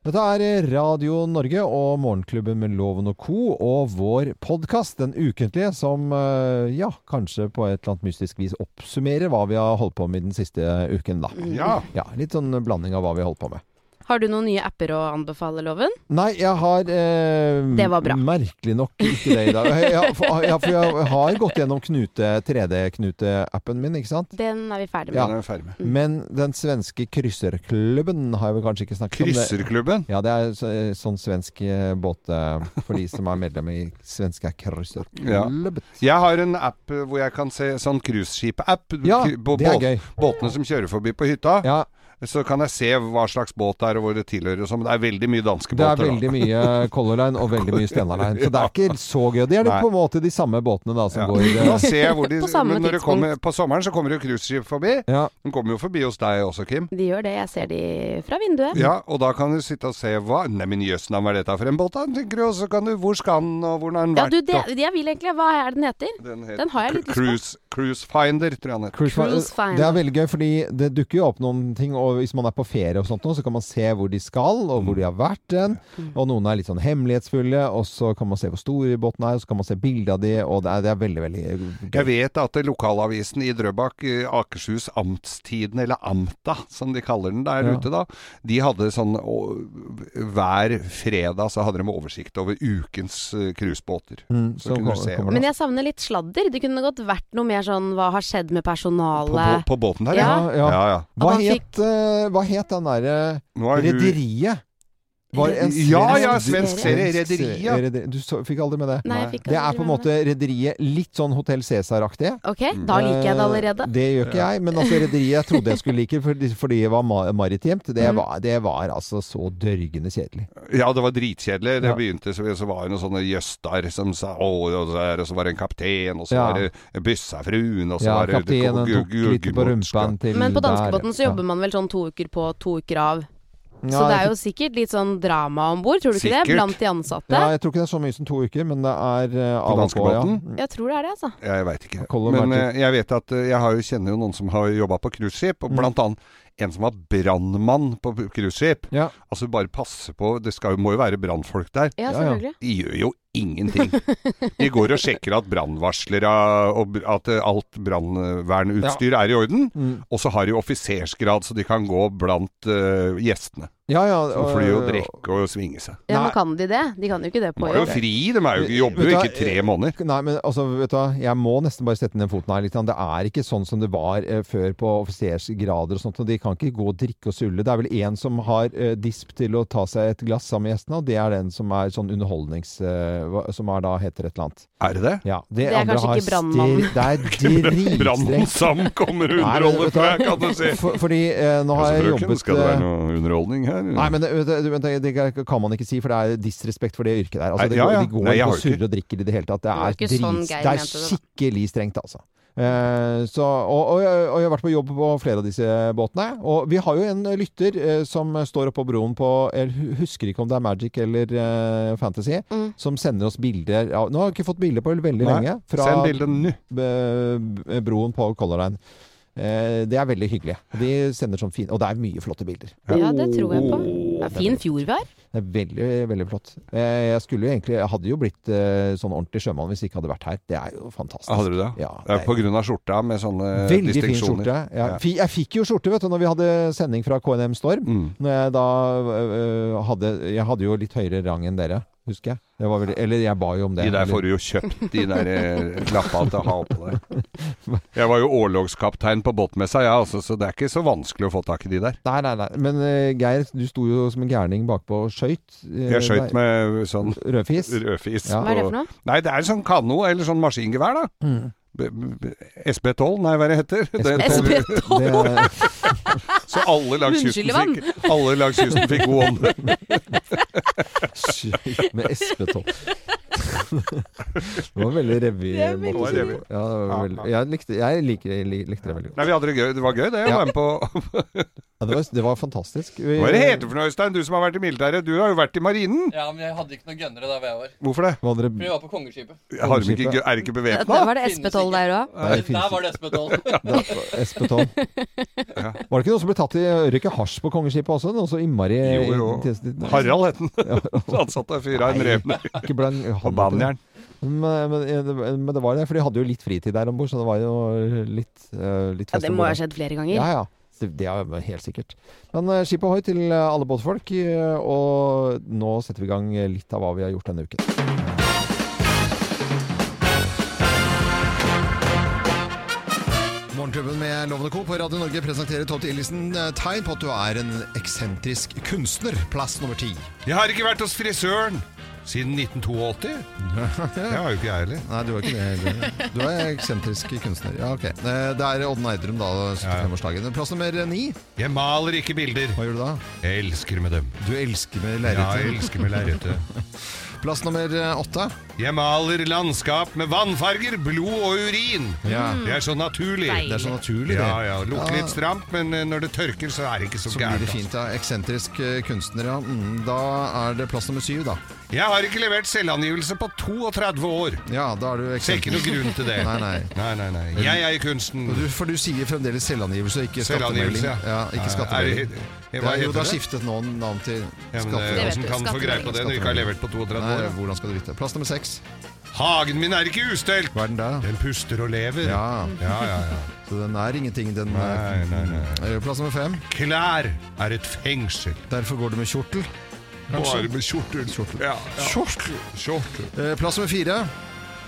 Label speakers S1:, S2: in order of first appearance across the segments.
S1: Dette er Radio Norge og Morgenklubben med Loven og Co. og vår podkast, den ukentlige, som eh, ja, kanskje på et eller annet mystisk vis oppsummerer hva vi har holdt på med den siste uken, da.
S2: Mm.
S3: Ja.
S1: Ja, Litt sånn blanding av hva vi har holdt på med.
S2: Har du noen nye apper å anbefale, Loven?
S1: Nei, jeg har eh,
S2: Det var bra.
S1: merkelig nok ikke det i dag. Jeg, jeg, for, ja, for jeg har gått gjennom Knute 3D-Knute-appen min, ikke sant?
S2: Den er vi ferdig
S1: Ja.
S2: med.
S3: Den er vi ferdig
S2: Mm.
S3: med.
S1: Men den svenske krysserklubben har jeg vel kanskje ikke snakket om. det.
S3: Krysserklubben.
S1: Ja, det er så, sånn svensk eh, båt eh, for de som er medlem i svenske cruiserklubb.
S3: Jeg har en app eh, hvor jeg kan se sånn cruiseskip-app
S1: Ja,
S3: k- på
S1: det er
S3: båt-
S1: gøy.
S3: båtene som kjører forbi på hytta.
S1: Ja,
S3: Så kan jeg se hva slags båt det er og hvor det tilhører. og sånn. Det er veldig mye danske
S1: det er
S3: båter. da.
S1: veldig mye Color Line og veldig mye Stena Line. Så det er ikke så gøy. Det er det
S3: Nei.
S1: på en måte de samme båtene da som
S3: Ja.
S1: går
S3: Da
S1: eh,
S3: ser jeg hvor de,
S2: På samme
S3: men når det kommer,
S2: tidspunkt.
S3: på sommeren så kommer det jo cruiseskip forbi.
S1: ja.
S3: De kommer jo forbi hos deg også, Kim.
S2: De gjør det, jeg ser de fra vinduet.
S3: Ja, og da kan du sitte og se hva Neimen jøssen, hva er dette for en båt, da? tenker du. Og så kan du Hvor skal den, og hvor har den
S2: Ja,
S3: vært?
S2: du, det,
S3: og-
S2: jeg vil egentlig Hva er den heter?
S3: den, het-
S2: den har jeg litt lyst på.
S3: cruise, cruise Finder, tror jeg den heter.
S1: Cruise Fi-
S2: Cruise Finder.
S1: Det er veldig gøy, fordi det dukker jo opp noen ting. Og hvis man er på ferie og sånt nå, så kan man se hvor de skal, og hvor de har vært den. Og noen er litt sånn hemmelighetsfulle, og så kan man se hvor stor båten er, og så kan man se bilde av de, og det er, det er veldig, veldig
S3: Jeg vet at lokalavisen i Drøbak, eh, Akershus Amtstiden, eller Amta som de kaller den der
S1: Ja.
S3: ute da, de hadde sånn å, Hver fredag så hadde de oversikt over ukens eh, cruisebåter.
S1: Mm,
S3: Så kunne du se
S1: kommer det-
S2: Men jeg savner litt sladder. Det kunne godt vært noe mer sånn hva har skjedd med
S3: På,
S2: personalet?
S3: på, på båten der,
S1: Ja, ja.
S3: ja, ja.
S2: At
S1: Hva
S2: han
S1: het, eh, hva het den derre
S3: Nå er hun
S1: Rederiet? Var en svensk
S3: Ja, ja,
S2: serie.
S3: svensk serie.
S1: Svensk
S3: Rederiet.
S1: serie.
S3: ja.
S1: Rederi- Du så, fikk aldri med det?
S2: Nei, jeg
S3: Nei.
S2: fikk
S1: Det er
S2: aldri
S1: på
S2: med
S1: en
S2: meg.
S1: måte Rederiet litt sånn Hotell Cæsar-aktig.
S2: Ok, da liker jeg det allerede.
S1: Eh, Det gjør ikke jeg, men altså rederiet jeg trodde jeg skulle like fordi, fordi det var ma- maritimt,
S2: Mm.
S1: det var, det var altså så dørgende kjedelig.
S3: Ja, det var dritkjedelig. Det
S1: Ja.
S3: begynte så, så var det noen sånne jøstar som sa å, og så, er det- så var det en kaptein, og så
S1: Ja.
S3: var det byssafruen, og så
S1: Ja,
S3: var det
S1: kapteinen
S3: gu-
S1: tok
S3: gu-
S1: litt på
S3: guggemorska.
S1: rumpen til
S2: Men på danskebåten så
S1: der.
S2: jobber man vel sånn to uker på, to uker av.
S1: Ja.
S2: Så det er
S1: jeg-
S2: jo sikkert litt sånn drama om bord, tror du ikke det?
S3: Sikkert.
S2: Blant de ansatte.
S1: ja, Jeg tror ikke det er så mye som to uker, men det er eh, av og på, ja.
S3: danskebåten?
S2: Jeg tror det er det, altså.
S3: Ja, Jeg veit ikke.
S1: Colin
S3: Men
S1: Martin.
S3: eh, jeg vet at eh, jeg har jo, kjenner jo noen som har jobba på cruiseskip,
S1: Mm.
S3: og blant annet en som var brannmann på cruiseskip.
S1: Ja.
S3: Altså bare passe på, det skal, jo- må jo være brannfolk der.
S2: Ja,
S1: ja.
S2: selvfølgelig.
S3: De gjør jo ingenting. De går og sjekker at brannvarslere og br- at eh, alt brannvernutstyr er i orden.
S1: Mm.
S3: Og så har de offisersgrad, så de kan gå blant eh, gjestene.
S1: Ja, ja,
S3: Og fly og
S1: øh,
S3: drikke og svinge seg.
S2: Ja,
S1: Nei.
S2: men kan de det? De kan jo ikke det
S3: De
S2: på
S3: har jo
S2: jobb.
S3: fri, de er jo, ikke- jobber
S1: Vet du
S3: jo
S1: hva,
S3: ikke tre måneder.
S1: Nei, men altså, vet du hva, jeg må nesten bare sette ned foten her litt. grann. Det er ikke sånn som det var eh, før på offisersgrader og sånt, og de kan ikke gå og drikke og sulle. Det er vel én som har eh, disp til å ta seg et glass sammen med gjestene, og det er den som er sånn underholdnings... Eh, hva- som er da heter et eller annet.
S3: Er det det?
S1: Ja, det,
S2: er
S1: andre
S2: kanskje
S1: har
S2: ikke brandmannen.
S1: stir- Det er
S3: Brannmann
S1: dritstrengt.
S3: Sam kommer
S1: Nei,
S3: og
S1: men
S3: underholder
S1: vet du hva?
S3: før, kan du si. Altså,
S1: For, fordi eh, nå har jeg jobbet eh,
S3: noe underholdning her?
S1: Nei, men det, det, det, det kan man ikke si, for det er disrespekt for det yrket der. Altså,
S3: Nei,
S1: det,
S3: ja,
S1: går-
S3: ja.
S1: De går
S3: Nei, jeg
S1: ikke og
S3: har jo ikke-
S1: surrer og drikker i det hele tatt. Det
S2: var
S1: er,
S2: ikke sånn
S1: drit-
S2: Geir
S1: det er
S2: mente det, da.
S1: skikkelig strengt, altså. Eh, så, og, og, jeg- og jeg har vært på jobb på flere av disse båtene. Og vi har jo en lytter eh, som står oppå broen på Jeg hu- husker ikke om det er Magic eller eh, Fantasy,
S2: Mm.
S1: som sender oss bilder av Nå har jeg ikke fått bilde på veldig
S3: Nei,
S1: lenge.
S3: Send bildet nå.
S1: b- b- broen på Color Line. Eh, Det er veldig hyggelig. De sender sånn fin Og det er mye flotte bilder.
S2: Ja, det tror jeg på. Det er fin fjord vi har.
S1: Det er veldig, veldig flott. Eh, Jeg skulle jo egentlig Jeg hadde jo blitt eh, sånn ordentlig sjømann hvis jeg ikke hadde vært her. Det er jo fantastisk.
S3: Hadde du det?
S1: Ja,
S3: Det
S1: det
S3: er på grunn av skjorta med sånne
S1: er veldig fin
S3: distinksjoner.
S1: skjorte. Ja.
S3: Ja.
S1: fi- Jeg fikk jo skjorte, vet du, når vi hadde sending fra KNM Storm.
S3: Mm.
S1: Når jeg da øh, hadde Jeg hadde jo litt høyere rang enn dere, husker jeg. Det var veldig, eller jeg ba jo om det.
S3: De der
S1: eller-
S3: får du jo kjøpt, de der eh, klappa til å ha på deg. Jeg var jo årlogskaptein på båtmessa, jeg, altså, så det er ikke så vanskelig å få tak i de der.
S1: Nei, nei, nei. Men eh, Geir, du sto jo som en gærning bakpå og skøyt. eh,
S3: Jeg skøyt med sånn
S1: Rødfis.
S3: rødfis.
S1: Ja.
S2: Hva er det
S3: på-
S2: for noe?
S1: Mm.
S3: Nei, det er sånn kano eller sånn maskingevær, da. B- b- SB12? Nei, hva er det heter? Det
S4: SB12.
S3: toget-
S4: Det
S2: SB12.
S4: er,
S3: Så alle langs kysten
S2: Munnskyllevann.
S3: fikk, alle langs kysten fikk god ånd.
S4: Skyt med SP-topp. Det var veldig revy.
S2: Det er
S4: måte å
S3: veldig
S4: si det
S3: revy.
S4: på. Ja, det var veldig, jeg likte, jeg liker, jeg lik- likte det veldig godt.
S3: Nei, vi hadde det gøy. Det var gøy, det. å
S4: Ja.
S3: være med på
S4: Ja, det, var, det var fantastisk. Vi-
S3: Hva er det heter for noe, Øystein? Du som har vært i militæret. Du har jo vært i marinen.
S5: Ja, men jeg hadde ikke noe gønnere der hvor jeg var.
S3: Hvorfor det?
S4: Var
S5: For
S4: dere,
S5: jeg var på kongeskipet.
S3: Har de ikke, gø- er de ikke
S2: Ja,
S3: bevæpna?
S2: Var det SP12 der òg?
S4: Nei, det finnes
S5: Der var det SB12.
S4: SP-toll. Var det ikke noen som ble tatt i å røyke hasj på Kongeskipet også? Noe så innmari
S3: Jo, jo.
S4: intenst- Nei,
S3: Harald het den. Ansatt av fyra en rev
S4: ikke ble han-
S3: på
S4: han-
S3: banjern.
S4: Men, men, men det var det, for de hadde jo litt fritid der om bord, så det var jo litt, eh, litt
S2: Ja,
S4: fest
S2: det
S4: om
S2: må
S4: bord
S2: ha
S4: der.
S2: skjedd flere ganger.
S4: Ja, ja. Så Det er jo helt sikkert. Men eh, skip ohoi til eh, alle båtfolk. eh, Og nå setter vi i gang eh, litt av hva vi har gjort denne uken.
S1: Morgenklubben med Lovende Co. på Radio Norge presenterer topp 10-listen eh, tegn på at du er en eksentrisk kunstner. Plass nummer ti.
S3: Jeg har ikke vært hos frisøren siden 1982. Det har jo ikke jeg heller.
S1: Nei, du er ikke det. heller. Du er eksentrisk kunstner. Ja, ok. Eh, Det er Odden Eidrum, da. 75-årsdagen. Plass nummer ni.
S3: Jeg maler ikke bilder.
S1: Hva gjør du da?
S3: Jeg elsker med dem.
S1: Du elsker med
S3: Ja, jeg
S1: lerreter.
S3: elsker med lerretet.
S1: Plass nummer eh, åtte.
S3: Jeg maler landskap med vannfarger, blod og urin.
S1: Ja.
S3: Det er så naturlig.
S1: Det er så naturlig, det.
S3: Ja, ja. Lukter litt stramt, men eh, når det tørker, så er det ikke så
S1: Så blir
S3: gærent. altså.
S1: det fint, ja. Eksentrisk eh, kunstner, ja. Mm, da er det plass nummer syv, da.
S3: altså. Jeg har ikke levert selvangivelse på 32 år.
S1: Ja, da er du
S3: Ser ikke noe
S1: eksentrisk.
S3: grunn til det.
S1: Nei, nei.
S3: Nei, nei, nei. Jeg er i kunsten.
S1: Du, for du sier fremdeles selvangivelse og ikke skattemelding.
S3: Selvangivelse, ja.
S1: Ja,
S3: Ja,
S1: ikke
S3: ja.
S1: skattemelding.
S3: Er det-
S1: Det
S3: hva
S1: er, jo,
S3: heter
S1: det har
S3: det?
S1: skiftet nå navn til
S3: Ja, men, eh,
S1: skattemelding.
S3: Hvordan kan du få greie på det når du ikke har levert på 32
S1: Nei,
S3: år? da?
S1: hvordan skal du vite? Plass nummer seks.
S3: Hagen min er ikke ustelt!
S1: Hva er den da?
S3: Den puster og lever.
S1: Ja,
S3: ja, ja. ja.
S1: så den er ingenting. Den
S3: Nei,
S1: er
S3: nei, nei.
S1: Eh, Plass nummer fem.
S3: Klær er et fengsel.
S1: Derfor går du med kjortel.
S3: Bare med kjortel. Ja, ja. Kjortel.
S1: Eh, Plass nummer fire.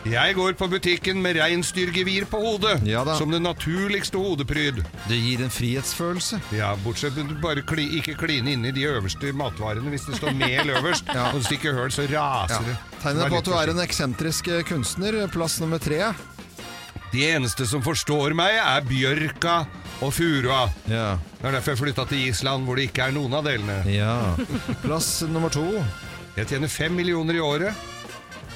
S3: Jeg går på butikken med reinsdyrgevir på hodet.
S1: Ja da.
S3: som det naturligste hodepryd.
S1: Det gir en frihetsfølelse.
S3: Ja, Bortsett fra at du bare kli, ikke kline inni de øverste matvarene hvis det står mel øverst.
S1: Ja.
S3: Og du stikker høl, så
S1: Ja.
S3: raser det.
S1: Tegnet
S3: Vær
S1: på at
S3: litt
S1: du er
S3: forsiktig.
S1: en eksentrisk eh, kunstner. Plass nummer tre.
S3: De eneste som forstår meg, er bjørka og furua.
S1: Ja.
S3: Det er derfor jeg flytta til Island, hvor det ikke er noen av delene.
S1: ja. Plass nummer to.
S3: Jeg tjener fem millioner i året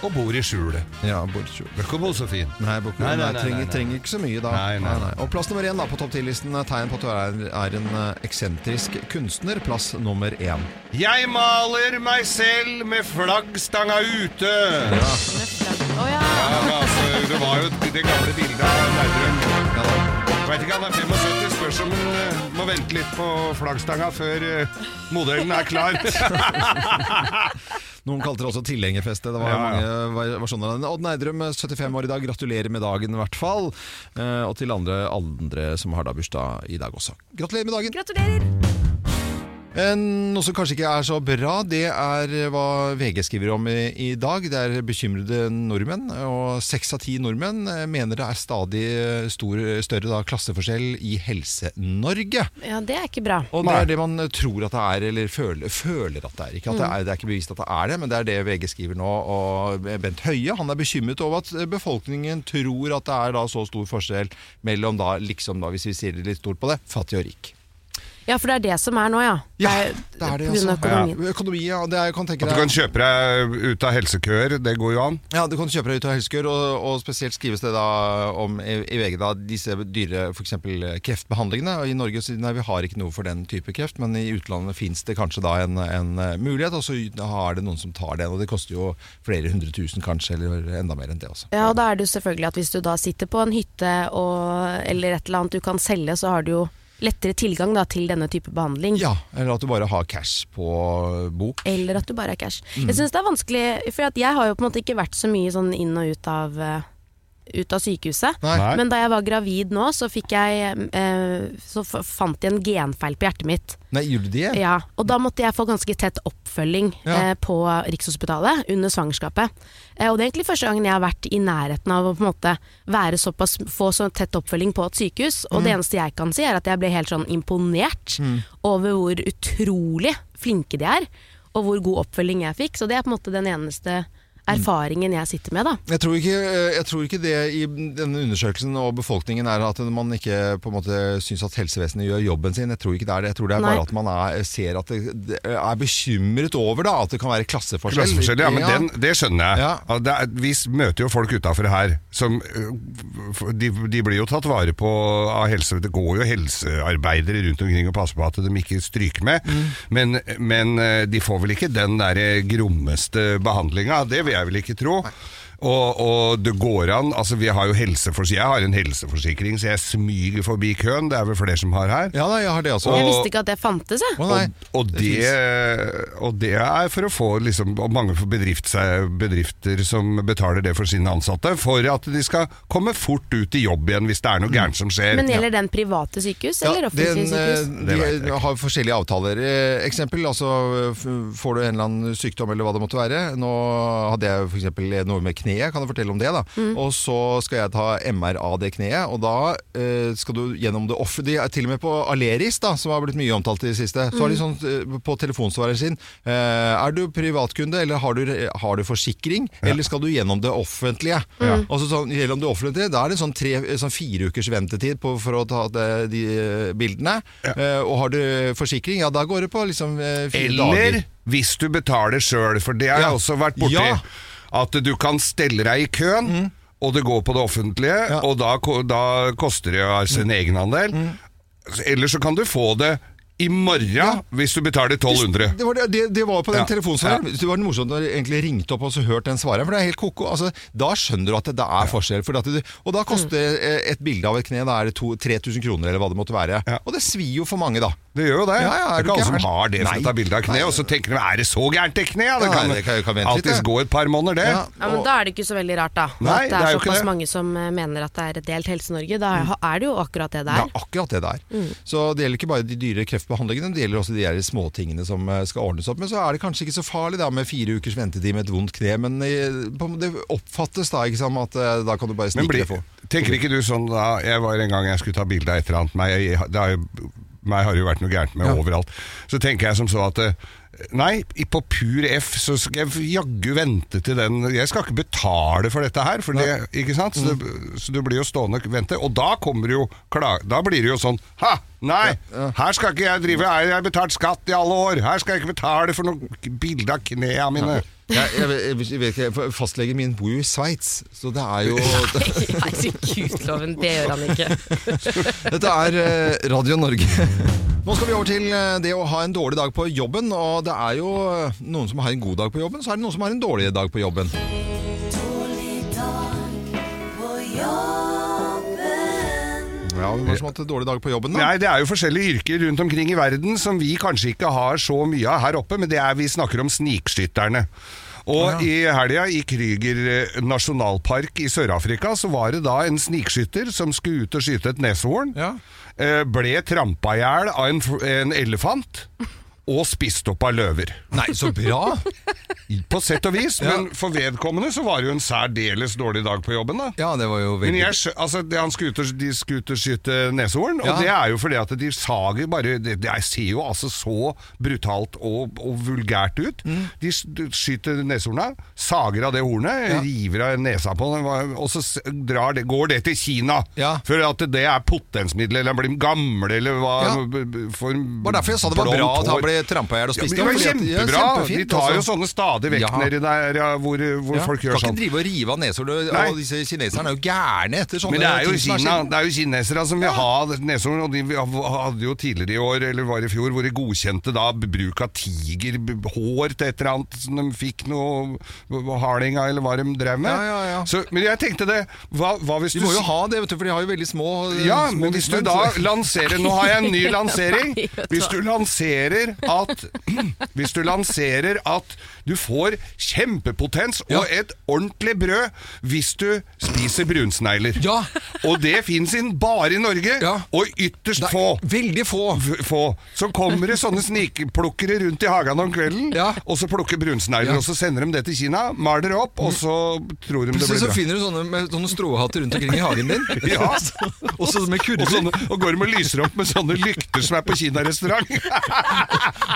S3: og bor i skjulet.
S1: Ja, bortkjortel.
S3: Velkommen, Sofien.
S1: Nei, Boko,
S3: Nei,
S1: nei,
S3: nei, nei,
S1: trenger,
S3: nei, nei.
S1: trenger ikke så mye da.
S3: Nei, nei, nei.
S1: Og plass nummer én da, på topp 10-listen er tegn på at du er, er en eh, eksentrisk kunstner. Plass nummer én.
S3: Jeg maler meg selv med flaggstanga ute!
S2: Å ja.
S3: Ja, men altså, det var jo det gamle bildet av Nerdrum.
S1: Ja, da.
S3: Veit ikke, han er 75, spørs om han eh, må vente litt på flaggstanga før eh, modellen er klar.
S1: Noen kalte det også tilhengerfeste. Det var
S3: Ja, ja.
S1: mange var- versjoner av den. Odd Neidrum, 75 år i dag. Gratulerer med dagen, i hvert fall. Eh, og til andre, andre som har da bursdag i dag også. Gratulerer med dagen!
S2: Gratulerer!
S1: Eh, Noe som kanskje ikke er så bra, det er eh, hva VG skriver om i, i dag. Det er bekymrede nordmenn, og seks av ti nordmenn eh, mener det er stadig eh, stor, større da, klasseforskjell i Helse-Norge.
S2: Ja, det er ikke bra.
S1: Og det er det man eh, tror at det er, eller føler, føler at det er. Ikke at det, er. det er ikke bevist at det er det, men det er det VG skriver nå. Og Bent Høie han er bekymret over at eh, befolkningen tror at det er da så stor forskjell mellom, da, liksom da, hvis vi sier det litt stort på det, fattig og rik.
S2: Ja, for det er det som er nå, ja.
S1: Ja,
S2: Det
S1: det
S2: er
S1: er det,
S2: på grunn
S1: altså.
S2: av økonomien.
S1: Ja, økonomi, ja. Det er, jeg kan tenke
S3: At du
S1: deg
S3: kan kjøpe deg ut av helsekøer, det går jo an.
S1: Ja, du kan kjøpe deg ut av helsekøer, og, og spesielt skrives det da om i, i VG da, disse dyre for eksempel kreftbehandlingene. Og I Norge så, nei, vi har ikke noe for den type kreft, men i utlandet fins det kanskje da en, en eh, mulighet, og så har det noen som tar den. Og det koster jo flere hundre tusen kanskje, eller enda mer enn det også.
S2: Ja, og da er det jo selvfølgelig at hvis du da sitter på en hytte og, eller et eller annet du kan selge, så har du jo lettere tilgang da, til denne type behandling.
S1: Ja, eller at du bare har cash på bok.
S2: Eller at du bare har cash. Jeg syns det er vanskelig, for at jeg har jo på en måte ikke vært så mye sånn inn og ut av, eh, ut av sykehuset.
S1: Nei.
S3: Nei.
S2: Men da jeg var gravid nå, så, fikk jeg, eh, så f- fant jeg en genfeil på hjertet mitt.
S1: Nei, gjorde de det?
S2: Ja, og da måtte jeg få ganske tett oppfølging
S1: Ja.
S2: eh, på Rikshospitalet under svangerskapet. Eh, og det er egentlig første gangen jeg har vært i nærheten av å på en måte være såpass, få så tett oppfølging på et sykehus.
S1: Mm.
S2: Og det eneste jeg kan si er at jeg ble helt sånn imponert over hvor utrolig flinke de er, og hvor god oppfølging jeg fikk. Så det er på en måte den eneste
S1: Mm.
S2: erfaringen jeg sitter med, da.
S1: Jeg tror, ikke, eh, jeg tror ikke det i denne undersøkelsen og befolkningen er at man ikke på en måte syns at helsevesenet gjør jobben sin. Jeg tror ikke det er det. Jeg tror det er
S2: Nei.
S1: bare at man er, ser at det, det er bekymret over da, at det kan være klasseforskjell.
S3: Klasseforskjell, ja, men den, det skjønner jeg.
S1: Ja.
S3: Ja, Det er, vi møter jo folk utafor her som øh, f- de, de blir jo tatt vare på av helse. Det går jo helsearbeidere rundt omkring og passer på at de ikke stryker med. Men, men øh, de får vel ikke den derre grommeste behandlinga. Det vil jeg vel ikke tro. Og, og det går an altså vi har jo helseforsi- Jeg har en helseforsikring, så jeg smyger forbi køen. Det er vel flere som har her.
S1: Ja, nei, jeg har det altså.
S3: Og-
S2: Jeg visste ikke at det fantes, jeg.
S1: Å, nei.
S3: Og, og, det, og det er for å få liksom, og mange bedrift, bedrifter som betaler det for sine ansatte, for at de skal komme fort ut i jobb igjen hvis det er noe
S1: Mm.
S3: gærent som skjer.
S2: Men gjelder den private sykehus
S1: Ja,
S2: eller offentlige
S1: den,
S2: sykehus?
S1: eh,
S3: Det vet jeg
S1: De
S3: ikke.
S1: har forskjellige avtaler. Eh, Eksempel, altså f- får du en eller annen sykdom eller hva det måtte være. Nå hadde jeg for eksempel noe med kneet, kan jeg fortelle om det da. Og så skal jeg ta MR av det kneet, og da eh, skal du gjennom det offentlige, de er til og med på Aleris da, som har blitt mye omtalt i det siste, så har de sånn eh, på telefonsvareren sin, eh, er du privatkunde, eller har du, har du forsikring, eller skal du gjennom det offentlige? Og så sånn, gjennom det offentlige, da er det sånn, tre, sånn fire ukers ventetid på, for å ta de, de eh, bildene. Eh, og har du forsikring, ja da går det på liksom eh, fire
S3: Eller
S1: dager.
S3: hvis du betaler sjøl, for det har
S1: Ja.
S3: jeg også vært borti.
S1: Ja. Mm.
S3: At du kan stelle deg i køen, og det går på det offentlige,
S1: Ja. Mm.
S3: og da, ko- da koster det jo sin egenandel. Eller så kan du få det i morgen hvis du betaler 1200.
S1: Det var, det, det- det var på den
S3: Ja.
S1: telefonsvareren. Det var morsomt når du egentlig ringte opp og så hørte den svareren, for det er helt koko. Altså, da skjønner du at det, det er forskjell. For at du, og da koster
S3: Mm.
S1: eh, et bilde av et kne, da er det to- 3000 kroner eller hva det måtte være.
S3: Ja.
S1: Og det svir jo for mange da.
S3: Det gjør jo det.
S1: Ja, ja,
S3: det
S1: er du
S3: er ikke alle
S1: gæren?
S3: som har det for
S1: Nei.
S3: å ta bilde av kne, og så tenker de er det så gærent i kne? Ja, det
S1: Ja,
S3: kan,
S1: nei, det kan- kan vente litt,
S3: alltids
S1: det.
S3: gå et par måneder, det.
S2: Ja, men
S1: og-
S2: Da er det ikke så veldig rart, da.
S3: Nei,
S2: at
S3: det
S2: det
S3: er
S2: er
S3: jo ikke
S2: såpass
S3: det.
S2: mange som eh, mener at det er et delt Norge. Da er det jo akkurat det det
S1: Det
S2: er.
S1: er akkurat det det er.
S3: Mm.
S1: Så det gjelder ikke bare de dyre kreftbehandlingene, det gjelder også de der småtingene som eh, skal ordnes opp. Men så er det kanskje ikke så farlig da, med fire ukers ventetid med et vondt kne, men eh, på- det oppfattes da ikke som at eh, da kan du bare
S3: Men
S1: snike
S3: blir-
S1: deg på.
S3: tenker ikke du sånn da Jeg var en gang jeg skulle ta bilde av et eller annet meg, jeg, det har jo, meg har det jo vært noe gærent med overalt. Så tenker jeg som så at eh, Nei, i- på pur F så skal jeg jaggu vente til den Jeg skal ikke betale for dette her, for det, ikke sant? Så, det, så du blir jo stående og vente. Og da kommer jo kla- Da blir det jo sånn Ha! Nei! Her skal ikke jeg drive Jeg har betalt skatt i alle år! Her skal jeg ikke betale for noe bilde av knærne mine!
S1: Jeg, jeg, jeg, jeg vet ikke, for Fastlegen min bor jo i Sveits, så det er jo
S2: Herregudloven, det gjør han ikke.
S1: Dette er eh, Radio Norge. Nå skal vi over til eh, det å ha en dårlig dag på jobben. Og det er jo eh, noen som har en god dag på jobben, så er det noen som har en dårlig dag på jobben. Ja, Hvem har som har hatt en dårlig dag på jobben, da?
S3: Nei, det er jo forskjellige yrker rundt omkring i verden som vi kanskje ikke har så mye av her oppe, men det er vi snakker om snikskytterne. Og i helga i Krüger eh, nasjonalpark i Sør-Afrika så var det da en snikskytter som skulle ut og skyte et neshorn.
S1: Ja.
S3: eh, Ble trampa i hjel av en, f- en elefant og spist opp av løver.
S1: Nei, så bra!
S3: På sett og vis, men for vedkommende så var det jo en særdeles dårlig dag på jobben, da.
S1: Ja, det var jo
S3: Men
S1: veldig
S3: jeg, skjø- altså, det, han skulle ut og, de skulle ut og skyte neshorn,
S1: Ja.
S3: og det er jo fordi at de sager bare det, det ser jo altså så brutalt og, og vulgært ut.
S1: Mm.
S3: De s- d- skyter neshorna, sager av det hornet, river av nesa på den, hva- og så s- drar det, går det til Kina.
S1: Ja.
S3: For at det er potensmiddel, eller blir gamle, eller hva
S1: Ja.
S3: b- b- for
S1: Det var derfor jeg sa det var
S3: blondt
S1: bra at han
S3: hår.
S1: ble trampa i hjel og
S3: Ja, men
S1: spist
S3: det
S1: opp,
S3: var
S1: fordi at- ja,
S3: kjempebra!
S1: kjempefint,
S3: De tar jo
S1: altså.
S3: sånne stadig vekk
S1: Ja.
S3: nedi der ja, hvor, hvor
S1: Ja.
S3: folk
S1: kan
S3: gjør
S1: ikke
S3: sånn.
S1: drive og rive av neshorn.
S3: Nei.
S1: og Disse kineserne er jo gærne etter sånne
S3: Men det er jo,
S1: ting som
S3: Kina,
S1: skjedd.
S3: det er jo kinesere altså, som vil ha neshorn, og de hadde jo tidligere i år, eller var i fjor, hvor de godkjente da bruk av tigerhår til et eller annet som de fikk noe harding av, eller hva de drev med.
S1: Ja, ja, ja.
S3: Så, men jeg tenkte det, hva, hva hvis
S1: De
S3: du
S1: må jo ha det, vet du, for de har jo veldig små eh,
S3: ja,
S1: små
S3: men hvis du
S1: vismenn,
S3: da
S1: så-
S3: lanserer Nå har jeg en ny lansering.
S2: Nei, vet du
S3: Hvis du lanserer at Hvis du lanserer at du får kjempepotens og et ordentlig brød hvis du spiser brunsnegler.
S1: Ja.
S3: Og det fins bare i Norge,
S1: Ja.
S3: og ytterst
S1: Det er
S3: få.
S1: Veldig få.
S3: V- Få. Så kommer det sånne snikplukkere rundt i hagen om kvelden,
S1: Ja.
S3: og så plukker brunsnegler,
S1: Ja.
S3: og så sender de det til Kina, maler det opp, og så tror de det
S1: Plutselig
S3: blir
S1: så
S3: bra.
S1: finner du sånne, med, sånne stråhatter rundt omkring i hagen din.
S3: Ja.
S1: Og så med
S3: Og,
S1: kurver.
S3: sånne, og går de og lyser opp med sånne lykter som er på kinarestaurant.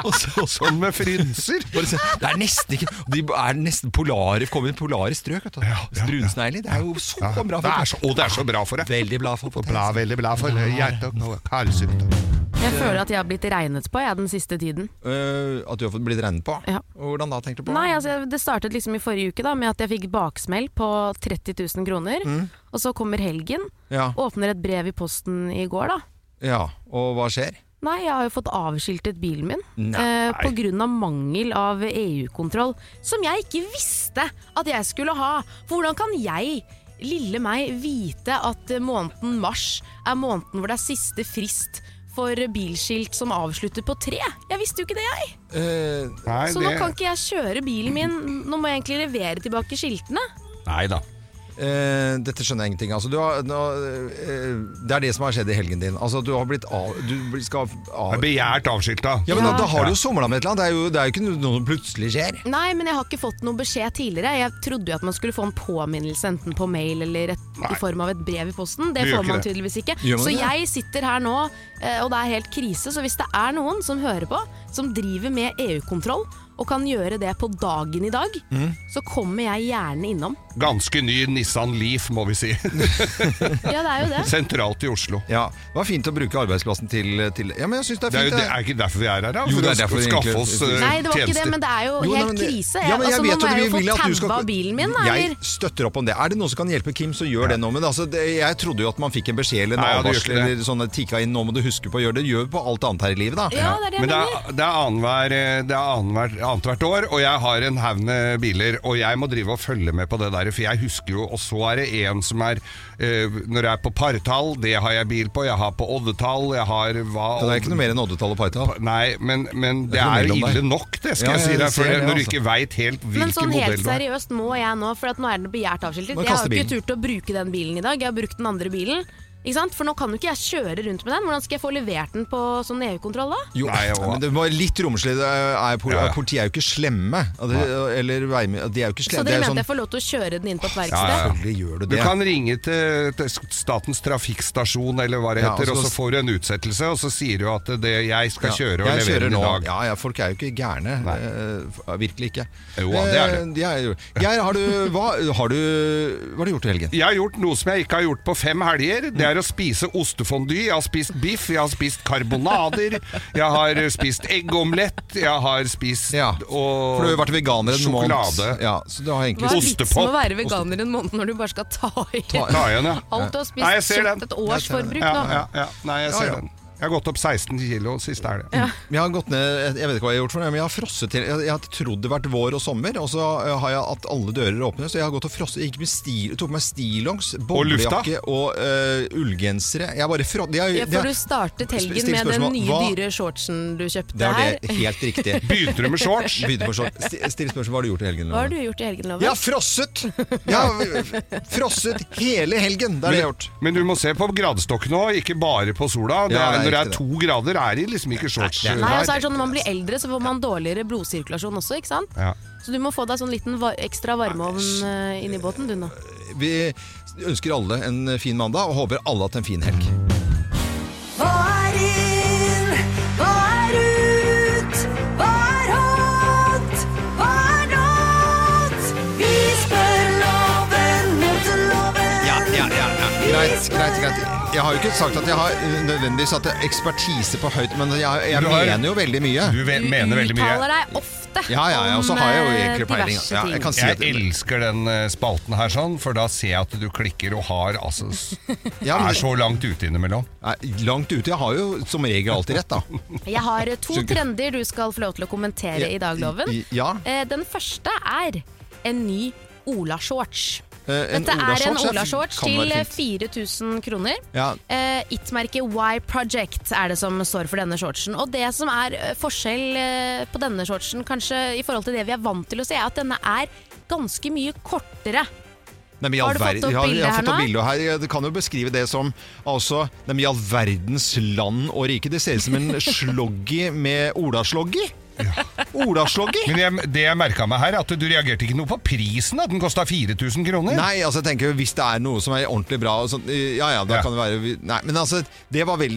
S1: Og så, og så
S3: Med frynser.
S1: bare se, det er nesten ikke De er nesten polare, kommer i polare strøk. vet du. Brunsnegler. Det er jo så
S3: Ja,
S1: bra.
S3: det er så, og det er så bra for deg.
S1: Veldig bra for
S3: Bra, veldig bra for hjerte- og karsykdom.
S2: Jeg føler at jeg har blitt regnet på jeg, den siste tiden.
S1: Eh, at du har fått blitt regnet på?
S2: Ja.
S1: Og Hvordan da, tenkte du på?
S2: Nei, altså, Det startet liksom i forrige uke da med at jeg fikk baksmell på 30 000 kroner.
S3: Mm.
S2: Og så kommer helgen.
S1: Ja.
S2: Åpner et brev i posten i går, da.
S1: ja, og hva skjer?
S2: Nei, jeg har jo fått avskiltet bilen min eh, pga. mangel av EU-kontroll. Som jeg ikke visste at jeg skulle ha! For hvordan kan jeg, lille meg, vite at eh, måneden mars er måneden hvor det er siste frist for bilskilt som avslutter på tre? Jeg visste jo ikke det, jeg!
S1: Eh,
S3: Nei,
S2: Så nå kan ikke jeg kjøre bilen min. Nå må jeg egentlig levere tilbake skiltene.
S3: Nei da.
S1: eh, dette skjønner jeg ingenting. Altså, du har, nå, eh, det er det som har skjedd i helgen din. Altså, du har blitt av... Du blir- skal av...
S3: Begjært avskilta.
S1: Ja, men da, da har du jo somla med et eller annet. Det er jo, det er jo ikke noe som plutselig skjer.
S2: Nei, men jeg har ikke fått noen beskjed tidligere. Jeg trodde jo at man skulle få en påminnelse enten på mail eller et, i form av et brev i posten. Det
S3: Du gjør
S2: får
S3: ikke
S2: man
S3: det.
S2: tydeligvis ikke.
S1: Gjør man
S2: så
S1: det?
S2: jeg sitter her nå, eh, og det er helt krise. Så hvis det er noen som hører på, som driver med EU-kontroll, og kan gjøre det på dagen i dag,
S1: Mm.
S2: så kommer jeg gjerne innom.
S3: Ganske ny Nissan Leaf, må vi si.
S2: Ja, det er jo det.
S3: Sentralt i Oslo.
S1: Ja, Det var fint å bruke arbeidsplassen til, til Ja, men jeg syns det er
S3: Det er,
S1: fint.
S3: jo, det er ikke derfor vi er her, da.
S1: Jo,
S3: For
S1: det er
S3: å
S1: derfor vi
S3: skaffe
S1: egentlig-
S3: oss eh,
S2: Nei, det var ikke det,
S3: tjenester.
S2: men det er jo,
S1: Jo, nei, men
S2: helt
S1: det-
S2: krise.
S1: Ja, men jeg
S2: altså,
S1: vet
S2: nå må
S1: at
S2: jeg
S1: vi
S2: jo få
S1: vil at du skal-
S2: taua bilen min, da,
S1: Jeg
S2: eller?
S1: støtter opp om det. Er det noen som kan hjelpe Kim, så gjør det nå. Men altså, det, jeg trodde jo at man fikk en beskjed eller en
S3: Nei, ja, det gjør
S1: advarsel
S3: ikke det.
S1: eller sånne tikka inn, nå må du huske på å gjøre det. Gjør på alt annet her i livet, da.
S2: Ja, det er det jeg
S3: Men det
S2: mener.
S3: er, det er annenhver- eh, det er annenhver- annethvert år, og jeg har en haug med biler. Og jeg må drive og følge med på det der, for jeg husker jo Og så er det en som er eh, Når jeg er på partall, det har jeg bil på. Jeg har på oddetall, jeg har hva
S1: Ja, Det er ikke noe mer enn oddetall og partall.
S3: Nei, men, men det
S1: er ikke noe mellom
S3: er ille
S1: der.
S3: nok, det skal
S1: Ja,
S3: jeg si
S1: jeg
S3: deg. For
S1: ser det,
S3: når du
S1: altså.
S3: ikke veit helt
S2: Men
S3: hvilken
S2: sånn helt
S3: modell du har.
S2: seriøst må jeg nå, for at nå er den begjært avskiltet.
S1: Nå
S2: Jeg har
S1: kaster
S2: jo ikke
S1: bilen.
S2: turt å bruke den bilen i dag, jeg har brukt den andre bilen. Ikke sant? For nå kan jo ikke jeg kjøre rundt med den. Hvordan skal jeg få levert den på sånn EU-kontroll da?
S1: Jo,
S3: Nei, og-
S1: men det var litt romslig. Det er, pol-
S3: Ja, ja.
S1: Politiet er jo ikke slemme. Det, eller veime- de er jo ikke
S2: Så dere
S1: slemme. det er jo
S2: mente
S1: sånn,
S2: jeg får lov til å kjøre den inn på et
S3: Ja,
S2: verksted?
S3: ja.
S1: Selvfølgelig gjør du
S3: Du
S1: det.
S3: kan ringe til, til Statens trafikkstasjon eller hva det
S1: Ja,
S3: heter,
S1: og så-
S3: og så får du en utsettelse, og så sier du at det, jeg skal kjøre og
S1: jeg
S3: levere
S1: kjører
S3: den
S1: nå.
S3: i dag.
S1: Ja, ja, folk er jo ikke gærne. Eh, virkelig ikke.
S3: Jo, ja, det er det.
S1: Eh, de er jo- Geir, har du, hva, har du, hva har du gjort i helgen?
S3: Jeg har gjort noe som jeg ikke har gjort på fem helger. Det er å spise ostefondy. Jeg har spist biff, jeg har spist karbonader, jeg har spist eggeomelett, jeg har spist
S1: Ja,
S3: og
S1: For du har jo vært veganer en
S3: sjokolade.
S1: måned. Ja, så du har
S2: Hva
S1: egentlig
S2: er
S3: Ostepop.
S2: vitsen med å være veganer en måned når du bare skal ta i
S3: Ta igjen, ja.
S2: alt du har spist?
S3: Nei, jeg ser
S2: kjøpt
S3: den.
S2: Et års
S1: Jeg ser den.
S2: forbruk
S3: ja,
S2: nå.
S3: ja, ja. Nei, jeg ser
S1: Ja, ja.
S3: den. Jeg har gått opp 16 kilo siste helg.
S1: Jeg har gått ned, jeg vet ikke hva jeg har gjort for noe, men jeg har frosset til. Jeg, jeg har trodd det har vært vår og sommer, og så eh, har jeg hatt alle dører åpne, så jeg har gått og frosset. Jeg gikk med stil, tok meg stillongs,
S3: lufta?
S1: boblejakke og, eh, ullgensere. Jeg bare frosset. det er-
S2: Ja,
S1: det er-
S2: for du startet helgen
S1: Still
S2: med den
S1: spørsmål.
S2: nye
S1: Hva-
S2: dyre shortsen du kjøpte
S1: Det er
S2: her.
S1: det, helt riktig.
S3: Begynte du med shorts?
S1: Begynte på short. Sti- Still spørsmål, hva har du gjort i helgen?
S2: Hva har
S1: Loven?
S2: du gjort i helgen,
S1: Jeg har
S2: Loven?
S1: frosset! Jeg har frosset hele helgen. Det har jeg gjort.
S3: Men du må se på gradestokken òg, ikke bare på sola. Det
S1: Ja,
S3: er,
S1: det er riktig
S3: når det er to grader, er det liksom ikke shorts.
S1: Nei, det
S2: Nei,
S3: her.
S2: og så er det sånn Når man blir eldre, så får man dårligere blodsirkulasjon også, ikke sant?
S3: Ja.
S2: Så du må få deg sånn liten var ekstra varmeovn eh, inn i båten du nå.
S1: Vi ønsker alle en fin mandag, og håper alle hatt en fin helg.
S6: Hva er inn? Hva er ut? Hva er hot? Hva er not? Vi spør loven mot loven.
S1: Greit, greit, greit. Jeg har jo ikke sagt at jeg har uh, nødvendigvis hatt ekspertise på høyt, men jeg, jeg
S3: Du har-
S1: mener jo veldig mye.
S3: Du ve- mener veldig mye.
S2: Uttaler deg ofte
S1: Ja, ja, ja, og så
S2: om
S1: har jeg jo
S2: eh,
S1: egentlig peiling.
S2: diverse
S1: Ja,
S2: ting.
S1: jeg kan si
S3: Jeg
S1: at
S3: elsker den eh, spalten her, sånn, for da ser jeg at du klikker og har altså s-
S1: Ja, men-
S3: Er så langt ute innimellom.
S1: Nei, langt ute. Jeg har jo som regel alltid rett, da.
S2: Jeg har eh, to
S1: Skjønner.
S2: trender du skal få lov til å kommentere
S1: Ja,
S2: i dag, Loven.
S1: i- ja.
S2: Eh, Den første er en ny Ola-shorts.
S1: Eh, en
S2: Dette er en
S1: Ola-shorts, ja,
S2: Ola-shorts
S1: kan være
S2: til eh,
S1: fint.
S2: 4000 kroner.
S1: Ja.
S2: Eh, It-merket Y Project er det som står for denne shortsen. Og det som er eh, forskjell eh, på denne shortsen kanskje i forhold til det vi er vant til å se, er at denne er ganske mye kortere.
S1: Nei, men i
S2: Har
S1: all
S2: du fått
S1: verden-
S2: opp
S1: jeg har-
S2: bildet
S1: Jeg har
S2: her
S1: fått opp
S2: nå?
S1: bildet her. Jeg kan jo beskrive det som altså, nei, men i all verdens land og rike. Det ser ut som en sloggy med olasloggy. Olaslogger?
S3: Men jeg, det jeg merka meg her, er at du reagerte ikke noe på prisen. At den kosta 4000 kroner.
S1: Nei, altså jeg tenker hvis det er noe som er ordentlig bra og sånn, Ja ja, da
S3: Ja.
S1: kan det være Nei, men altså, det var vel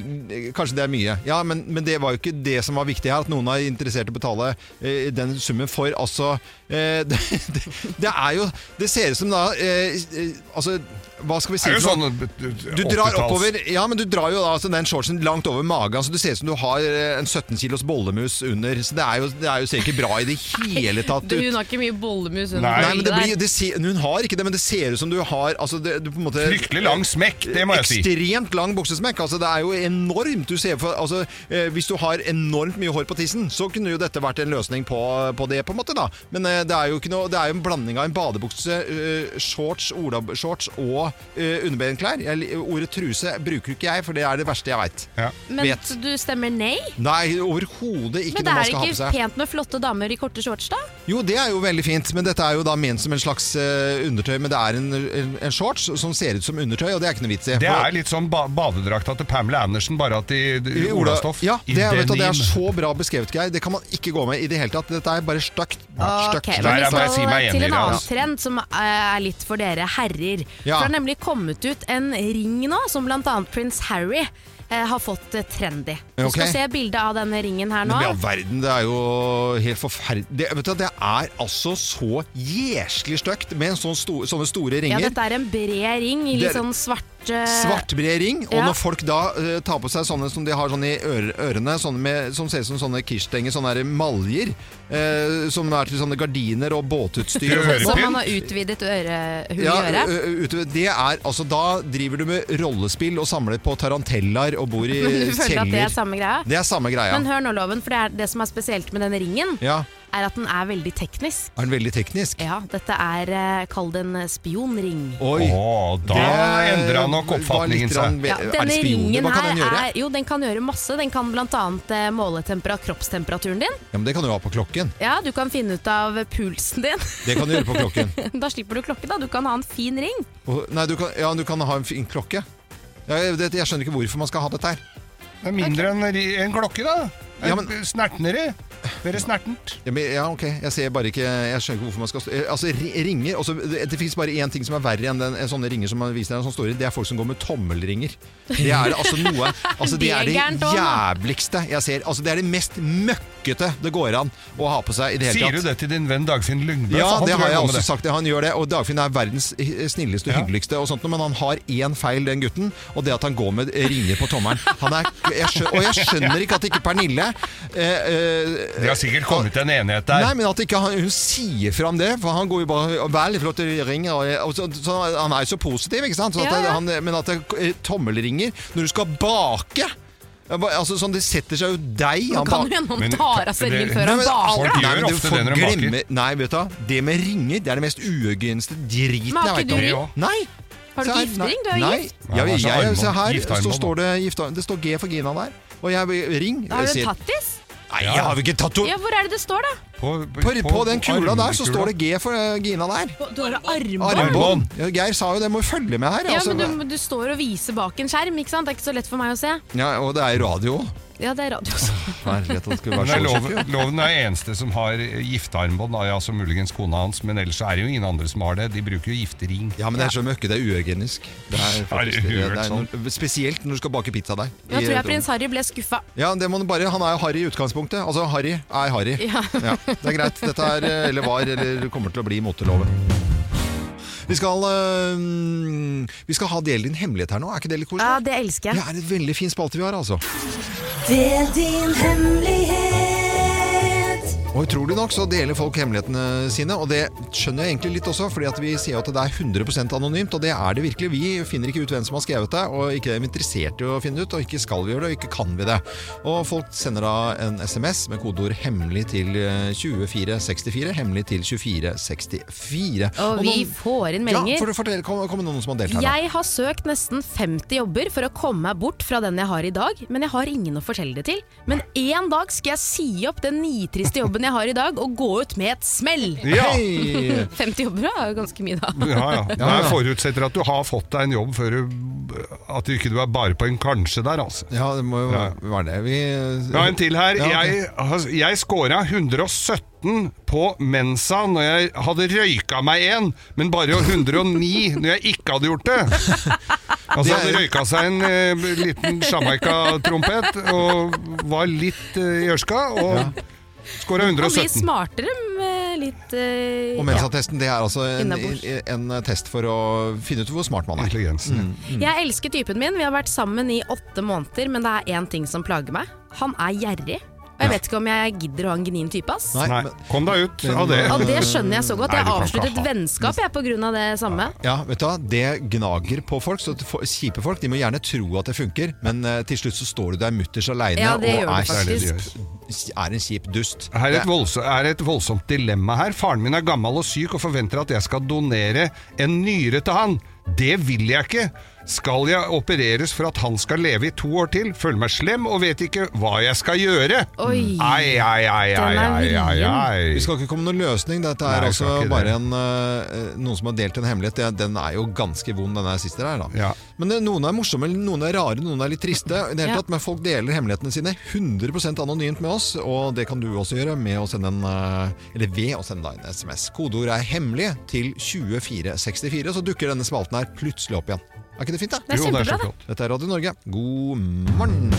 S1: Kanskje det er mye. Ja, men, men det var jo ikke det som var viktig her, at noen er interessert i å betale eh, den summen for. Altså eh, det, det, det er jo Det ser ut som da eh, eh, Altså, hva skal vi si?
S3: Det er jo
S1: for noe?
S3: sånn
S1: Du drar oppover Ja, men du drar jo da altså, den shortsen langt over magen, så du ser ut som du har eh, en 17 kilos bollemus under. Så det, er jo, det er jo, ser ikke bra i det hele tatt
S2: Du,
S1: ut.
S2: hun har ikke mye bollemus under
S3: Nei.
S1: Nei, men det
S2: bildet
S1: blir,
S2: der.
S1: det ser, Hun har ikke det, men det ser ut som du har altså det, du på en måte,
S3: Fryktelig lang smekk, det må jeg si.
S1: Ekstremt lang buksesmekk. Altså, det er jo enormt. Du ser for, altså, eh, hvis du har enormt mye hår på tissen, så kunne jo dette vært en løsning på, på det. på en måte da. Men eh, det er jo ikke noe, det er jo en blanding av en badebukse, eh, shorts, olabshorts og eh, underbenklær. Jeg, li- ordet truse bruker ikke jeg, for det er det verste jeg veit.
S3: Ja.
S2: Men
S1: Vet.
S2: så du stemmer nei?
S1: Nei, overhodet ikke
S2: Men
S1: noe
S2: det
S1: man
S2: er
S1: skal ha på
S2: ikke
S1: seg.
S2: pent med flotte damer i korte shorts, da?
S1: Jo, det er jo veldig fint, men dette er jo da ment som en slags eh, undertøy. Men det er en, en, en shorts som ser ut som undertøy, og det er ikke noe vits i.
S3: Det
S1: For-
S3: er litt sånn ba badedrakta til Pamela Andersen, bare at i, i
S1: Ola-
S3: olastoff.
S1: Ja,
S3: I
S1: det er, vet du, det er
S3: denim.
S1: så bra beskrevet, Geir. Det kan man ikke gå med i det hele tatt. Dette er bare støkt.
S2: Ok,
S1: Støkt.
S2: men
S3: Nei,
S2: vi
S3: jeg må
S2: skal
S3: si meg enig
S2: til
S3: i
S2: en
S3: det,
S2: annen
S3: altså.
S2: trend som eh, er litt for dere herrer.
S1: Ja.
S2: For det har nemlig kommet ut en ring nå, som bl.a. prins Harry eh, har fått eh, trendy. Du
S1: Ok.
S2: skal se bildet av denne ringen her nå.
S1: Men i all verden, det er jo helt forferdelig det, Vet du, det er altså så jæsklig støkt med en sånn sto, sånne store
S2: Ja,
S1: ringer.
S2: dette er en bred ring i
S1: Det
S2: litt
S1: er-
S2: sånn svart eh,
S1: Svartbred ring, og
S2: Ja.
S1: når folk da eh, tar på seg sånne som de har sånn i øre, ørene, sånne med, som ser ut som sånne kirstenger, sånne der maljer, eh, som er til sånne gardiner og båtutstyr og sånt.
S2: Så
S3: Ørepinn?
S2: man har utvidet ørehull
S1: Ja,
S2: i øret.
S1: ø- ø- utover- det er, altså, da driver du med rollespill og samler på tarantellaer og bor i
S2: Men du føler at det er
S1: celler.
S2: samme greia?
S1: Det er samme greia.
S2: Men hør nå, Loven, for det, er det som er spesielt med denne ringen,
S1: Ja,
S2: er at den er veldig teknisk.
S1: Er den veldig teknisk?
S2: Ja, dette er eh, Kall det en spionring.
S1: Oi!
S3: Å, da endra nok oppfatningen seg.
S2: Ja, denne
S1: Hva
S2: ringen
S1: kan
S2: her
S1: den gjøre?
S2: er Jo, den kan gjøre masse. Den kan bl.a. måle tempera kroppstemperaturen din.
S1: Ja, men det kan du ha på klokken.
S2: Ja, Du kan finne ut av pulsen din.
S1: Det kan du gjøre på klokken.
S2: da slipper du klokke, da. Du kan ha en fin ring.
S1: Og- Nei, du kan, ja, du kan ha en fin klokke. Ja, jeg, det, jeg skjønner ikke hvorfor man skal ha dette her.
S3: Det er mindre enn ri- en klokke, da.
S1: Ja,
S3: Ja,
S1: men-
S3: Snertnere. Mer snertent.
S1: Ja, men, ja, ok. Jeg ser bare ikke Jeg skjønner ikke hvorfor man skal stå eh, Altså, ri- ringer også, Det, det fins bare én ting som er verre enn den, sånne ringer som man viser deg, som står i. Det er folk som går med tommelringer. Det er det, altså noe altså, Det
S2: Det er
S1: er det
S2: gærent også, da.
S1: jævligste jeg ser. Altså, det er det mest møkkete det går an å ha på seg i det hele
S3: Sier
S1: tatt.
S3: du det til din venn Dagfinn Lyngbø?
S1: Ja,
S3: For han
S1: det
S3: tror
S1: har jeg
S3: går med
S1: også
S3: det.
S1: sagt. Han gjør det, og Dagfinn er verdens eh, snilleste og hyggeligste, og sånt, men han har én feil, den gutten, og det at han går med ringer på tommelen. Han er, jeg skjø- og jeg skjønner ikke at ikke Pernille eh, eh,
S3: Det har sikkert kommet til en enighet der.
S1: Nei, men at ikke han, hun sier fra om det, for han går jo bare veldig flott og ringer. Og, og så, så, han er jo så positiv, ikke sant? Så at
S2: Ja, ja.
S1: Han, men at det eh, tommelringer når du skal bake eh, ba- Altså sånn, Det setter seg jo deg
S2: Nå
S1: han
S2: kan
S1: ba-
S2: jo hende
S3: Men-
S2: han tar av seg
S3: det-
S2: ringen før han
S1: Nei, men
S2: baker.
S3: Folk
S1: Nei,
S3: gjør
S1: men du
S3: ofte
S1: får
S3: det når de baker.
S1: glemme- Nei, vet du hva. Det med ringer Det er det mest uhygieniske driten
S2: Men
S1: jeg
S2: har
S1: vet
S2: ikke
S1: om.
S2: du
S3: ring?
S1: Nei.
S2: Har du
S1: Se her,
S2: ikke giftering? Du er
S1: nei.
S2: jo
S1: Nei.
S2: gift.
S3: Ja,
S1: Ja,
S3: det er så
S1: jeg,
S3: armbånd.
S1: se her,
S3: Giftarmbånd,
S1: så
S3: da.
S1: står det, gifta, det står G for Gina der. Og jeg ring.
S2: Da har du
S1: sier-
S2: en tattis.
S1: Nei, jeg har jo ikke tatt
S2: Ja, hvor er det det står, da?
S1: På, på den kula der så står det
S3: armkula.
S1: G for eh, Gina der.
S2: Du har armbånd.
S1: Armbånd. Ja, Geir sa jo det, må jo følge med her.
S2: Ja,
S1: altså.
S2: men du, du står og viser bak en skjerm, ikke sant? Det er ikke så lett for meg å se.
S1: ja, og det er i radio.
S2: Ja, det er radio også.
S1: Herlighet, det skulle
S3: Men det
S1: være
S3: er
S1: så
S3: loven, loven er eneste som har giftearmbånd. da. Ja, altså muligens kona hans, men ellers er det jo ingen andre som har det. De bruker jo giftering.
S1: ja, men det er så møkke, det er uhygienisk. Det er faktisk-
S3: Er det
S1: det er
S3: uhørt sånn?
S1: noe- Spesielt når du skal bake pizzadeig.
S2: Nå tror jeg prins Harry ble skuffa.
S1: Ja, det må du bare, Han er jo harry i utgangspunktet. Altså, harry er harry.
S2: Ja.
S1: Ja, det er greit. Dette er, eh, eller var, eller kommer til å bli moteloven. Vi skal, eh, vi skal ha del din hemmelighet her nå, er ikke det litt
S2: Ja,
S1: koselig?
S2: det elsker
S1: Det
S2: jeg.
S1: er en veldig fin spalte vi har, altså.
S7: Del din hemmelighet.
S1: Og utrolig nok så deler folk hemmelighetene sine, og det skjønner jeg egentlig litt også, fordi at vi sier at det er 100 anonymt, og det er det virkelig. Vi finner ikke ut hvem som har skrevet det, og ikke er vi interessert i å finne det ut, og ikke skal vi gjøre det, og ikke kan vi det. Og folk sender da en SMS med kodeord 'hemmelig' til eh, 2464, 'hemmelig' til 2464.
S2: Og vi
S1: noen-
S2: får inn
S1: Ja,
S2: meldinger.
S1: for fortell, kom, kom det noen som har delt her nå?
S2: Jeg har søkt nesten 50 jobber for å komme meg bort fra den jeg har i dag, men jeg har ingen å fortelle det til. Men en dag skal jeg si opp den nitriste jobben jobben jeg har i dag, og gå ut med et smell.
S3: Ja.
S2: 50 jobber er jo ganske mye, da.
S3: Ja, ja. Det her forutsetter at du har fått deg en jobb før du At du ikke du er bare på en kanskje der, altså.
S1: Ja, det må jo
S3: Ja.
S1: være være det. Vi eh,
S3: Jeg har en til her.
S1: Ja, ok.
S3: Jeg, har- jeg scora 117 på Mensa når jeg hadde røyka meg en, men bare 109 når jeg ikke hadde gjort det. Altså
S1: Det er-
S3: hadde røyka seg en eh, liten Jamaica-trompet og var litt eh, gjørska, og scora
S2: Man blir
S3: 117.
S2: smartere med litt eh,
S1: Og
S2: ja.
S1: Mensa-testen det er altså en,
S2: Innabords.
S1: en eh, test for å finne ut hvor smart man er.
S3: Intelligensen.
S2: Jeg elsker typen min. Vi har vært sammen i åtte måneder, men det er én ting som plager meg. Han er gjerrig. Og jeg vet ikke om jeg gidder å ha en gnin type, ass.
S1: Nei,
S3: Nei,
S1: men,
S3: kom deg ut av det.
S2: Og det skjønner jeg så godt.
S3: Nei,
S2: Jeg
S3: du kan ikke
S2: avsluttet
S3: ha-
S2: vennskap jeg på grunn av det samme.
S1: ja, vet du hva? Det gnager på folk. Så at for- kjipe folk de må gjerne tro at det funker, men eh, til slutt så står du der mutters aleine
S2: Ja,
S1: og
S2: det gjør du
S1: er,
S3: Det er det du
S2: faktisk.
S3: gjør.
S1: er en kjip dust.
S3: Her er
S1: Det-
S3: et, voldsomt, er et voldsomt dilemma her. Faren min er gammel og syk og forventer at jeg skal donere en nyre til han. Det vil jeg ikke. Skal jeg opereres for at han skal leve i to år til? Føler meg slem og vet ikke hva jeg skal gjøre.
S2: Oi.
S3: Ai, ai, ai, ai,
S2: Den er
S3: ai, ai,
S1: Vi
S3: ai.
S1: skal ikke komme noen løsning. Dette
S3: Nei,
S1: er
S3: vi
S1: altså
S3: skal ikke det.
S1: bare en, eh, noen som har delt en hemmelighet. Det- Den er jo ganske vond, den her siste her. Da.
S3: Ja.
S1: Men eh, noen er morsomme, noen er rare, noen er litt triste. I det hele
S2: Ja.
S1: tatt, Men folk deler hemmelighetene sine 100 anonymt med oss, og det kan du også gjøre med å sende en, eh, eller ved å sende deg en SMS. Kodeord er 'hemmelig' til 2464, så dukker denne spalten her plutselig opp igjen. Er ikke det fint, da?
S2: Det er
S3: Jo, det er så
S2: kjempebra, det.
S3: flott.
S1: Dette er Radio Norge. God morgen!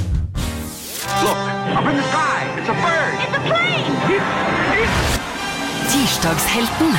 S6: Tirsdagshelten.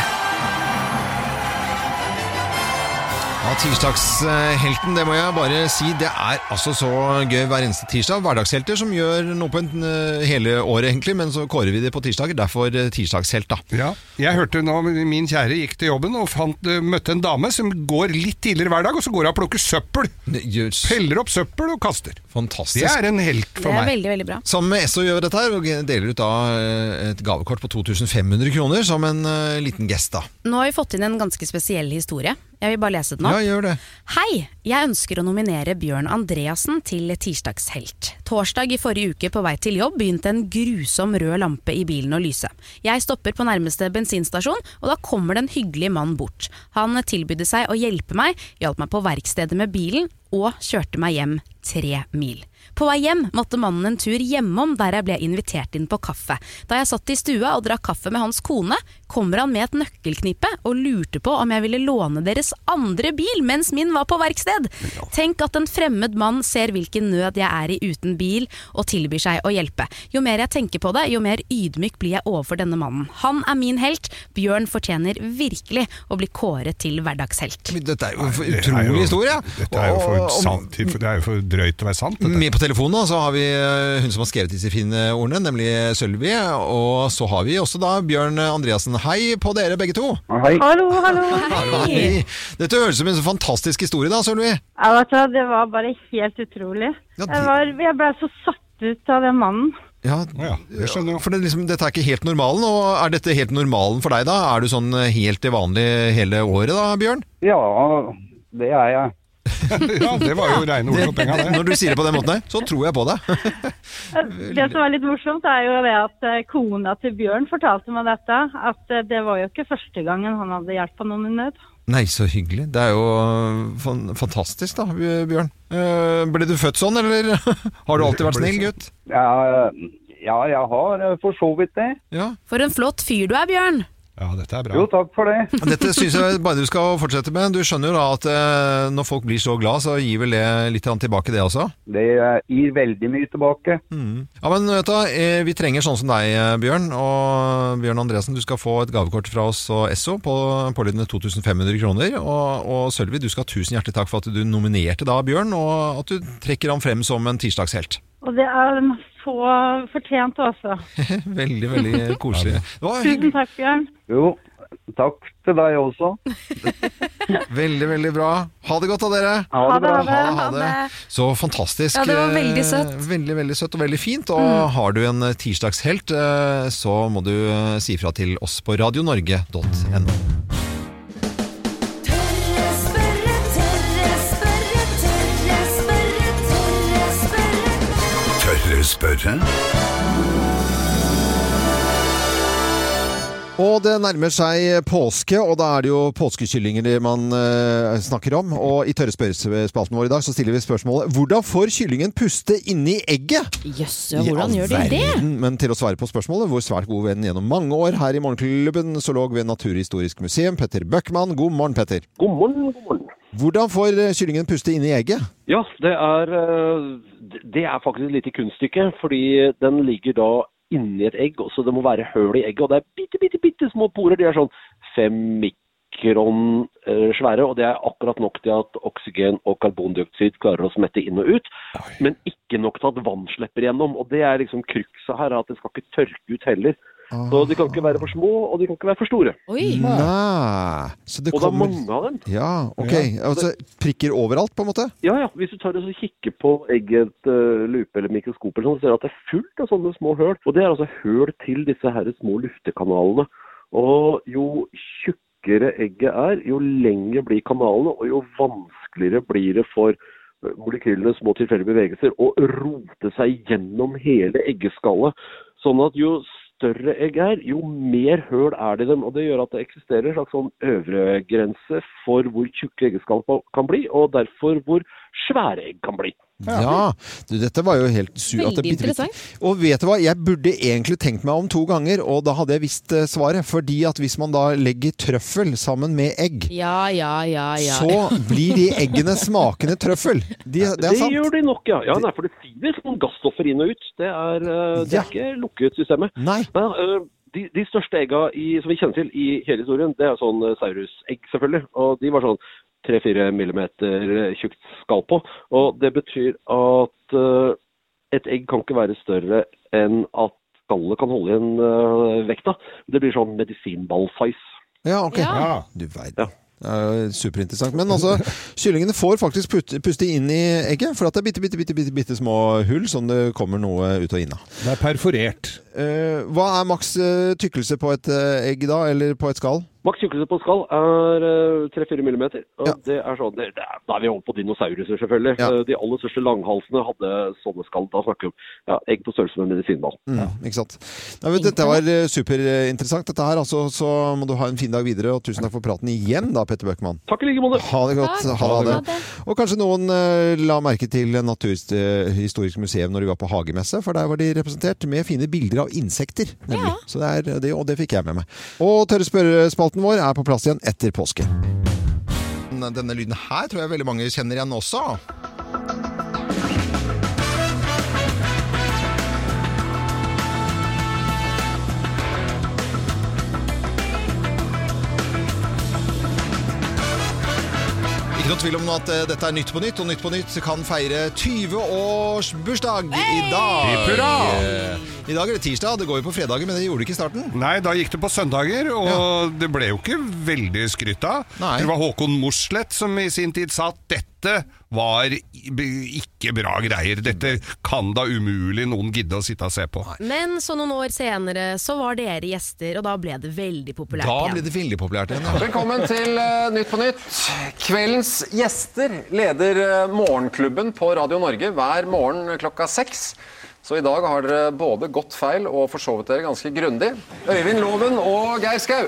S1: Ja, Tirsdagshelten, det må jeg bare si. Det er altså så gøy hver eneste tirsdag. Hverdagshelter som gjør noe på en, eh, hele året, egentlig, men så kårer vi det på tirsdager. Derfor eh, tirsdagshelt, da.
S3: Ja, jeg hørte nå min kjære gikk til jobben og fant, eh, møtte en dame som går litt tidligere hver dag, og så går hun og plukker søppel.
S1: Jøss,
S3: Peller opp søppel og kaster. Det
S1: Fantastisk.
S3: er en helt
S2: Det
S3: for
S2: er
S3: meg.
S2: veldig, veldig bra.
S1: Sammen med SO gjør vi dette her, og deler ut da eh, et gavekort på 2500 kroner som en eh, liten gest, da.
S2: Nå har vi fått inn en ganske spesiell historie. Jeg vil bare lese den opp.
S1: Ja, gjør det.
S2: Hei! Jeg ønsker å nominere Bjørn Andreassen til tirsdagshelt. Torsdag i forrige uke på vei til jobb begynte en grusom rød lampe i bilen å lyse. Jeg stopper på nærmeste bensinstasjon, og da kommer det en hyggelig mann bort. Han tilbydde seg å hjelpe meg, hjalp meg på verkstedet med bilen og kjørte meg hjem tre mil. På vei hjem måtte mannen en tur hjemom der jeg ble invitert inn på kaffe. Da jeg satt i stua og drakk kaffe med hans kone, kommer han med et nøkkelknippe og lurte på om jeg ville låne deres andre bil mens min var på verksted. Tenk at en fremmed mann ser hvilken nød jeg er i uten bil, og tilbyr seg å hjelpe. Jo mer jeg tenker på det, jo mer ydmyk blir jeg overfor denne mannen. Han er min helt. Bjørn fortjener virkelig å bli kåret til hverdagshelt.
S1: Men Dette er jo en
S3: Det er jo-
S1: utrolig historie.
S3: Dette er jo
S1: Og-
S3: for,
S1: og-
S3: sant, det er jo for drøyt til å være sant. Dette.
S1: Med på telefonen da, så har vi eh, hun som har skrevet disse fine ordene, nemlig Sølvi. Og så har vi også da Bjørn Andreassen. Hei på dere begge to.
S8: Hallo, hallo.
S1: Hei. Dette høres ut som en så fantastisk historie da, Sølvi.
S8: Ja, vet du, hva, det var bare helt utrolig.
S1: Ja, det-
S8: Jeg, var, jeg ble så satt ut av den mannen.
S1: Ja,
S3: Ja, det skjønner jeg.
S1: for det, er liksom, dette er ikke helt normalen. Og er dette helt normalen for deg da? Er du sånn helt til vanlig hele året da, Bjørn?
S9: Ja, det er jeg.
S3: Ja, det var jo reine ord for penga, det.
S1: Når du sier det på den måten her, så tror jeg på deg.
S8: Det som var litt morsomt, er jo det at eh, kona til Bjørn fortalte meg dette. At eh, det var jo ikke første gangen han hadde hjulpet noen i nød.
S1: Nei, så hyggelig. Det er jo fan- fantastisk da, Bjørn. Eh, Ble du født sånn, eller har du alltid vært snill, gutt?
S9: Ja, ja, jeg har eh, for så vidt det.
S1: Ja.
S2: For en flott fyr du er, Bjørn!
S3: Ja, dette er bra.
S9: Jo, takk for det.
S1: Dette syns jeg bare du skal fortsette med. Du skjønner jo da at eh, når folk blir så glad, så gir vel det litt grann tilbake, det også.
S9: Det eh, gir veldig mye tilbake.
S1: Ja, men vet du, hva, eh, vi trenger sånn som deg, eh, Bjørn. Og Bjørn Andresen, du skal få et gavekort fra oss og Esso på pålydende 2500 kroner. Og, og Sølvi, du skal ha tusen hjertelig takk for at du nominerte da Bjørn, og at du trekker ham frem som en tirsdagshelt.
S8: Og det er en så fortjent også.
S1: Veldig, veldig koselig. Det var hyggelig.
S8: Tusen takk, Bjørn.
S9: Jo, takk til deg også.
S1: Veldig, veldig bra. Ha det godt da, dere.
S9: Ha det bra.
S1: Ha det, ha det. Så fantastisk.
S2: Ja, det var veldig
S1: eh,
S2: søtt. Mm.
S1: Veldig, veldig søtt og veldig fint. Og har du en tirsdagshelt, eh, så må du eh, si fra til oss på radionorge.no.
S10: Tørre spørre, tørre spørre, tørre spørre, tørre spørre.
S11: Tørre spørre?
S1: Og det nærmer seg påske, og da er det jo påskekyllinger man eh, snakker om. Og i tørre spørrespalten vår i dag så stiller vi spørsmålet Hvordan får kyllingen puste inni egget?
S12: Jøss, ja, hvordan
S1: I all
S12: gjør de det?
S1: verden. Men til å svare på spørsmålet, vår svært gode venn gjennom mange år her i Morgenklubben, zoolog ved Naturhistorisk museum, Petter Bøckmann. God morgen, Petter.
S13: God morgen, god morgen.
S1: Hvordan får eh, kyllingen puste inni egget?
S13: Ja, det er, eh, det er faktisk et lite kunststykke, fordi den ligger da inni et egg, og så det må være høl i egget. Og det er bitte, bitte, bitte små porer. De er sånn fem mikron eh, svære, og det er akkurat nok til at oksygen og karbondioksid klarer å smette inn og ut, men ikke nok til at vann slipper gjennom. Og det er liksom krukset her, at det skal ikke tørke ut heller. Så de kan ikke være for små, og de kan ikke være for store.
S1: Nei. Så det
S13: Og det er
S1: kommer
S13: mange av dem.
S1: Ja, ok.
S13: Ja.
S1: Altså, prikker overalt, på en måte?
S13: Ja, ja. Hvis du tar og så kikker på egget uh, lupe eller mikroskop, eller sånn, så ser du at det er fullt av sånne små høl. Og det er altså høl til disse her små luftekanalene. Og jo tjukkere egget er, jo lengre blir kanalene, og jo vanskeligere blir det for eh, molekylenes små tilfeldige bevegelser å rote seg gjennom hele eggeskallet. Sånn at jo større egg er, jo mer høl er det i dem. Og det gjør at det eksisterer en slags sånn øvre grense for hvor tjukke eggeskall pa- kan bli, og derfor hvor svære egg kan bli.
S1: Ja. Du, dette var jo helt su
S13: Veldig
S1: at det bitte- bitte-
S13: interessant.
S1: Og vet du hva, jeg burde egentlig tenkt meg om to ganger, og da hadde jeg visst eh, svaret. Fordi at hvis man da legger trøffel sammen med egg,
S12: Ja, ja, ja, ja.
S1: så blir de eggene smakende trøffel. De, det er sant.
S13: gjør de nok, ja. ja nei, for det siver noen gasstoffer inn og ut. Det er, eh, det er ikke lukket systemet.
S1: Nei.
S13: eh, de, de største egga i, som vi kjenner til i hele historien, det er sånn eh, saurusegg, selvfølgelig. Og de var sånn 3-4 millimeter eh, tjukt skall på. Og det betyr at eh, et egg kan ikke være større enn at skallet kan holde igjen eh, vekta. Det blir sånn medisinball-size.
S1: Ja, ok.
S13: Ja.
S1: Du verden. Det er jo superinteressant. Men altså, kyllingene får faktisk putte, puste inn i egget, for at det er bitte, bitte, bitte, bitte, bitte små hull som det kommer noe ut og inn av.
S14: Det er perforert.
S1: hva er maks eh, tykkelse på et eh, egg da, eller på et skall?
S13: Maks tjukkelse på skall er eh, 3-4 millimeter. Og det er sånn, det, det er, da er vi over på dinosauruser, selvfølgelig. Eh, De aller største langhalsene hadde sånne skall. Da snakker vi om ja, egg på størrelse med en medisinball.
S1: Mm, Ikke sant. Nei, men, dette var eh, superinteressant. Dette her, altså, så må du ha en fin dag videre, og tusen takk for praten igjen, da, Petter Bøckmann.
S13: Takk i like måte.
S1: Ha det godt.
S13: Takk.
S1: Ha det.
S13: Ha det.
S1: Og kanskje noen eh, la merke til Naturhistorisk museum når de var på hagemesse, for der var de representert med fine bilder av insekter. Nemlig. Så det er det, og det fikk jeg med meg. Og tørre spørrespalten vår er på plass igjen etter påske.
S15: Den- Denne lyden her tror jeg veldig mange kjenner igjen også. Ikke noe tvil om at eh, dette er Nytt på Nytt, og Nytt på Nytt kan feire 20-årsbursdag i dag.
S3: Hipp hurra!
S15: Eh, I dag er det tirsdag, det går jo på fredager, men det gjorde det ikke i starten.
S3: Nei, da gikk det på søndager, og det ble jo ikke veldig skrytt av.
S15: Nei.
S3: Det var Håkon Mosleth som i sin tid sa at dette var i- b- ikke bra greier. Dette kan da umulig noen gidde å sitte og se på.
S2: Men så noen år senere så var dere gjester, og da ble det veldig populært
S15: Da
S2: igjen.
S15: ble det veldig populært igjen. ja.
S16: Velkommen til eh, Nytt på Nytt. Kveldens gjester leder eh, Morgenklubben på Radio Norge hver morgen klokka seks. Så i dag har dere både gått feil og forsovet dere ganske grundig. Øyvind Loven og Geir Skau.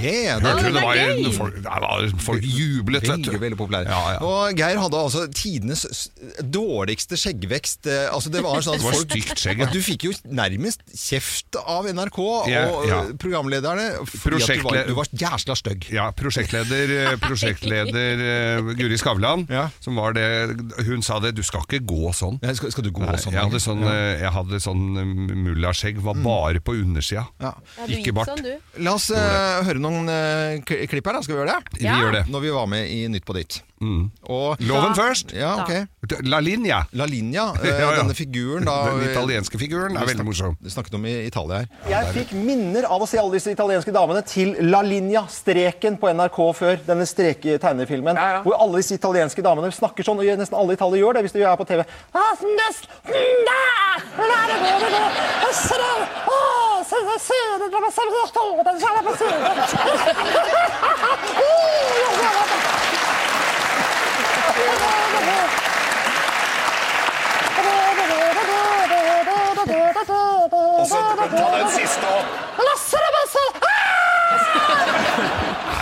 S15: Yeah,
S3: Hørte du det var,
S16: det er gøy!
S3: folk, det var folk jublet, vet du.
S15: Veldig, veldig populær.
S3: Ja, ja.
S15: Og Geir hadde altså tidenes s- dårligste skjeggvekst. Eh, Altså, det var sånn at
S3: Det var
S15: folk-
S3: stygt skjegg, ja.
S15: at Du fikk jo nærmest kjeft av NRK og
S3: Ja, ja.
S15: eh, programlederne. Fordi at du var,
S3: Prosjektleder,
S15: du var jæsla stygg.
S3: Ja, prosjektleder, eh, prosjektleder eh, Guri Skavlan, som var det Hun sa det, du skal ikke gå sånn.
S15: skal, du gå sånn,
S3: Jeg hadde
S15: Geir?
S3: sånn,
S15: Ja. Mm.
S3: eh, jeg hadde sånn eh, mullaskjegg, var bare på undersida. Ikke bart.
S17: sånn,
S15: La oss eh, høre noen eh, k- klipp her, da. Skal vi gjøre det?
S3: Vi Ja. gjør det. Mm.
S15: Når vi var med i Nytt på ditt. Og,
S3: Loven først.
S15: Ja, ok.
S3: La Linja.
S15: La Linja, eh,
S3: Ja, ja.
S15: denne figuren da eh,
S3: Den italienske figuren er
S15: Vi
S3: veldig
S15: snak-
S3: morsom.
S15: Vi snakket om i Italia her.
S5: Jeg fikk minner av å se alle disse italienske damene til La Linja, streken på NRK før. Denne streke-tegnefilmen. Hvor alle disse italienske damene snakker sånn. og Nesten alle i Italia gjør det hvis de er på TV.
S6: Og så ta den siste òg.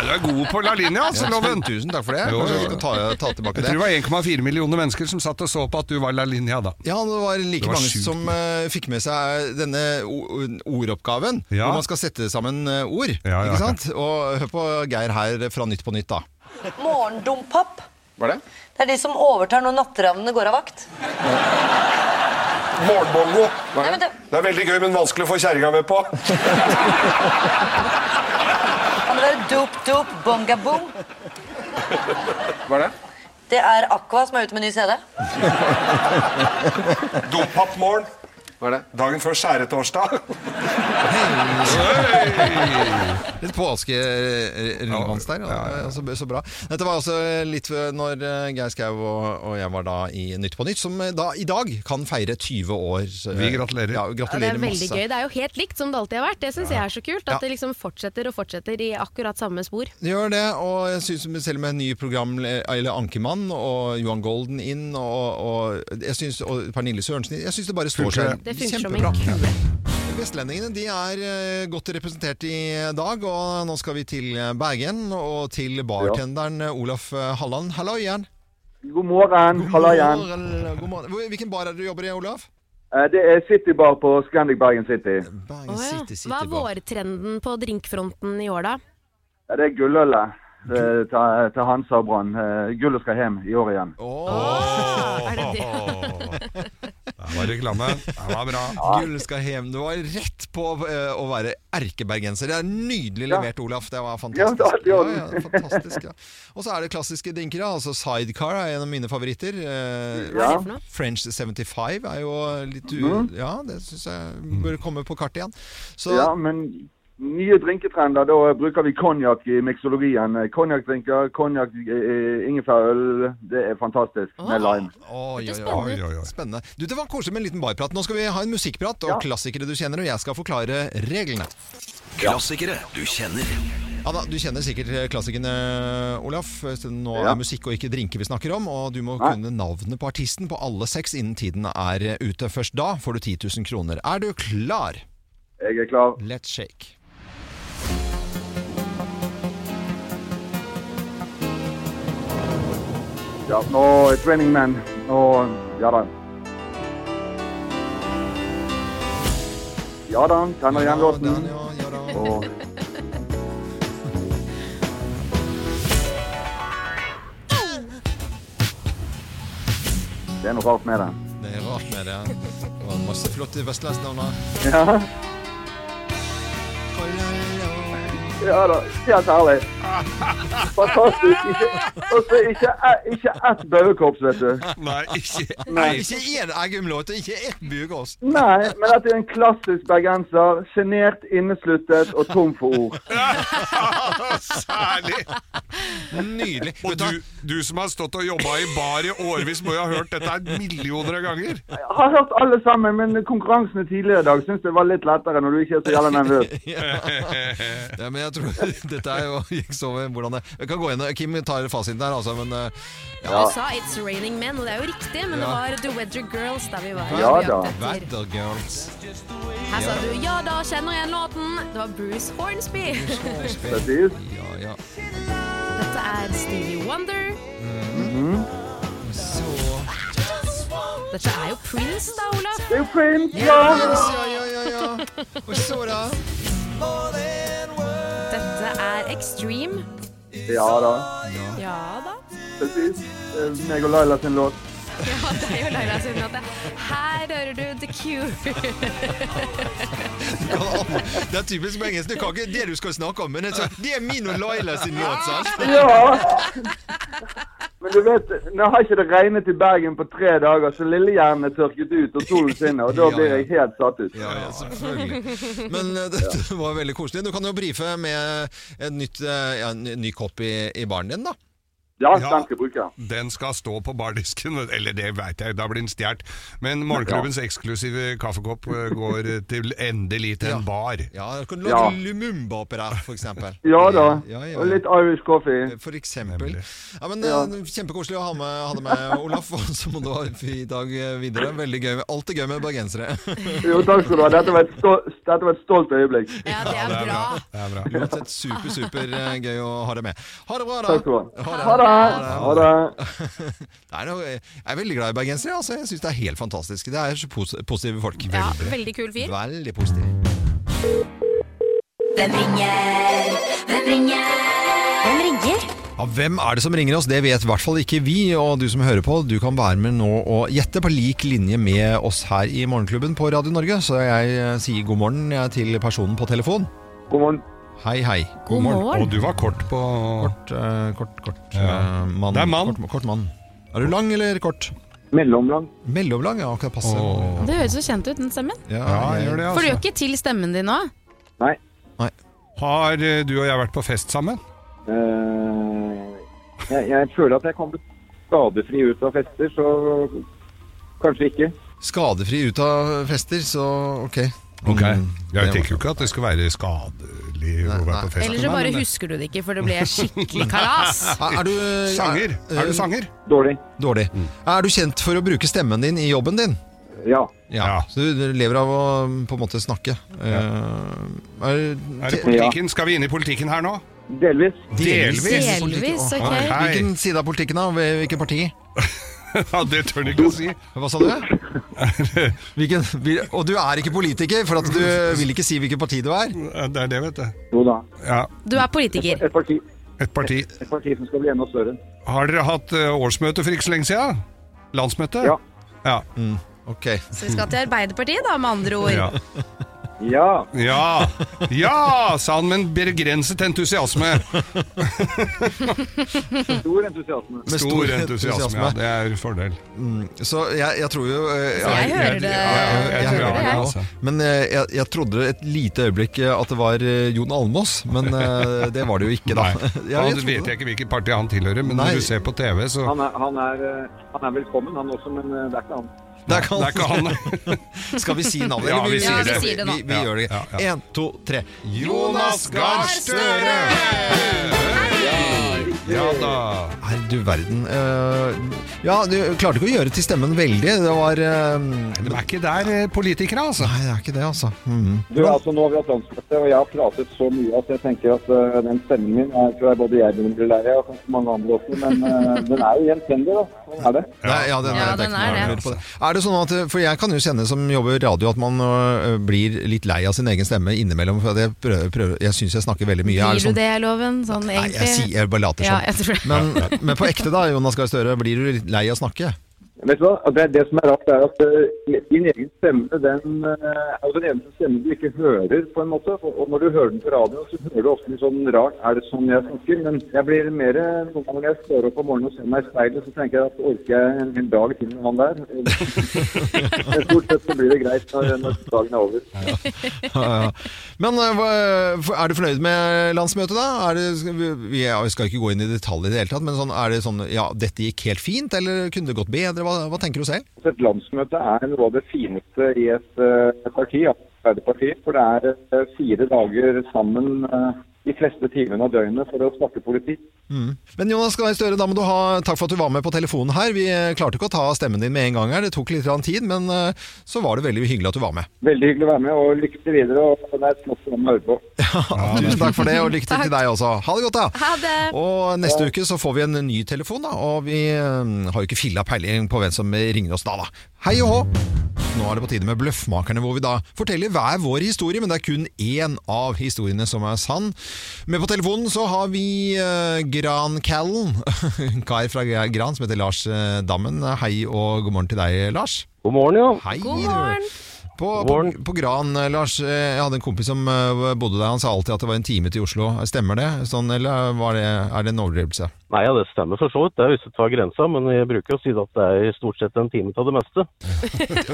S3: du er god på La Linja, altså,
S1: Ja,
S3: Loven.
S1: Tusen takk for det.
S3: Jo,
S1: Kanskje
S3: jo.
S1: vi skal ta, ta tilbake
S3: Jeg
S1: det.
S3: tror det var 1,4 millioner mennesker som satt og så på at du var La Linja da.
S1: Ja, det var like
S3: Det var
S1: mange
S3: sjukt.
S1: som eh, fikk med seg denne o- ordoppgaven,
S3: Ja.
S1: hvor man skal sette sammen eh, ord.
S3: ja.
S1: Ikke sant? Og hør på Geir her fra Nytt på Nytt, da.
S18: Morgendompap.
S1: Var det?
S18: Det er de som overtar når natteravnene går av vakt.
S19: Morgenbongo.
S18: Nei, men det,
S19: Det er veldig gøy, men vanskelig å få kjerringa med på.
S18: kan det være dop, dop, bongaboom?
S5: Hva er det?
S18: Det er Aqua som er ute med ny CD.
S19: Dompapmorgen.
S5: Hva er det?
S19: Dagen før skjæretorsdag.
S1: Litt påskerelevans der. Ja, Altså, så bra. Dette var altså litt før når eh, Geir Skau og, og jeg var da i Nytt på Nytt, som eh, da i dag kan feire 20 år. eh,
S3: Vi gratulerer.
S1: Ja,
S2: Ja, det er
S1: gratulerer
S2: veldig
S1: masse.
S2: gøy. Det er jo helt likt som det alltid har vært. Det syns jeg er så kult. At
S1: Ja.
S2: det liksom fortsetter og fortsetter i akkurat samme spor.
S1: Det gjør det, og jeg synes selv med nye program Eller Ankermann og Johan Golden inn og, og, jeg synes, og Pernille Sørensen Jeg syns det bare står seg
S2: Det funker som
S1: kjempebra.
S2: en kule.
S1: Vestlendingene de er eh, godt representert i dag, og nå skal vi til eh, Bergen og til bartenderen Olaf eh, Halland. Hallo igjen.
S9: God morgen. Halla igjen.
S1: Morgen, eh, God morgen. Hvor- Hvilken bar er det du jobber i, Olaf?
S9: Eh, Det er Citybar på Scandic Bergen City.
S2: Hva er vårtrenden på drinkfronten i år, da?
S9: Ja, Det er gullølet eh, til til Hansa og Brann. Eh, Gullet skal hjem i år igjen.
S3: Det var reklame. Det var bra.
S1: Gull skal hjem. Du var rett på eh, å være erkebergenser. Det er nydelig
S3: Ja.
S1: levert, Olaf. Det var
S3: Ja, det
S1: fantastisk.
S3: var alltid orden.
S1: fantastisk ja. Og så er det klassiske drinker. da. Altså Sidecar er en av mine favoritter. Eh,
S9: Hva er det for noe?
S1: French 75 er jo litt u...
S3: Mm.
S9: Mhm.
S1: Ja, det syns jeg bør komme på kartet igjen. Så
S9: Ja, men nye drinketrender, da bruker vi konjakk i miksologien. Eh, Konjakkdrinker, konjakk, eh, ingefærøl. Det er fantastisk med lime.
S1: Oi, oi, oi, oi, oi. Spennende. Du, Det var koselig med en liten barprat. Nå skal vi ha en musikkprat og klassikere du kjenner, og jeg skal forklare reglene.
S20: Klassikere du kjenner.
S1: Ja da, Du kjenner sikkert klassikerne, Olaf. Siden nå
S20: Ja.
S1: er musikk og ikke drinker vi snakker om. Og du må
S20: Nei.
S1: kunne navnet på artisten på alle seks innen tiden er eh, ute. Først da får du 10 000 kroner. Er du klar?
S9: Jeg er klar.
S1: Let's shake.
S9: Ja, og Training Man. Og ja da. Ja da, kjenner igjen låten. Og Det er noe rart med det.
S1: Det er rart med det. Det var masse flotte vestlandsnavn. her.
S9: Ja. Ja da, helt herlig. Fantastisk. Ikke, og så ikke, eh, ikke ett bauekorps, vet du.
S3: Nei, ikke
S9: Nei.
S1: Ikke én Eggum-låt, og ikke ett Bugås.
S9: Nei, men dette er en klassisk bergenser. Sjenert, innesluttet og tom for ord.
S3: Særlig!
S1: Nydelig.
S3: Og du, du som har stått og jobba i bar i årevis, må jo ha hørt dette her millioner av ganger.
S9: Jeg har hørt alle sammen, men konkurransene tidligere i dag syns det var litt lettere når du ikke er så jævla nervøs.
S1: ja, men jeg tror Dette er jo gikk så over hvordan det Vi kan gå inn Kim tar fasiten der, altså, men eh, ja.
S2: Du sa 'It's Raining Men', og det er jo riktig, men det
S1: Ja.
S2: var 'The Weather Girls' der vi var.
S1: Hva-
S2: på jakt etter.
S1: Weather Girls.
S2: Her sa du 'Ja da, kjenner igjen låten'. Det var Bruce Hornsby.
S1: Ja, ja.
S2: Dette er Stevie Wonder.
S1: Mm-hmm. Så
S2: Dette er jo Prince, da, Olaf.
S9: Det er jo Prince,
S6: ja.
S2: ja, ja, ja, ja. Og så da? Dette er Extreme.
S9: Ja da.
S2: Ja da.
S9: Precis. Det er meg og Laila sin låt.
S2: Ja, det er jo Laila sin låt. det. Her hører du The Cure.
S1: Det er typisk med engelsk. Du kan ikke det du skal snakke om, men det er så- det er min og Laila sin låt, sant?
S9: Ja! Men du vet, nå har ikke det regnet i Bergen på tre dager, så lillehjernen er tørket ut og solen skinner, og da
S1: Ja,
S9: blir
S1: ja.
S9: jeg helt satt ut.
S1: Ja, ja, selvfølgelig. Men eh, dette var veldig koselig. Du kan jo brife med en nytt, eh, ja, en ny kopp i, i baren din, da.
S9: Ja, den skal jeg bruke.
S3: Den skal stå på bardisken, eller det veit jeg, da blir den stjålet. Men morgenklubbens eksklusive kaffekopp eh, går til endelig til en bar.
S1: Ja, du kan
S3: Ja.
S1: lage Lumumba oppi der, for eksempel.
S3: Ja da,
S1: Ja, ja, ja.
S3: og litt Irish coffee.
S1: For eksempel. Ja, men
S3: Ja.
S1: eh, Kjempekoselig å ha med, ha det med, Olaf. Og så må du ha en fin dag eh, videre. Veldig gøy. Alt er gøy med bergensere.
S9: Jo, takk skal du ha. Dette var et stolt, dette var et stolt øyeblikk.
S1: Ja, det er bra. Det er bra. Uansett super, super eh, gøy å ha det med. Ha det bra, da.
S9: Takk skal du ha.
S1: Ha det.
S9: Ha det.
S1: Det er noe, jeg er veldig glad i bergensere. Altså. Jeg syns det er helt fantastisk. Det er så pos positive folk.
S21: Ja, veldig kul fyr.
S1: Veldig positive.
S6: Hvem ringer? Hvem ringer? Hvem ringer?
S1: Ja, hvem er det som ringer oss? Det vet i hvert fall ikke vi. Og du som hører på, du kan være med nå og gjette på lik linje med oss her i Morgenklubben på Radio Norge. Så jeg eh, sier god morgen jeg, til personen på telefon.
S9: God morgen.
S1: Hei, hei.
S3: God morgen. morgen. Og du var kort på
S1: Kort, eh, kort, kort
S3: Ja.
S1: eh, mann.
S3: Det er mann.
S1: Kort, kort mann. Er du lang eller kort?
S9: Mellomlang.
S1: Mellomlang, ja. Akkurat passe.
S21: Det høres jo kjent ut, den stemmen.
S1: Ja,
S3: gjør det,
S21: For du
S3: altså.
S21: gjør ikke til stemmen din nå?
S9: Nei.
S3: Har eh, du og jeg vært på fest sammen?
S9: Eh, jeg, jeg føler at jeg kan bli skadefri ut av fester, så kanskje ikke.
S1: Skadefri ut av fester, så ok. Mm,
S3: Ok. Jeg
S1: det var-
S3: tenker jo ikke at det skal være skadelig å være på fest.
S21: Eller så bare husker du det ikke, for det ble skikkelig kalas.
S1: Er du
S3: Sanger? Er
S1: Eh,
S3: du Mm. sanger?
S9: Dårlig.
S1: Dårlig. Er du kjent for å bruke stemmen din i jobben din?
S9: Ja.
S1: Ja, Så du lever av å på en måte snakke. Eh, Er,
S3: Er det politikken? Skal vi inn i politikken her nå?
S9: Delvis.
S3: Delvis?
S1: Delvis, ok. Hvilken side av politikken da? Hvilket parti?
S3: ja, det tør du ikke å si.
S1: Hva sa du? Hvilken, vil- og du er ikke politiker, for at du vil ikke si hvilket parti du er?
S3: Det er det, vet du.
S9: Jo da.
S3: Ja,
S21: Du er politiker.
S9: Et parti,
S3: et parti.
S9: et parti som skal bli enda større.
S3: Har dere hatt eh, årsmøte for ikke så lenge siden? Landsmøte?
S9: Ja.
S3: Ja.
S1: Ok.
S21: Så vi skal til Arbeiderpartiet, da, med andre ord.
S3: Ja.
S9: Ja.
S3: Ja, ja, sa han med en begrenset entusiasme.
S9: Stor entusiasme.
S1: Med stor
S3: Stor entusiasme,
S1: entusiasme.
S3: ja. Det er en fordel.
S1: Mm, så jeg, jeg tror jo eh,
S3: Så jeg hører det-
S1: ja, ja,
S3: jeg
S1: jeg
S3: hører
S1: hører
S3: det,
S1: det
S3: jeg.
S1: også. Men eh, jeg, jeg trodde et lite øyeblikk eh, at det var eh, Jon Almås, men eh, det var det jo ikke, da.
S3: Nei,
S1: Ja,
S3: da
S1: jeg trodde
S3: vet
S1: det.
S3: jeg ikke hvilket parti han tilhører, men
S1: Nei.
S3: når du ser på TV, så
S9: Han er, han, er, eh, han er velkommen, han også, men eh, det er ikke han.
S1: Der kan-
S3: Det er ikke han.
S1: Skal vi si navnet?
S3: Ja,
S1: eller?
S3: vi sier det.
S1: Vi, vi, vi
S3: Ja,
S1: gjør det.
S3: ja, ja.
S1: Én, to, tre.
S3: Jonas Gahr Støre! Ja da.
S1: Nei, du verden. Eh, ja, du klarte ikke å gjøre til stemmen veldig. Det var
S3: De er ikke der, eh, politikere, altså.
S1: Nei, det er ikke det, altså. Mhm.
S9: Du, altså Nå har vi hatt landsmøte, og jeg har pratet så mye at jeg tenker at eh, den stemmen min er, tror jeg både jeg begynner å bli lei av, og kanskje mange andre også, men eh, den er jo gjenkjennelig, da. Sånn er det.
S1: Nei, ja, den,
S21: Ja,
S1: det
S21: den
S1: ikke noe
S21: er
S1: å
S21: det.
S1: lure på det. Er det sånn at, for jeg kan jo kjenne som jobber i radio at man øh, blir litt lei av sin egen stemme innimellom. For jeg, prøver, prøver, jeg syns jeg snakker veldig mye.
S21: Gir
S1: Er det sånn?
S21: du det, Loven? Sånn
S1: Nei,
S21: egentlig?
S1: jeg, sier, jeg bare
S21: Ja,
S1: later som.
S21: jeg tror det.
S1: men, men på ekte da, Jonas Gahr Støre, blir du litt lei av å snakke?
S9: Vet du hva? Det, det som er rart, er at eh, din egen stemme den, eh, er jo den eneste stemmen du ikke hører, på en måte. Og og når du hører den på radio, så hører du ofte litt sånn rart Er det sånn jeg snakker? Men jeg blir mer eh, Noen ganger når jeg står opp om morgenen og ser meg i speilet, så tenker jeg at orker jeg en hel dag til med han der? Men Stort sett så blir det greit når, når dagen er over.
S1: Ja, ja. Men øh, hva- er du fornøyd med landsmøtet, da? Er det, skal vi- vi jeg skal ikke gå inn i detalj i det hele tatt, men sånn, er det sånn Ja, dette gikk helt fint, eller kunne det gått bedre? Hva, hva tenker du selv?
S9: Så Et landsmøte er noe av det fineste i et eh, parti, ja, Arbeiderpartiet. For det er eh, fire dager sammen eh, de fleste timene av døgnet for å snakke politikk.
S1: Mm. Men Jonas Gahr Støre, da må du ha takk for at du var med på telefonen her. Vi eh, klarte ikke å ta stemmen din med en gang her, det tok litt grann tid, men eh, så var det veldig hyggelig at du var med.
S9: Veldig hyggelig å være med, og lykke til videre. og Det er et flott program å høre på.
S1: Tusen takk for det, og lykke til til deg også. Ha det godt, da.
S21: Ha det!
S1: Og neste uke så får vi en ny telefon, da, og vi eh, har jo ikke filla peiling på hvem som ringer oss da, da. Hei og hå! Nå er det på tide med Bløffmakerne, hvor vi da forteller hver vår historie, men det er kun én av historiene som er sann. Med på telefonen så har vi eh, Gran Callen, en kar fra Gran som heter Lars eh, Dammen. Hei og god morgen til deg, Lars.
S22: God morgen, ja.
S1: Hei.
S22: God
S1: morgen. På, på, på Gran, eh, Lars. eh, Jeg hadde en kompis som eh, bodde der. Han sa alltid at det var en time til Oslo. Stemmer det? Sånn, eller var det, er det en overdrivelse?
S22: Nei, ja, det stemmer for så vidt. Det er hvis du tar grensa, men jeg bruker å si at det er stort sett en time av det meste.